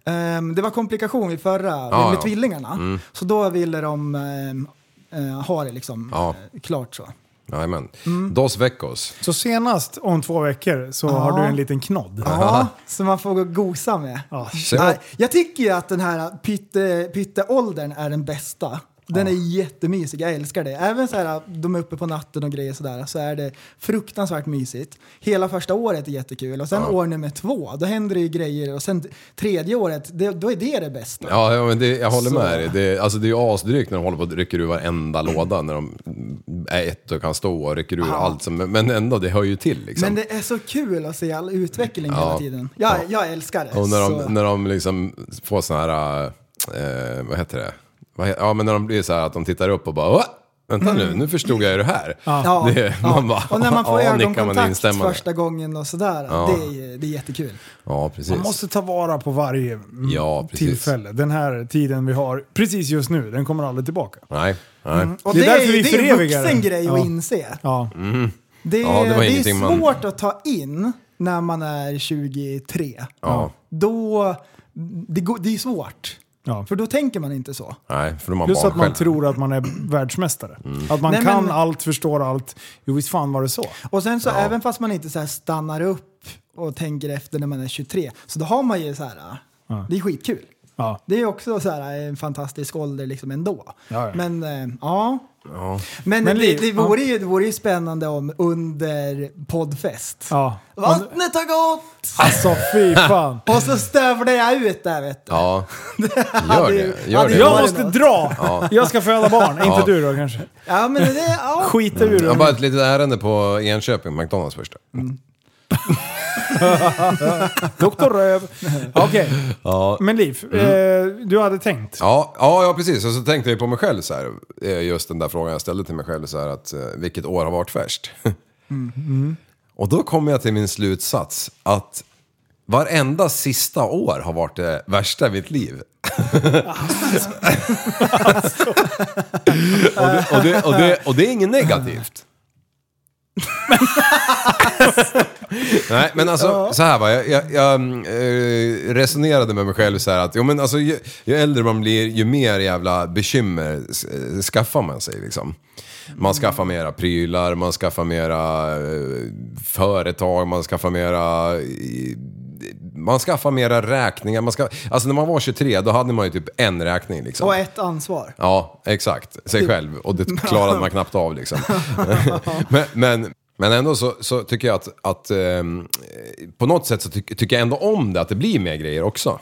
Ehm, det var komplikation vid förra, Ja, med ja. tvillingarna. Mm. Så då ville de ehm, eh, ha det liksom Ja. klart så. Jajamän. Mm. Dos veckos. Så senast om två veckor så har du en liten knodd. Ja, som man får gå och gosa med. shit. Nej, jag tycker ju att den här pytte- pytteåldern är den bästa. Den är jättemysig, jag älskar det. Även så här, de är uppe på natten och grejer sådär, så är det fruktansvärt mysigt. Hela första året är jättekul och sen Ja. år nummer två, då händer det ju grejer och sen tredje året, det, då är det det bästa. Ja, ja men det, jag håller Så. med dig. Det, alltså, det är ju asdrygt när de håller på och rycker ur varenda låda. När de är ett och kan stå och rycker ur Ja. allt. Som, men ändå, det hör ju till liksom. Men det är så kul att se all utveckling Ja. hela tiden. Jag, Ja. jag älskar det. Och när så. de, när de liksom får såna här, eh, vad heter det? Vad he- Ja, men när de blir så här att de tittar upp och bara "Åh, Vänta nu, nu förstod jag ju det här. Ja. Det, Ja. Man bara, och när man får ja, nickar man ögonkontakt instämmande. första gången och sådär, Ja. det, är, det är jättekul. Ja, precis. Man måste ta vara på varje mm, Ja, precis. tillfälle. Den här tiden vi har precis just nu, den kommer aldrig tillbaka. Nej, nej. Och Det det, är är därför vi ju det är en förevigar vuxen det. grej Ja. att inse. Ja. Mm. Det, Ja, det var det ingenting är man- svårt att ta in när man är 23. Ja. Då, det, går- det är svårt. Ja. För då tänker man inte så. Nej, för de har Plus barn att man själv. tror att man är världsmästare. Att man Nej, men- kan allt, förstår allt. Jo, visst fan var det så. Och sen så även fast man inte så här stannar upp och tänker efter när man är 23, så då har man ju så här, Ja. det är skitkul. Ja. Det är också så här en fantastisk ålder liksom ändå. Ja, ja. Men eh, ja, Ja. men, Men det, liv- det, vore ja. ju, det vore ju spännande om under poddfest. Ja. Vattnet har gått! Alltså fy fan. Och så stövlar jag ut där vet du. Ja, gör det. Gör det. Jag måste dra! Ja. Jag ska föda barn, inte Ja. du då kanske? Ja men det, ja. Skita ur Jag har mm. bara ett litet ärende på Enköping, McDonalds först. Doktor Röv. Okej, Ja. men Liv, eh, du hade tänkt. Ja, ja, ja precis. Och så tänkte jag på mig själv så här. eh, Just den där frågan jag ställde till mig själv så här att eh, vilket år har varit värst? Och då kom jag till min slutsats att varenda sista år har varit det värsta i mitt liv. och, det, och, det, och, det, och det är inget negativt. Nej, men alltså så här va. Jag, jag, jag mm, eh, resonerade med mig själv så här att jo, men alltså, ju, ju äldre man blir ju mer jävla bekymmer eh, skaffar man sig liksom. Man skaffar mera prylar, man skaffar mera eh, företag, man skaffar mera... eh, Man skaffar mera räkningar. Man ska, alltså när man var 23 då hade man ju typ en räkning liksom. Och ett ansvar. Ja, exakt. Sig själv. Och det klarade man knappt av liksom. men, men, men ändå så, så tycker jag att, att ehm, eh, på något sätt så tyck- tycker jag ändå om det, att det blir mer grejer också.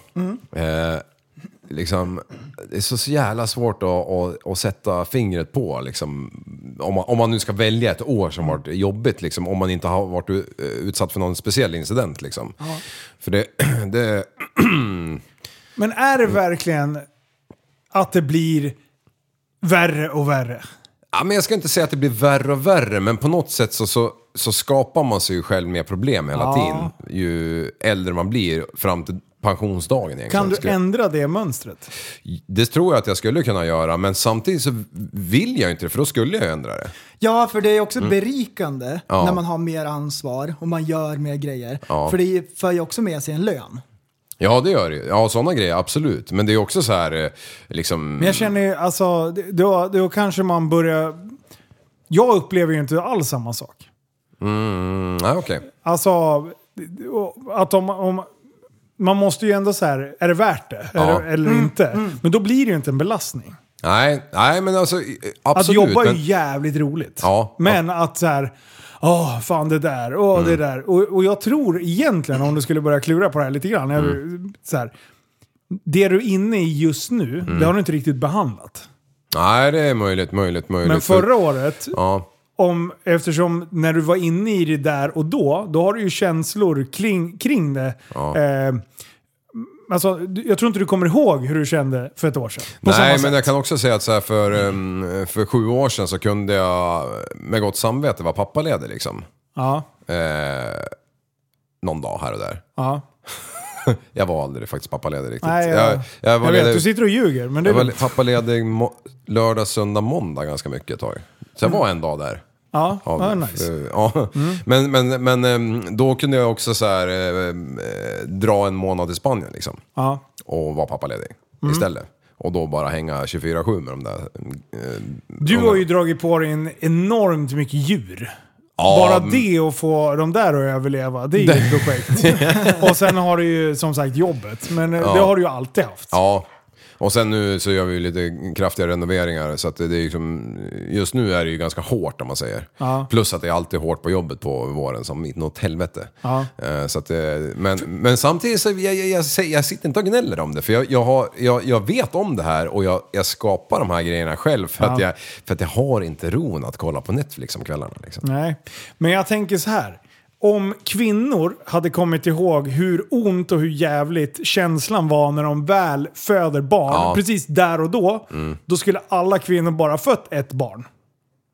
Eh, liksom, det är så, så jävla svårt att, att, att sätta fingret på, liksom, om, man, om man nu ska välja ett år som varit jobbigt, liksom, om man inte har varit u- utsatt för någon speciell incident. Liksom. För det, det Men är det verkligen att det blir värre och värre? Ja, men jag ska inte säga att det blir värre och värre, men på något sätt så, så, så skapar man sig ju själv mer problem hela Ja. tiden. Ju äldre man blir fram till pensionsdagen egentligen. Kan du skulle- ändra det mönstret? Det tror jag att jag skulle kunna göra, men samtidigt så vill jag ju inte det, för då skulle jag ju ändra det. Ja, för det är också Mm. berikande Ja. när man har mer ansvar och man gör mer grejer. Ja. För det för ju också med sig en lön. Ja, det gör det ju. Ja, sådana grejer, absolut. Men det är också så här, eh, liksom... Men jag känner ju, alltså, det- då, då kanske man börjar... Jag upplever ju inte alls samma sak. Mm, nej, okej. Alltså, det- det- och att om, om, man måste ju ändå så här, är det värt det? Ja. Är det, eller Mm, inte? Men då blir det ju inte en belastning. Nej, nej men alltså i- absolut. att jobba är men, ju jävligt roligt. Ja, Men att så här, åh fan det där, åh Mm. det där. Och, och jag tror egentligen om du skulle börja klura på det här lite grann. jag- Mm. Så här, det du är inne i just nu, Mm. det har du inte riktigt behandlat. nej, det är möjligt, möjligt, möjligt. Men förra året, Ja. om, eftersom när du var inne i det där och då, då har du ju känslor kring, kring det. Ja. Eh, alltså, du- jag tror inte du kommer ihåg hur du kände för ett år sedan. På samma Nej, sätt. men jag kan också säga att så här för, ehm, för sju år sedan så kunde jag med gott samvete vara pappaledig liksom. Ja, Eh, någon dag här och där. ja. Jag var aldrig faktiskt pappaledig riktigt. Nej, jag, jag, jag, var vet, ledig- du sitter och ljuger. Men det jag är var lugnt. pappaledig mo- lördag, söndag, måndag ganska mycket ett tag. Så jag var en dag där. Mm. Ja, Av- ja nice. Mm. eh, ja. Men, men, men ehm, då kunde jag också så här, eh, eh, dra en månad i Spanien liksom. Ja. Och vara pappaledig Mm. istället. Och då bara hänga 24-7 med de där. eh, Du har ju dragit på dig en enormt mycket djur. Ja, Bara men- det och få de där att överleva, det är ju ett projekt. och sen har du ju som sagt jobbet, men eh, Ja. det har du ju alltid haft. Ja. Och sen nu så gör vi ju lite kraftiga renoveringar så att det det är liksom, just nu är det ju ganska hårt om man säger. Ja. Plus att det är alltid hårt på jobbet på våren som inåt helvete. Ja. Eh, Så att, eh, men, men samtidigt så jag, jag, jag, säger- jag sitter inte och gnäller om det. För jag, jag, har, jag, jag vet om det här och jag, jag skapar de här grejerna själv. För, att, Ja. jag, för att jag har inte ron att kolla på Netflix om kvällarna. Liksom. Nej, men jag tänker så här. Om kvinnor hade kommit ihåg hur ont och hur jävligt känslan var när de väl föder barn, Ja. precis där och då, Mm. då skulle alla kvinnor bara fött ett barn.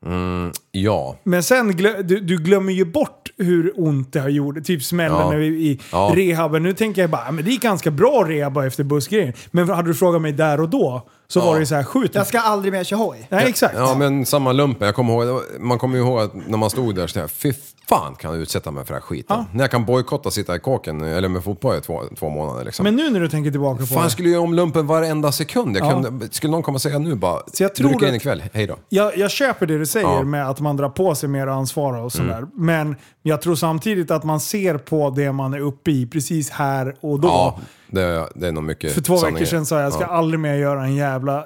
Mm, ja. Men sen glö du, du glömmer ju bort hur ont det har gjort. Typ smällen Ja. när vi, i Ja. rehaben. Nu tänker jag bara, "Ja, men det är ganska bra rehab bara efter bussgrejen. Men hade du frågat mig där och då så var det ju så här, skjut Jag ska aldrig mer köra hoj. Nej, exakt. Ja, men samma lumpen. Jag kommer ihåg, det var- man kommer ju ihåg att när man stod där så tänkte jag, fy fan kan jag utsätta mig för den här skiten. När jag kan bojkotta sitta i kåken, eller med fotboll i två, två månader liksom. Men nu när du tänker tillbaka på fan, det. jag skulle göra om lumpen varenda sekund. Jag Ja. kunde, skulle någon komma och säga nu bara, Så jag du tror rycker in att- ikväll, hej då. Jag, jag köper det du säger Ja. med att man drar på sig mer ansvar och sådär. Mm. Men jag tror samtidigt att man ser på det man är uppe i precis här och då. Ja, det, det är nog mycket För två sanning i veckor det. sedan sa jag, jag ska Ja. aldrig mer göra en jävla eh,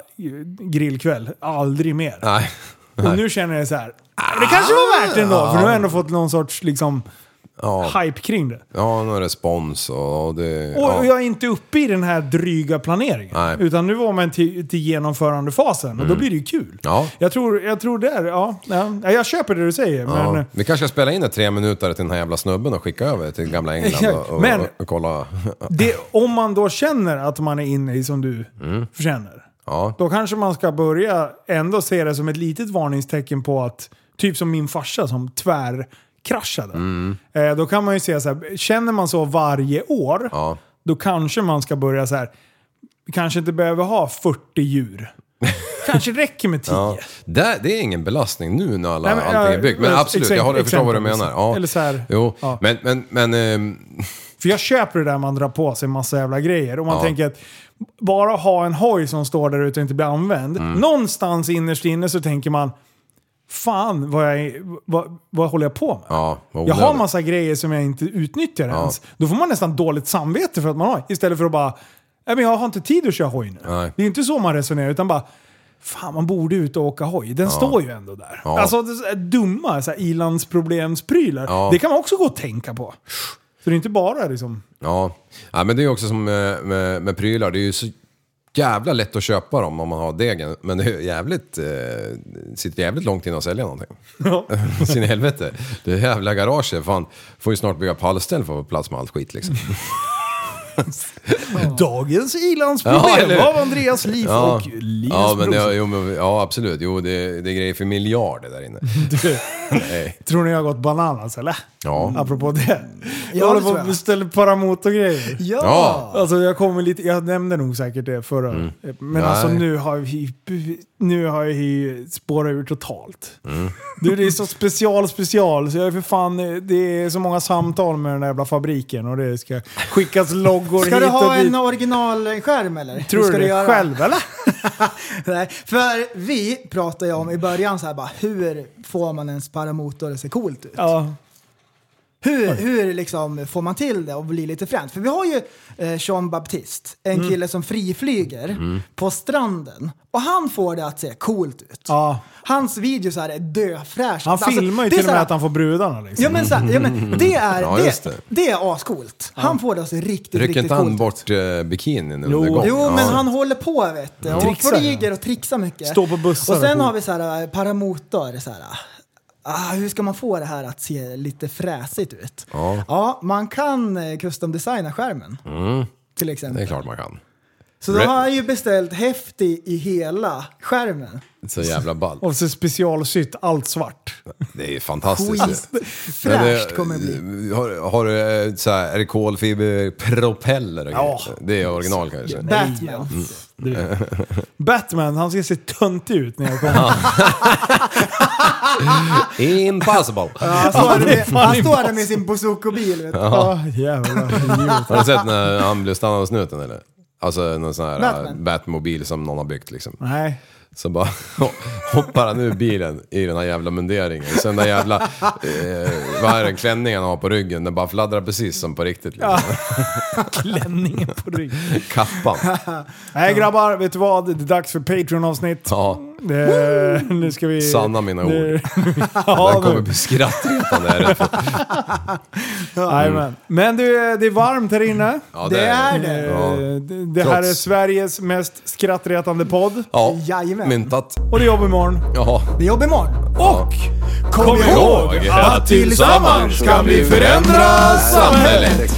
grillkväll. Aldrig mer. Nej. Ah. Och nu känner jag så här, "Ah, det kanske var värt det ändå. För nu har jag ändå fått någon sorts liksom, Ja. hype kring det. Ja, någon respons och och det... Och, och ja. jag är inte uppe i den här dryga planeringen. Nej. Utan nu var man till, till genomförandefasen och då Mm. blir det ju kul. Ja. Jag tror, jag tror det är, ja, ja. Ja, Jag köper det du säger. Ja. Men, Vi kanske ska spela in ett tre minuter till den här jävla snubben och skicka över till gamla England och, och, Men- och, och kolla. det, om man då känner att man är inne i som du Mm. känner. Ja. Då kanske man ska börja ändå se det som ett litet varningstecken på att, typ som min farsa som tvärkraschade. Mm. Eh, då kan man ju se så här, känner man så varje år, då kanske man ska börja så här, vi kanske inte behöver ha 40 djur. kanske räcker med 10. Ja. Det, det är ingen belastning nu när alla, Nej, men, allting ja, är byggt. Men men absolut, exakt- jag, har, jag förstår vad du exempelvis. menar. Ja. Eller så här, jo. ja. Men, men, men ehm, För jag köper det där man drar på sig massa jävla grejer. Och man Ja. tänker att bara ha en hoj som står där ute och inte blir använd. Mm. Någonstans innerst inne så tänker man, fan vad, jag, vad, vad håller jag på med? ja, vad Jag har onödigt. massa grejer som jag inte utnyttjar Ja. ens. Då får man nästan dåligt samvete för att man har. Istället för att bara, nej men jag har inte tid att köra hoj nu. Nej. Det är inte så man resonerar, utan bara, fan man borde ut och åka hoj. Den Ja. står ju ändå där. Ja. Alltså det är så här dumma så här, ilandsproblemsprylar. Ja. Det kan man också gå och tänka på. Så det är inte bara liksom... Ja. ja, men det är ju också som med, med, med prylar. Det är ju så jävla lätt att köpa dem om man har degen. Men det är ju jävligt, eh, sitter jävligt långt innan att sälja någonting. Ja. Sin helvete. Det jävla garaget, fan. Får ju snart bygga pallställ för att få plats med allt skit liksom. Dagens ilandsproblem eller hur? av Andreas Liv Ja. och Linus ja, men, Brorsson. det- jo, men, ja, absolut. Jo, det, det är grejer för miljarder där inne. Nej. Tror ni jag har gått bananas eller? Ja. Apropå det. Mm. det Jag håller på tror att jag. beställa paramotorgrejer. Ja. Ja. Alltså jag kommer lite, jag nämnde nog säkert det förra. Mm. Men Nej. alltså nu har vi, nu har vi spårat ur totalt. Mm. Du det är så special special så jag är för fan, det är så många samtal med den där jävla fabriken och det ska skickas loggor Ska hit du och ha dit. en originalskärm eller? Tror Hur du ska det göra? själv, eller? Nej, för vi pratade ju om i början så här bara, hur får man ens paramotor att se coolt ut? Ja. Hur, hur liksom får man till det och blir lite fränt? För vi har ju eh, Jean Baptiste, en Mm. kille som friflyger Mm. på stranden. Och han får det att se coolt ut. Hans videos här är döfräscha. Han Alltså, filmar ju det är till och så med här- att han får brudarna liksom. Ja men, så, ja, men det är, Ja, just det, det. det är ascoolt. Han får det att se riktigt, Rycker riktigt inte han coolt bort eh, bikinin under Jo, gång? jo Ja. men han håller på vet du. Och Trixar. flyger och trixar mycket. Står på bussar Och sen och- har vi så här äh, paramotor. Så här, äh, ah, hur ska man få det här att se lite fräsigt ut? Ja. Ja, man kan eh, custom designa skärmen Mm. till Det är exempel. klart man kan. Så då Re- har han ju beställt häft i, i hela skärmen. Så jävla ball. Och så specialsytt, allt svart. Det är ju fantastiskt. Skit. Men Fräscht kommer det Har, har du eh, så här, är det kolfiberpropeller? och Ja. grejer? Det är original kanske? Batman. Mm. Batman, han ska se töntig ut när jag kommer. Ja. Impossible! Ja, han står där med, han står där med impossible. sin Bozuko-bil vet du. Ja. Ah, jävlar. Har du sett när han blev stannad av snuten eller? Alltså någon sån här Batman. eh, Batmobil som någon har byggt liksom. Nej. Så bara hoppar han ur bilen i den här jävla munderingen. Så den där jävla, eh, vad är det, klänningen han har på ryggen, den bara fladdrar precis som på riktigt. Liksom. Klänningen på ryggen. Kappan. Nej grabbar, vet du vad? Det är dags för Patreon-avsnitt. Eh, Ja. Det, nu ska Eh, vi... Sanna mina ord. Det- Den ja, kommer bli skrattretande. är det. Jajamän. Men du, eh, det är varmt här inne. Ja, det Det är det. är det. Ja. Eh, Det, det här Trots- är Sveriges mest skrattretande podd. Ja, Jajamän. myntat. Och det är jobb imorgon. Ja. Det är jobb imorgon. Och kom, ihåg att tillsammans kan vi förändra samhället.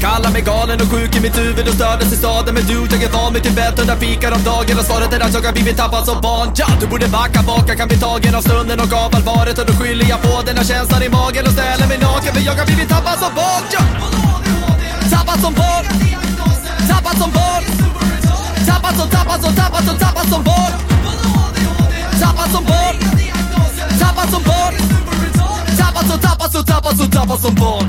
Kallar mig galen och sjuk i mitt huvud och stördes i staden Men du, jag är van vid Tibet under fikar om dagen Och svaret är att jag har blivit tappad som barn ja! Du borde backa bak, jag kan bli tagen av stunden och av allvaret Och då skyller jag på den här känslan i magen och ställer mig naken För jag har blivit tappad som barn ja! Tappad som barn Tappad som barn Tappad som, tappad som, tappad som, tappad som barn Tappad som barn Tappad som barn Tappad som, tappad som, tappad som, tappad som barn